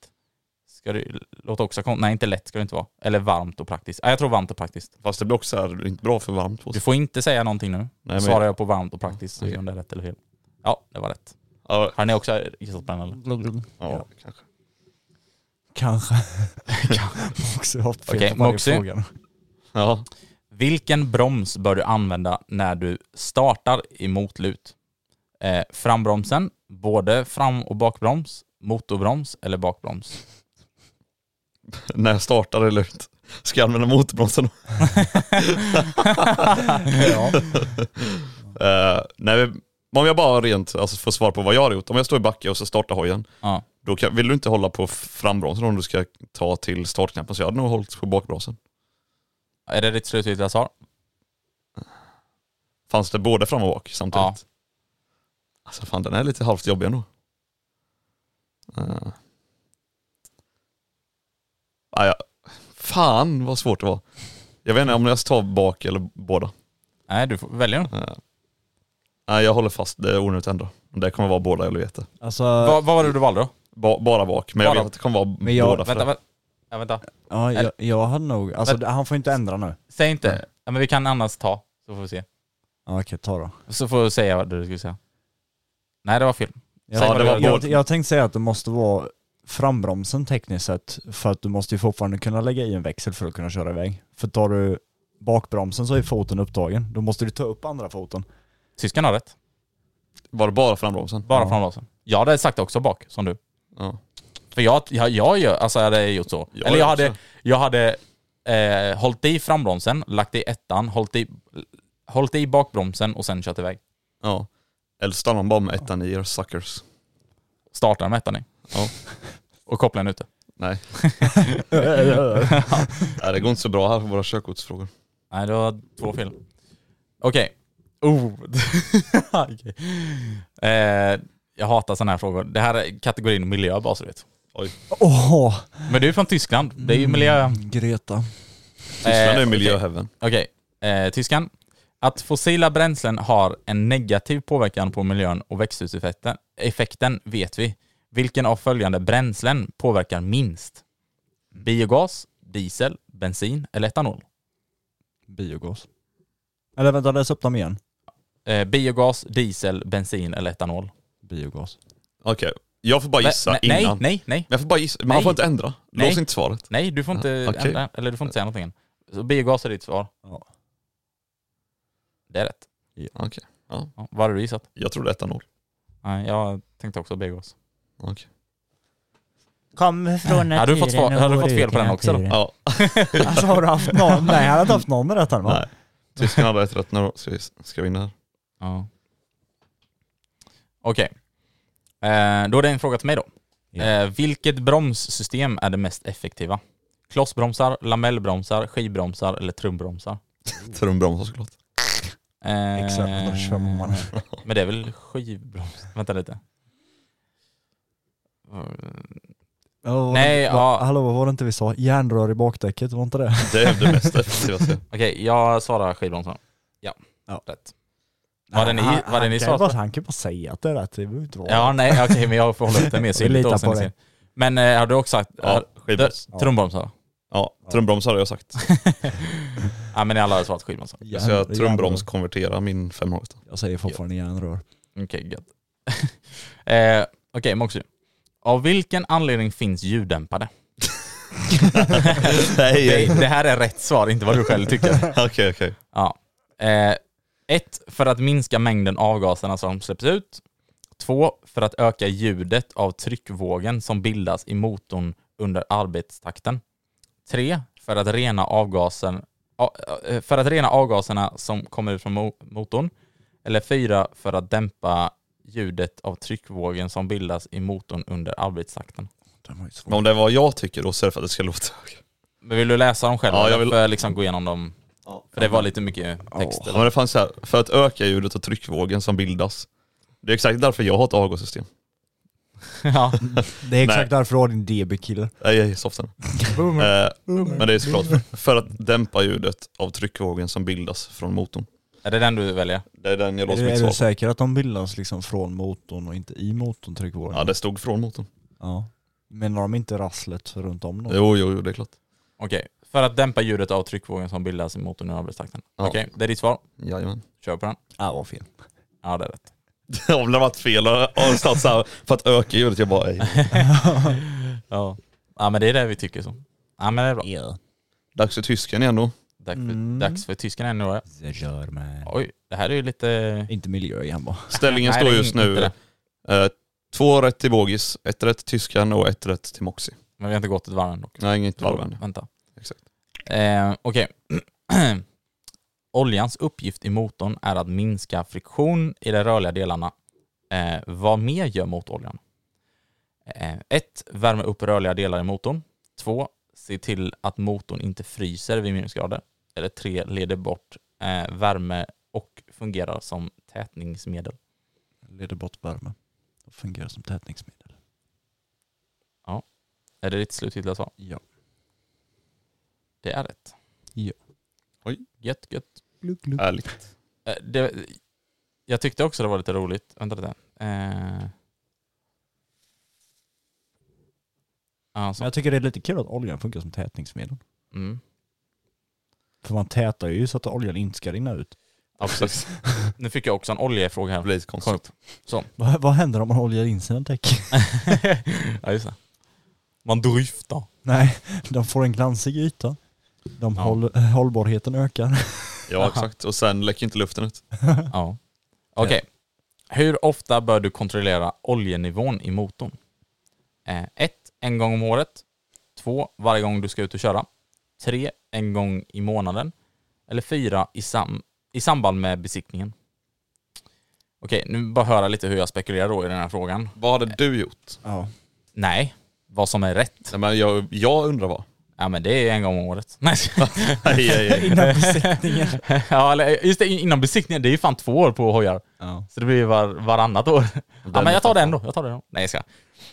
[SPEAKER 3] Ska det låta också kon- Nej, inte lätt ska det inte vara. Eller varmt och praktiskt. Nej, jag tror varmt och praktiskt.
[SPEAKER 8] Fast det blir också så här, det blir inte bra för varmt på
[SPEAKER 3] Du
[SPEAKER 8] sig.
[SPEAKER 3] får inte säga någonting nu.
[SPEAKER 8] men-
[SPEAKER 3] Svarar jag på varmt och praktiskt så är om det är rätt eller fel. Ja, det var rätt.
[SPEAKER 8] Ja,
[SPEAKER 3] Har ni också gissat på den eller?
[SPEAKER 8] ja, kanske.
[SPEAKER 2] Kanske. Moxie har haft fel
[SPEAKER 3] Okej,
[SPEAKER 2] på varje
[SPEAKER 3] Moxie.
[SPEAKER 2] fråga.
[SPEAKER 8] Ja,
[SPEAKER 3] Vilken broms bör du använda när du startar i motlut? Eh, frambromsen, både fram och bakbroms, motorbroms eller bakbroms?
[SPEAKER 8] (laughs) när jag startar eller ut. Ska jag använda
[SPEAKER 3] (laughs)
[SPEAKER 8] motorbromsen då?
[SPEAKER 2] Ja.
[SPEAKER 8] (laughs) Eh, nej, men om jag bara rent alltså, får svar på vad jag har gjort. Om jag står i backe och så startar hojen,
[SPEAKER 3] Ja.
[SPEAKER 8] då kan, vill du inte hålla på frambromsen om du ska ta till startknappen. Så jag hade nog hållit på bakbromsen.
[SPEAKER 3] Är det ditt slutgiltiga svar?
[SPEAKER 8] Fanns det både fram och bak samtidigt?
[SPEAKER 3] Ja.
[SPEAKER 8] Alltså fan den är lite halvt jobbig ändå.
[SPEAKER 4] Eh. Ah, ja. Fan vad svårt det var. Jag vet inte om jag ska ta bak eller båda.
[SPEAKER 3] Nej, du får välja den.
[SPEAKER 4] Eh. Nej, jag håller fast, det är onödigt att ändra. Det kommer vara båda, jag vet det.
[SPEAKER 2] Alltså,
[SPEAKER 3] Vad, vad var det du valde då?
[SPEAKER 4] Ba, bara bak, men jag
[SPEAKER 3] Bara-
[SPEAKER 4] vet att det kommer vara
[SPEAKER 2] Men jag-
[SPEAKER 4] båda. för
[SPEAKER 3] Vänta,
[SPEAKER 4] det.
[SPEAKER 3] vänta. Ja, vänta.
[SPEAKER 2] ja, jag, jag hade nog... Alltså
[SPEAKER 3] Men-
[SPEAKER 2] han får inte ändra nu.
[SPEAKER 3] Säg inte. Ja, men vi kan annars ta, så får vi se.
[SPEAKER 2] Ja, okej, ta då.
[SPEAKER 3] Så får du säga vad du skulle säga. Nej, det var fel.
[SPEAKER 2] Jag,
[SPEAKER 3] Säg vad
[SPEAKER 4] det
[SPEAKER 3] du
[SPEAKER 4] var
[SPEAKER 3] hade
[SPEAKER 4] båda.
[SPEAKER 3] gjort.
[SPEAKER 2] jag, jag tänkte säga att det måste vara frambromsen tekniskt sett för att du måste ju fortfarande kunna lägga i en växel för att kunna köra iväg. För tar du bakbromsen så är foten upptagen. Då måste du ta upp andra foten.
[SPEAKER 3] Tyskan har rätt.
[SPEAKER 4] Var det bara frambromsen?
[SPEAKER 3] Bara
[SPEAKER 2] Ja.
[SPEAKER 3] frambromsen. Jag hade sagt också bak, som du.
[SPEAKER 4] Ja.
[SPEAKER 3] För jag, jag, jag gör, alltså jag hade gjort så.
[SPEAKER 4] Jag
[SPEAKER 3] Eller jag
[SPEAKER 4] gör
[SPEAKER 3] hade,
[SPEAKER 4] också.
[SPEAKER 3] jag hade eh, hållit i frambromsen, lagt i ettan, hållit i, hållit i bakbromsen och sen kört iväg.
[SPEAKER 4] ja. Eller stannar man bara med ettan i er suckers?
[SPEAKER 3] Startar med ettan i.
[SPEAKER 4] Ja.
[SPEAKER 3] (laughs) Och kopplar den ute. (laughs)
[SPEAKER 4] Nej. Nej, det går inte så bra här på våra körkortsfrågor.
[SPEAKER 3] Nej, det var två fel. Okej. Oh. (laughs) Okej. eh, jag hatar sådana här frågor. Det här är kategorin miljö bara så du vet.
[SPEAKER 2] Åh!
[SPEAKER 3] Men du är från Tyskland. Det är ju miljö...
[SPEAKER 2] Mm. Greta.
[SPEAKER 4] Tyskland är
[SPEAKER 3] Eh,
[SPEAKER 4] ju miljöheaven.
[SPEAKER 3] Okej, eh, tyskan. Att fossila bränslen har en negativ påverkan på miljön och växthuseffekten effekten vet vi. Vilken av följande bränslen påverkar minst? Biogas, diesel, bensin eller etanol?
[SPEAKER 2] Biogas. Eller vänta, läs upp dem igen.
[SPEAKER 3] Eh, biogas, diesel, bensin eller etanol?
[SPEAKER 2] Biogas.
[SPEAKER 4] Okej, jag får bara gissa
[SPEAKER 3] Nej, nej,
[SPEAKER 4] innan.
[SPEAKER 3] nej, nej,
[SPEAKER 4] Men jag får bara gissa, men
[SPEAKER 3] Nej.
[SPEAKER 4] han får inte ändra.
[SPEAKER 3] Nej.
[SPEAKER 4] Lås inte svaret.
[SPEAKER 3] nej, du får inte
[SPEAKER 4] Ah, okej.
[SPEAKER 3] ändra, eller du får inte säga någonting än. Så biogas är ditt svar.
[SPEAKER 2] Ja.
[SPEAKER 3] Det är rätt.
[SPEAKER 4] Okej,
[SPEAKER 3] Ja, vad hade du gissat?
[SPEAKER 4] jag trodde
[SPEAKER 3] (laughs)
[SPEAKER 4] etanol.
[SPEAKER 3] Nej, jag tänkte också biogas.
[SPEAKER 4] Okej.
[SPEAKER 2] Kommer från
[SPEAKER 3] Äh, Hade du fått, svar, hade du fått fel på den också då?
[SPEAKER 4] Ja,
[SPEAKER 2] (laughs) Alltså har du haft någon? Nej, han har inte haft någon rätt här va?
[SPEAKER 4] nej. Tyskarna hade ett rätt när de ska vi- ska vinna här.
[SPEAKER 3] Ja. Okej. Eh, då är det en fråga till mig då.
[SPEAKER 2] Ja.
[SPEAKER 3] Eh, vilket bromssystem är det mest effektiva? Klossbromsar, lamellbromsar, skivbromsar eller trumbromsar?
[SPEAKER 4] (laughs) Trumbromsar såklart.
[SPEAKER 3] Eh,
[SPEAKER 2] Exakt, då kör man här.
[SPEAKER 3] (laughs) Men det är väl skivbromsar? Vänta lite.
[SPEAKER 2] Ja,
[SPEAKER 3] Nej,
[SPEAKER 2] vad-
[SPEAKER 3] ja.
[SPEAKER 2] Hallå, vad var det inte vi sa? Järnrör i bakdäcket, var inte det?
[SPEAKER 4] Det är det mest effektivaste.
[SPEAKER 3] Okej, jag svarar skivbromsar. Ja,
[SPEAKER 2] Ja.
[SPEAKER 3] rätt. Vad hade ni-
[SPEAKER 2] Han-
[SPEAKER 3] vad hade
[SPEAKER 2] han
[SPEAKER 3] ni
[SPEAKER 2] kan
[SPEAKER 3] svarat
[SPEAKER 2] ju bara-
[SPEAKER 3] på?
[SPEAKER 2] Han kan ju bara säga att det är rätt, det behöver inte vara
[SPEAKER 3] Ja, nej, okej, men jag får hålla upp
[SPEAKER 2] (laughs)
[SPEAKER 3] det mer synligt
[SPEAKER 2] litar
[SPEAKER 3] då, sen
[SPEAKER 2] på
[SPEAKER 3] ser-
[SPEAKER 2] dig.
[SPEAKER 3] Men eh, har du också sagt...
[SPEAKER 4] Ja, skivbroms.
[SPEAKER 3] Ja. Trumbromsar?
[SPEAKER 4] Ja, trumbromsar har jag sagt.
[SPEAKER 3] (laughs) Ja, men ni alla har svarat skivbromsar.
[SPEAKER 2] Järn-
[SPEAKER 4] Jag ska
[SPEAKER 2] järnrör.
[SPEAKER 4] trumbromskonvertera min 508.
[SPEAKER 2] Jag säger fortfarande järnrör.
[SPEAKER 3] Okej, gött. (laughs) eh, Okej, Moxie. Av vilken anledning finns ljuddämpare? (laughs)
[SPEAKER 4] Nej,
[SPEAKER 3] Det, det här är rätt svar, inte vad du själv tycker.
[SPEAKER 4] (laughs) Okej, okej.
[SPEAKER 3] Ja. Eh, ett, för att minska mängden avgaserna som släpps ut. Två, för att öka ljudet av tryckvågen som bildas i motorn under arbetstakten. Tre, för att rena avgasen, a- eh, för att rena avgaserna som kommer ut från mo- motorn. Eller fyra, för att dämpa ljudet av tryckvågen som bildas i motorn under arbetstakten.
[SPEAKER 2] Den var ju svår.
[SPEAKER 4] Men Om det är vad jag tycker då så är det för att det ska låta högre.
[SPEAKER 3] Men vill du läsa dem själv?
[SPEAKER 4] Ja, jag
[SPEAKER 3] eller
[SPEAKER 4] vill-
[SPEAKER 3] För att liksom gå igenom dem. För det var lite mycket text.
[SPEAKER 4] Ja, men det fanns så här, för att öka ljudet och tryckvågen som bildas. Det är exakt därför jag har ett avgassystem.
[SPEAKER 3] (laughs) ja.
[SPEAKER 2] Det är exakt
[SPEAKER 4] Nej.
[SPEAKER 2] därför du har din DB-kille.
[SPEAKER 4] Nej, jag är soften. Eh, men det är såklart för, för att dämpa ljudet av tryckvågen som bildas från motorn.
[SPEAKER 3] Är det den du väljer?
[SPEAKER 4] Det är den jag
[SPEAKER 2] Är,
[SPEAKER 4] låser mitt
[SPEAKER 2] du- är du
[SPEAKER 4] svar på.
[SPEAKER 2] säker att de bildas liksom från motorn och inte i motorn tryckvågen?
[SPEAKER 4] Ja, det stod från motorn.
[SPEAKER 2] Ja. Menar de inte rasslet runt om dem?
[SPEAKER 4] Jo, jo, jo, det är klart.
[SPEAKER 3] Okej, för att dämpa ljudet av tryckvågen som bildas i motorn i arbetstakten.
[SPEAKER 4] Ja.
[SPEAKER 3] Okej, det är ditt svar.
[SPEAKER 4] Jajamän.
[SPEAKER 3] Kör på den.
[SPEAKER 2] Ja, vad fel.
[SPEAKER 3] Ja, det är rätt.
[SPEAKER 4] (laughs) Om det har varit fel och och stått så här, för att öka ljudet, jag bara ej.
[SPEAKER 3] (laughs) Ja. ja, men det är det vi tycker så. Ja, men det är bra.
[SPEAKER 4] Dags för tysken igen då.
[SPEAKER 3] Dags för, dags för tyskarna ännu. då.
[SPEAKER 2] Det gör man.
[SPEAKER 3] Oj, det här är ju lite...
[SPEAKER 2] Inte miljö igen bara.
[SPEAKER 4] Ställningen
[SPEAKER 3] (laughs) Nej,
[SPEAKER 4] står
[SPEAKER 3] det är
[SPEAKER 4] just
[SPEAKER 3] inte
[SPEAKER 4] nu
[SPEAKER 3] det.
[SPEAKER 4] eh, två rätt till Bogis, ett rätt till tyskan och ett rätt till Moxie.
[SPEAKER 3] Men vi har inte gått ett varv än dock.
[SPEAKER 4] Nej, inget varv än.
[SPEAKER 3] Vänta.
[SPEAKER 4] Exakt.
[SPEAKER 3] Eh, Okej. (clears throat) Oljans uppgift i motorn är att minska friktion i de rörliga delarna. Eh, vad mer gör motoroljan? 1. värma upp rörliga delar i motorn. 2. Se till att motorn inte fryser vid minusgrader. Eller 3. Leder bort eh, värme och fungerar som tätningsmedel.
[SPEAKER 2] Leder bort värme. Det fungerar som tätningsmedel.
[SPEAKER 3] Är det ditt slutgiltiga svar?
[SPEAKER 2] Ja.
[SPEAKER 3] Det är rätt.
[SPEAKER 2] Ja.
[SPEAKER 4] Oj.
[SPEAKER 3] Gött, gött.
[SPEAKER 4] Ärligt.
[SPEAKER 3] Eh, Det, jag tyckte också det var lite roligt. Vänta lite. Eh. Ja,
[SPEAKER 2] Men
[SPEAKER 3] så.
[SPEAKER 2] jag tycker det är lite kul att oljan funkar som tätningsmedel.
[SPEAKER 3] Mm.
[SPEAKER 2] För man tätar ju så att oljan inte ska rinna ut.
[SPEAKER 3] Ja, precis. Nu fick jag också en oljefråga
[SPEAKER 4] Det
[SPEAKER 3] här.
[SPEAKER 4] blir lite konstigt.
[SPEAKER 2] Vad, vad händer om man oljar in sina däck?
[SPEAKER 3] (laughs) ja, just det. Man dryftar.
[SPEAKER 2] Nej, de får en glansig yta. De
[SPEAKER 3] Ja.
[SPEAKER 2] håll, hållbarheten ökar.
[SPEAKER 4] Ja exakt. Och sen läcker inte luften ut.
[SPEAKER 3] (laughs) Ja. Okej. Hur ofta bör du kontrollera oljenivån i motorn? 1. en gång om året. 2. Varje gång du ska ut och köra. 3. En gång i månaden. Eller 4. I, sam i samband med besiktningen. Okej, nu bara höra lite hur jag spekulerar då i den här frågan.
[SPEAKER 4] Vad hade du gjort?
[SPEAKER 2] Ja.
[SPEAKER 3] Nej, vad som är rätt.
[SPEAKER 4] Nej, men jag, jag undrar vad.
[SPEAKER 3] Ja men det är en gång om året.
[SPEAKER 4] (laughs)
[SPEAKER 3] Nej,
[SPEAKER 4] Nej, nej, nej.
[SPEAKER 2] Innan besiktningen.
[SPEAKER 3] (laughs) ja, eller just det, innan besiktningen. Det är ju fan två år på hojar.
[SPEAKER 2] Ja.
[SPEAKER 3] Så det blir ju var, varannat år. Ja, men jag tar den då. Jag tar den då. Nej, jag ska.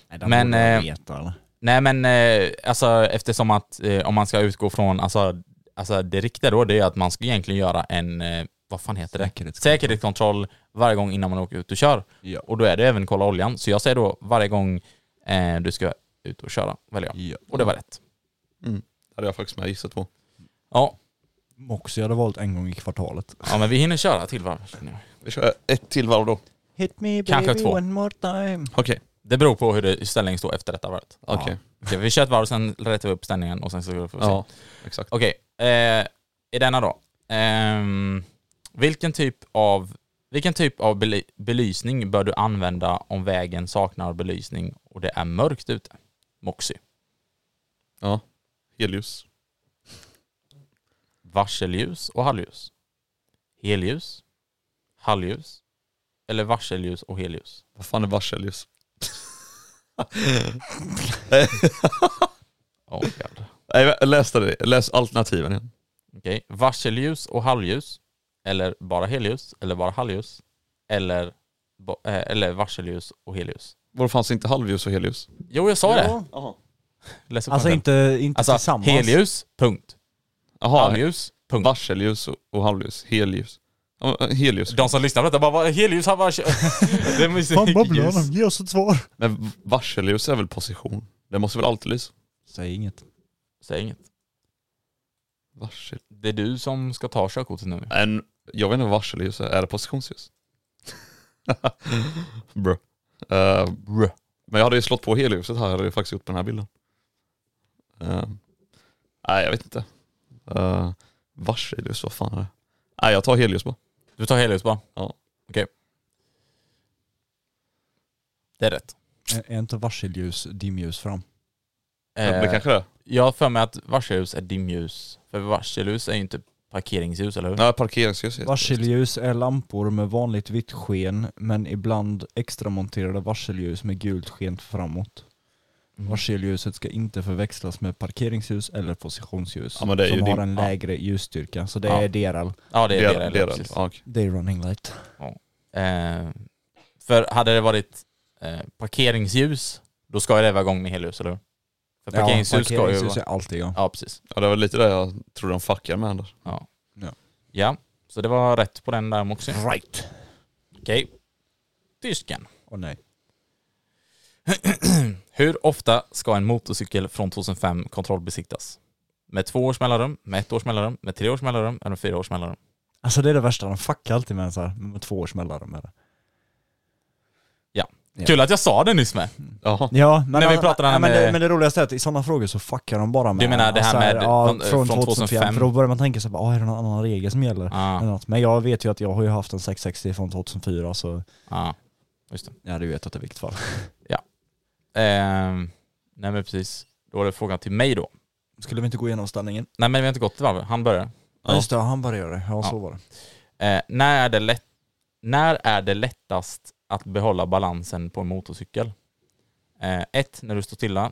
[SPEAKER 3] Men, borde man eh, Nej men eh, alltså eftersom att eh, om man ska utgå från, alltså, alltså det riktiga då det är att man ska egentligen göra en, eh, vad fan heter det?
[SPEAKER 2] Säkerhetskontroll.
[SPEAKER 3] Säkerhetskontroll varje gång innan man åker ut och kör.
[SPEAKER 2] Ja.
[SPEAKER 3] Och då är det även kolla oljan. Så jag säger då varje gång eh, du ska ut och köra, väljer jag.
[SPEAKER 2] Ja.
[SPEAKER 3] Och det var rätt.
[SPEAKER 4] Mm. Det hade jag faktiskt med gissat på.
[SPEAKER 3] Ja,
[SPEAKER 2] Moxie hade valt en gång i kvartalet.
[SPEAKER 3] ja men vi hinner köra till varv. känner jag.
[SPEAKER 4] Vi kör ett till varv då.
[SPEAKER 2] Hit me
[SPEAKER 3] Kanske
[SPEAKER 2] baby
[SPEAKER 3] två.
[SPEAKER 2] one more time.
[SPEAKER 4] Okej.
[SPEAKER 3] Det beror på hur det- hur ställningen står efter detta varvet.
[SPEAKER 4] Okej.
[SPEAKER 3] Okej, vi kör ett varv, sen rättar vi upp ställningen och sen så får vi se.
[SPEAKER 4] Ja, exakt.
[SPEAKER 3] Okej, eh, i denna då. Ehm, vilken typ av, vilken typ av bely- belysning bör du använda om vägen saknar belysning och det är mörkt ute? Moxie.
[SPEAKER 4] Ja. Helljus.
[SPEAKER 3] Varselljus och halvljus. Helljus, halvljus eller varselljus och helljus.
[SPEAKER 4] Vad fan är varselljus?
[SPEAKER 3] (laughs) Oh, God.
[SPEAKER 4] Nej, jag läste det. Läs alternativen igen.
[SPEAKER 3] Okej, varselljus och halvljus eller bara helljus eller bara halvljus eller, ba- eh, eller varselljus och helljus.
[SPEAKER 4] Var fanns inte halvljus och helljus?
[SPEAKER 3] Jo, jag sa det.
[SPEAKER 2] Ja.
[SPEAKER 3] Läs upp
[SPEAKER 2] Alltså
[SPEAKER 3] den själv.
[SPEAKER 2] inte, inte
[SPEAKER 3] Alltså
[SPEAKER 2] tillsammans.
[SPEAKER 3] helljus, punkt.
[SPEAKER 4] Jaha,
[SPEAKER 3] Halvljus, punkt.
[SPEAKER 4] varselljus och- och halvljus. Helljus. Ja, men, eh, Helljus.
[SPEAKER 3] De som lyssnar på detta bara, vad- helljus, han
[SPEAKER 4] (laughs)
[SPEAKER 3] bara... kö- det är
[SPEAKER 2] Fan babblar
[SPEAKER 3] musikljus.
[SPEAKER 2] han om? Ge oss ett svar.
[SPEAKER 4] Men v- varselljus är väl position? Det måste väl alltid lysa?
[SPEAKER 2] Säg inget.
[SPEAKER 3] Säg inget.
[SPEAKER 4] Varsel.
[SPEAKER 3] Det är du som ska ta körkortet nu.
[SPEAKER 4] En, jag vet inte vad varselljus är. Är det positionsljus? Bro. Eh, bro. Men jag hade ju slått på helljuset här, hade jag faktiskt gjort på den här bilden. Eh, nej, jag vet inte. Uh, varselljus, vad fan är det? Nej, jag tar helljus bara.
[SPEAKER 3] Du tar helljus bara.
[SPEAKER 4] Ja.
[SPEAKER 3] Okej. Det är rätt.
[SPEAKER 2] Är- Är inte varselljus dimljus fram?
[SPEAKER 4] Men det
[SPEAKER 3] Eh,
[SPEAKER 4] kanske det är.
[SPEAKER 3] jag har för mig att varselljus är dimljus. För varselljus är ju inte parkeringsljus, eller hur?
[SPEAKER 4] Nej, parkeringsljus heter det.
[SPEAKER 2] Varselljus är lampor med vanligt vitt sken men ibland extramonterade varselljus med gult sken framåt. Varselljuset ska inte förväxlas med parkeringsljus eller positionsljus
[SPEAKER 4] Ja, men det är
[SPEAKER 2] som
[SPEAKER 4] ju
[SPEAKER 2] har
[SPEAKER 4] dim-
[SPEAKER 2] en
[SPEAKER 3] ja.
[SPEAKER 2] lägre ljusstyrka. Så det
[SPEAKER 3] Ja.
[SPEAKER 2] är DRL.
[SPEAKER 3] Ja, det är
[SPEAKER 4] det,
[SPEAKER 3] det.
[SPEAKER 4] det,
[SPEAKER 3] det,
[SPEAKER 4] är
[SPEAKER 3] är
[SPEAKER 4] det.
[SPEAKER 3] precis.
[SPEAKER 4] Ja, okej.
[SPEAKER 2] Day running light.
[SPEAKER 3] Eh, för hade det varit eh, parkeringsljus, då ska ju det vara igång med helljus, eller hur? För parkeringsljus, ska ju
[SPEAKER 2] parkeringsljus
[SPEAKER 3] vara...
[SPEAKER 2] är alltid igång.
[SPEAKER 3] Ja, precis.
[SPEAKER 4] ja, det var lite det jag trodde de fuckade med där.
[SPEAKER 3] Ja, så det var rätt på den där också.
[SPEAKER 2] Right.
[SPEAKER 3] Okej. Tysken.
[SPEAKER 2] Åh nej.
[SPEAKER 3] Hur ofta ska en motorcykel från 2005 kontrollbesiktas? Med två års mellanrum, med ett års mellanrum, med tre års mellanrum eller med fyra års mellanrum?
[SPEAKER 2] Alltså det är det värsta, de fuckar alltid med en så här, med två års mellanrum med det.
[SPEAKER 3] Ja.
[SPEAKER 2] Ja.
[SPEAKER 3] Kul att jag sa det nyss med.
[SPEAKER 4] Jaha.
[SPEAKER 2] Ja, men,
[SPEAKER 3] När vi pratade
[SPEAKER 2] ja, men,
[SPEAKER 3] med-
[SPEAKER 2] det, men det roligaste är att i sådana frågor så fuckar de bara med...
[SPEAKER 3] Du menar det här
[SPEAKER 2] alltså
[SPEAKER 3] med
[SPEAKER 2] ja,
[SPEAKER 3] från-
[SPEAKER 2] från,
[SPEAKER 3] från
[SPEAKER 2] 2005?
[SPEAKER 3] 2005?
[SPEAKER 2] För då börjar man tänka så här, "Ah, är det någon annan regel som gäller?
[SPEAKER 3] Ah.
[SPEAKER 2] Eller något. Men jag vet ju att jag har ju haft en 660 från 2004 så
[SPEAKER 3] Ja, just det.
[SPEAKER 2] ja, du vet att det är viktigt för.
[SPEAKER 3] Ehm, nej men precis. Då är det frågan till mig då.
[SPEAKER 2] Skulle vi inte gå igenom ställningen?
[SPEAKER 3] Nej men vi har inte gått till varv. Han börjar.
[SPEAKER 2] Ja. Just det, han började göra det. Ja,
[SPEAKER 3] Ja.
[SPEAKER 2] så var det.
[SPEAKER 3] Eh, när, är det lätt, när är det lättast att behålla balansen på en motorcykel? 1. när du står stilla.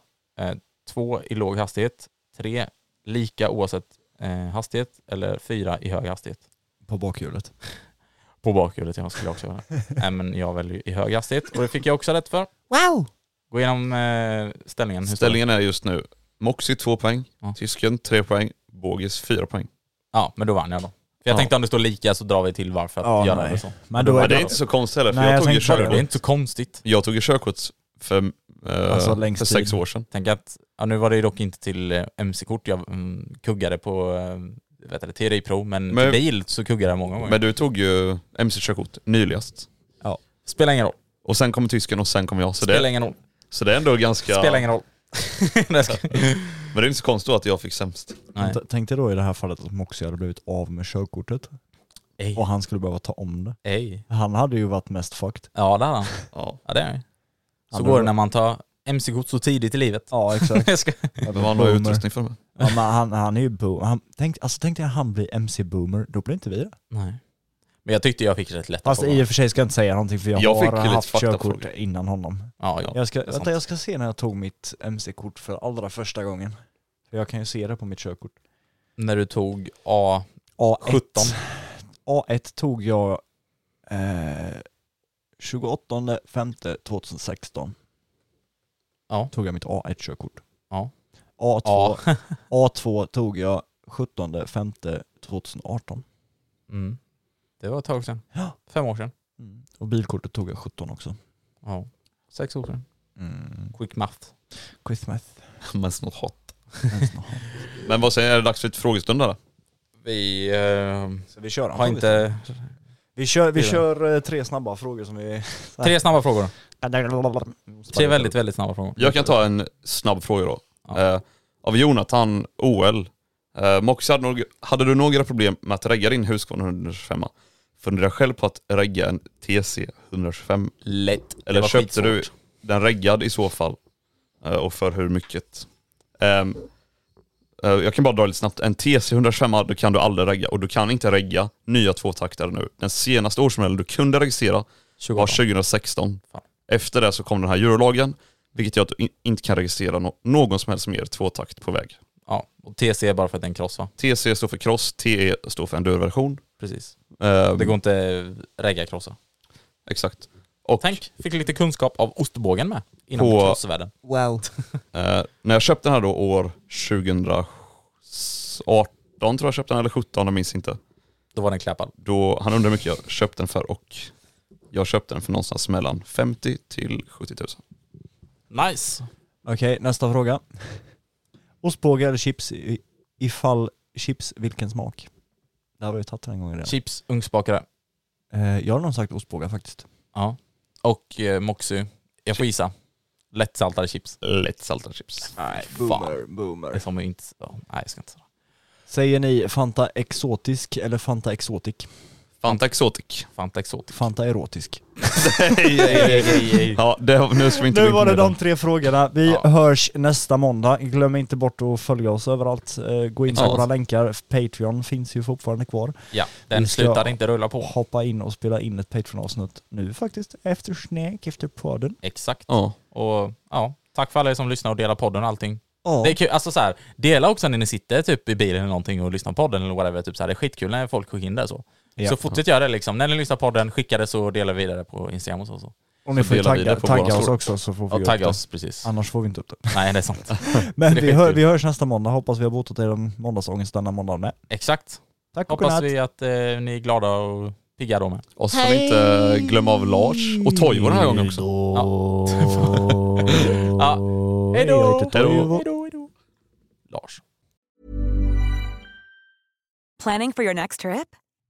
[SPEAKER 3] 2. i låg hastighet. 3. Lika oavsett eh, hastighet. Eller 4. i hög hastighet.
[SPEAKER 2] På bakhjulet.
[SPEAKER 9] (laughs)
[SPEAKER 3] På bakhjulet jag skulle jag också göra. Nej men jag väljer i hög hastighet och det fick jag också rätt för.
[SPEAKER 2] Wow!
[SPEAKER 3] Gå igenom eh, ställningen. Hur står det?
[SPEAKER 4] Ställningen är just nu Moxie 2 poäng,
[SPEAKER 3] Ja.
[SPEAKER 4] Tysken 3 poäng, Bågis 4 poäng.
[SPEAKER 3] Ja, men då vann jag då. För jag
[SPEAKER 4] Ja.
[SPEAKER 3] tänkte om det står lika så drar vi till varför att
[SPEAKER 9] Ja,
[SPEAKER 3] göra
[SPEAKER 9] nej.
[SPEAKER 3] det så.
[SPEAKER 9] Men då
[SPEAKER 4] Ja,
[SPEAKER 9] är
[SPEAKER 4] det är
[SPEAKER 9] det...
[SPEAKER 4] inte så konstigt heller, för
[SPEAKER 9] Nej,
[SPEAKER 4] jag,
[SPEAKER 9] jag
[SPEAKER 4] tog ju
[SPEAKER 9] tänkte på
[SPEAKER 3] Det
[SPEAKER 4] körkort,
[SPEAKER 3] är inte så konstigt.
[SPEAKER 4] jag tog ju körkort för, eh,
[SPEAKER 2] Alltså, längst
[SPEAKER 4] för sex
[SPEAKER 2] tid.
[SPEAKER 4] år sedan.
[SPEAKER 3] Tänk att, ja, nu var det ju dock inte till eh, MC-kort jag mm, kuggade på eh, vet du, TDI Pro, men,
[SPEAKER 4] Men-
[SPEAKER 3] till bil så kuggade jag många gånger.
[SPEAKER 4] Men du tog ju MC-körkort nyligast.
[SPEAKER 3] Spelar ingen roll.
[SPEAKER 4] Och sen kommer tysken och sen kommer jag. Så
[SPEAKER 3] Spelar
[SPEAKER 4] det,
[SPEAKER 3] ingen roll.
[SPEAKER 4] så det är ändå ganska...
[SPEAKER 3] Spelar ingen roll. (laughs) Nej, jag ska-
[SPEAKER 4] (laughs) Men det är inte så konstigt då att jag fick sämst.
[SPEAKER 3] Nej.
[SPEAKER 2] T- Tänk dig då i det här fallet att Moxie hade blivit av med körkortet
[SPEAKER 3] Ej.
[SPEAKER 2] och han skulle behöva ta om det.
[SPEAKER 3] Ej.
[SPEAKER 2] Han hade ju varit mest fucked.
[SPEAKER 3] Ja, det hade han.
[SPEAKER 4] Ja.
[SPEAKER 3] Ja, det är det. Så
[SPEAKER 2] Han
[SPEAKER 3] går det
[SPEAKER 2] var-
[SPEAKER 3] när man tar MC-kort så tidigt i livet.
[SPEAKER 2] Ja exakt.
[SPEAKER 3] (laughs) Jag ska-
[SPEAKER 4] Men man har ju utrustning för det.
[SPEAKER 2] Ja, men han, han är ju boomer. Han, tänk, alltså, tänk dig att han blir MC-boomer, då blir inte vi det.
[SPEAKER 3] Nej. Men jag tyckte jag fick rätt lätta
[SPEAKER 2] Fast
[SPEAKER 3] frågor.
[SPEAKER 2] i och för sig ska jag inte säga någonting för jag,
[SPEAKER 4] Jag fick
[SPEAKER 2] har
[SPEAKER 4] lite
[SPEAKER 2] haft
[SPEAKER 4] fakta
[SPEAKER 2] körkort
[SPEAKER 4] frågor.
[SPEAKER 2] innan honom.
[SPEAKER 3] Ja, ja.
[SPEAKER 2] Jag ska,
[SPEAKER 3] det är sant.
[SPEAKER 2] vänta, jag ska se när jag tog mitt MC-kort för allra första gången. För jag kan ju se det på mitt körkort.
[SPEAKER 3] När du tog A...
[SPEAKER 2] A1.
[SPEAKER 3] 17.
[SPEAKER 2] A1 tog jag eh, 28 5 2016.
[SPEAKER 3] Ja.
[SPEAKER 2] Tog jag mitt A1-körkort.
[SPEAKER 3] Ja.
[SPEAKER 2] A2,
[SPEAKER 3] A.
[SPEAKER 2] A2 tog jag 17 5 2018.
[SPEAKER 3] Mm. Det var ett tag sedan.
[SPEAKER 2] Ja.
[SPEAKER 3] Fem år sedan.
[SPEAKER 2] Mm. Och bilkortet tog jag 17 också.
[SPEAKER 3] Ja. Sex år sedan.
[SPEAKER 2] Mm.
[SPEAKER 3] Quick math.
[SPEAKER 2] Christmas.
[SPEAKER 4] (laughs) Men snart hot.
[SPEAKER 2] Jaha.
[SPEAKER 4] Men vad säger är det dags för ett frågestund där?
[SPEAKER 3] Vi eh,
[SPEAKER 2] (laughs) Så vi kör en
[SPEAKER 3] har
[SPEAKER 2] fråga.
[SPEAKER 3] inte...
[SPEAKER 2] Vi kör, vi
[SPEAKER 3] Fyra.
[SPEAKER 2] kör eh, tre snabba frågor som vi...
[SPEAKER 3] Tre snabba frågor. Tre väldigt, väldigt snabba frågor.
[SPEAKER 4] Jag kan ta en snabb fråga då.
[SPEAKER 3] Ja.
[SPEAKER 4] Eh, av Jonathan OL. Eh, Moxie, hade, nog, hade du några problem med att regga din Husqvarna 125? Funderar själv på att regga en TC 125?
[SPEAKER 3] Lätt. Det
[SPEAKER 4] Eller
[SPEAKER 3] var
[SPEAKER 4] köpte du
[SPEAKER 3] skitsvårt.
[SPEAKER 4] den reggad i så fall? Eh, och för hur mycket? Ehm, eh, jag kan bara dra lite snabbt. En TC 125 då kan du aldrig regga och du kan inte regga nya tvåtaktare nu. Den senaste årsmodellen du kunde registrera var
[SPEAKER 3] 2018.
[SPEAKER 4] 2016.
[SPEAKER 3] Fan.
[SPEAKER 4] Efter det så kom den här eurolagen, vilket gör att du in- inte kan registrera nå- någon som helst mer tvåtakt på väg.
[SPEAKER 3] Ja. Och TC är bara för att det är en cross va?
[SPEAKER 4] TC står för cross, TE står för enduro-version.
[SPEAKER 3] Precis.
[SPEAKER 4] Ehm,
[SPEAKER 3] Det går inte regga krossa.
[SPEAKER 4] Exakt. Och
[SPEAKER 3] Tänk, fick lite kunskap av ostbågen med. Inom
[SPEAKER 4] På-
[SPEAKER 3] crossvärlden.
[SPEAKER 2] Wow.
[SPEAKER 4] Eh, när jag köpte den här då år 2018 tror jag köpte den, eller 17, jag minns inte.
[SPEAKER 3] Då var den klappad.
[SPEAKER 4] Då, han undrar hur mycket jag köpte den för och jag köpte den för någonstans mellan 50 till 70 000.
[SPEAKER 3] Nice.
[SPEAKER 2] Okej, nästa fråga. Ostbågar eller chips? I- Ifall chips, vilken smak? Det har vi ju tagit en gång redan.
[SPEAKER 3] Chips, ugnsbakare.
[SPEAKER 2] Eh, jag har nog sagt ostbågar faktiskt.
[SPEAKER 3] Ja. Och eh, Moxie. Jag får gissa. Lättsaltade chips.
[SPEAKER 4] Lätt saltade chips.
[SPEAKER 3] Nej, Det
[SPEAKER 2] boomer.
[SPEAKER 3] får man ju inte... Ja, nej, jag ska inte säga.
[SPEAKER 2] Säger ni Fanta exotisk eller Fanta exotic?
[SPEAKER 4] Fanta Exotic.
[SPEAKER 3] Fanta Exotic.
[SPEAKER 2] Fanta erotisk.
[SPEAKER 4] Ja, det, nu ska vi inte
[SPEAKER 2] Nu
[SPEAKER 4] gå in på
[SPEAKER 2] var det
[SPEAKER 4] den.
[SPEAKER 2] de tre frågorna. Vi
[SPEAKER 4] Ja.
[SPEAKER 2] hörs nästa måndag. Glöm inte bort att följa oss överallt. Eh, Gå in på
[SPEAKER 3] Ja.
[SPEAKER 2] våra länkar. Patreon finns ju fortfarande kvar.
[SPEAKER 3] Ja, den
[SPEAKER 2] Vi ska-
[SPEAKER 3] slutar inte rulla på.
[SPEAKER 2] Hoppa in och spela in ett Patreon-avsnitt nu faktiskt. Efter snack, efter podden.
[SPEAKER 3] Exakt.
[SPEAKER 4] Ja.
[SPEAKER 3] Och ja, tack för alla er som lyssnar och delar podden och allting.
[SPEAKER 2] Ja.
[SPEAKER 3] Det är kul, alltså så här, dela också när ni sitter typ i bilen eller någonting och lyssnar på podden eller whatever. Typ så här, det är skitkul när folk skickar in det så.
[SPEAKER 2] Ja.
[SPEAKER 3] Så fortsätt göra det liksom. När ni lyssnar på podden, skicka det så delar vi vidare på Instagram och så. så.
[SPEAKER 2] Och ni
[SPEAKER 4] Så
[SPEAKER 2] får ju
[SPEAKER 4] delar vi
[SPEAKER 2] tagga,
[SPEAKER 4] det på
[SPEAKER 2] tagga
[SPEAKER 4] våra
[SPEAKER 2] oss
[SPEAKER 4] stories.
[SPEAKER 2] också så får vi
[SPEAKER 3] Och
[SPEAKER 2] upp
[SPEAKER 3] tagga
[SPEAKER 2] det.
[SPEAKER 3] oss, precis.
[SPEAKER 2] Annars får vi inte upp det.
[SPEAKER 3] Nej, det
[SPEAKER 4] (laughs)
[SPEAKER 3] är sant.
[SPEAKER 2] (laughs) Men
[SPEAKER 3] Det är
[SPEAKER 2] vi, hör,
[SPEAKER 3] skitkul.
[SPEAKER 2] vi hörs nästa måndag. Hoppas vi har botat er måndagsångest denna måndag med.
[SPEAKER 3] Exakt.
[SPEAKER 2] Tack och
[SPEAKER 3] Hoppas
[SPEAKER 2] godnatt.
[SPEAKER 3] vi att eh, ni är glada och pigga då med.
[SPEAKER 4] Och så får vi inte glömma av Lars och Toivo den här gången också.
[SPEAKER 2] (laughs)
[SPEAKER 3] Ja. ja. Hej då!
[SPEAKER 2] Jag heter Toivo.
[SPEAKER 3] då, hej då. Lars.
[SPEAKER 5] Planning for your next trip?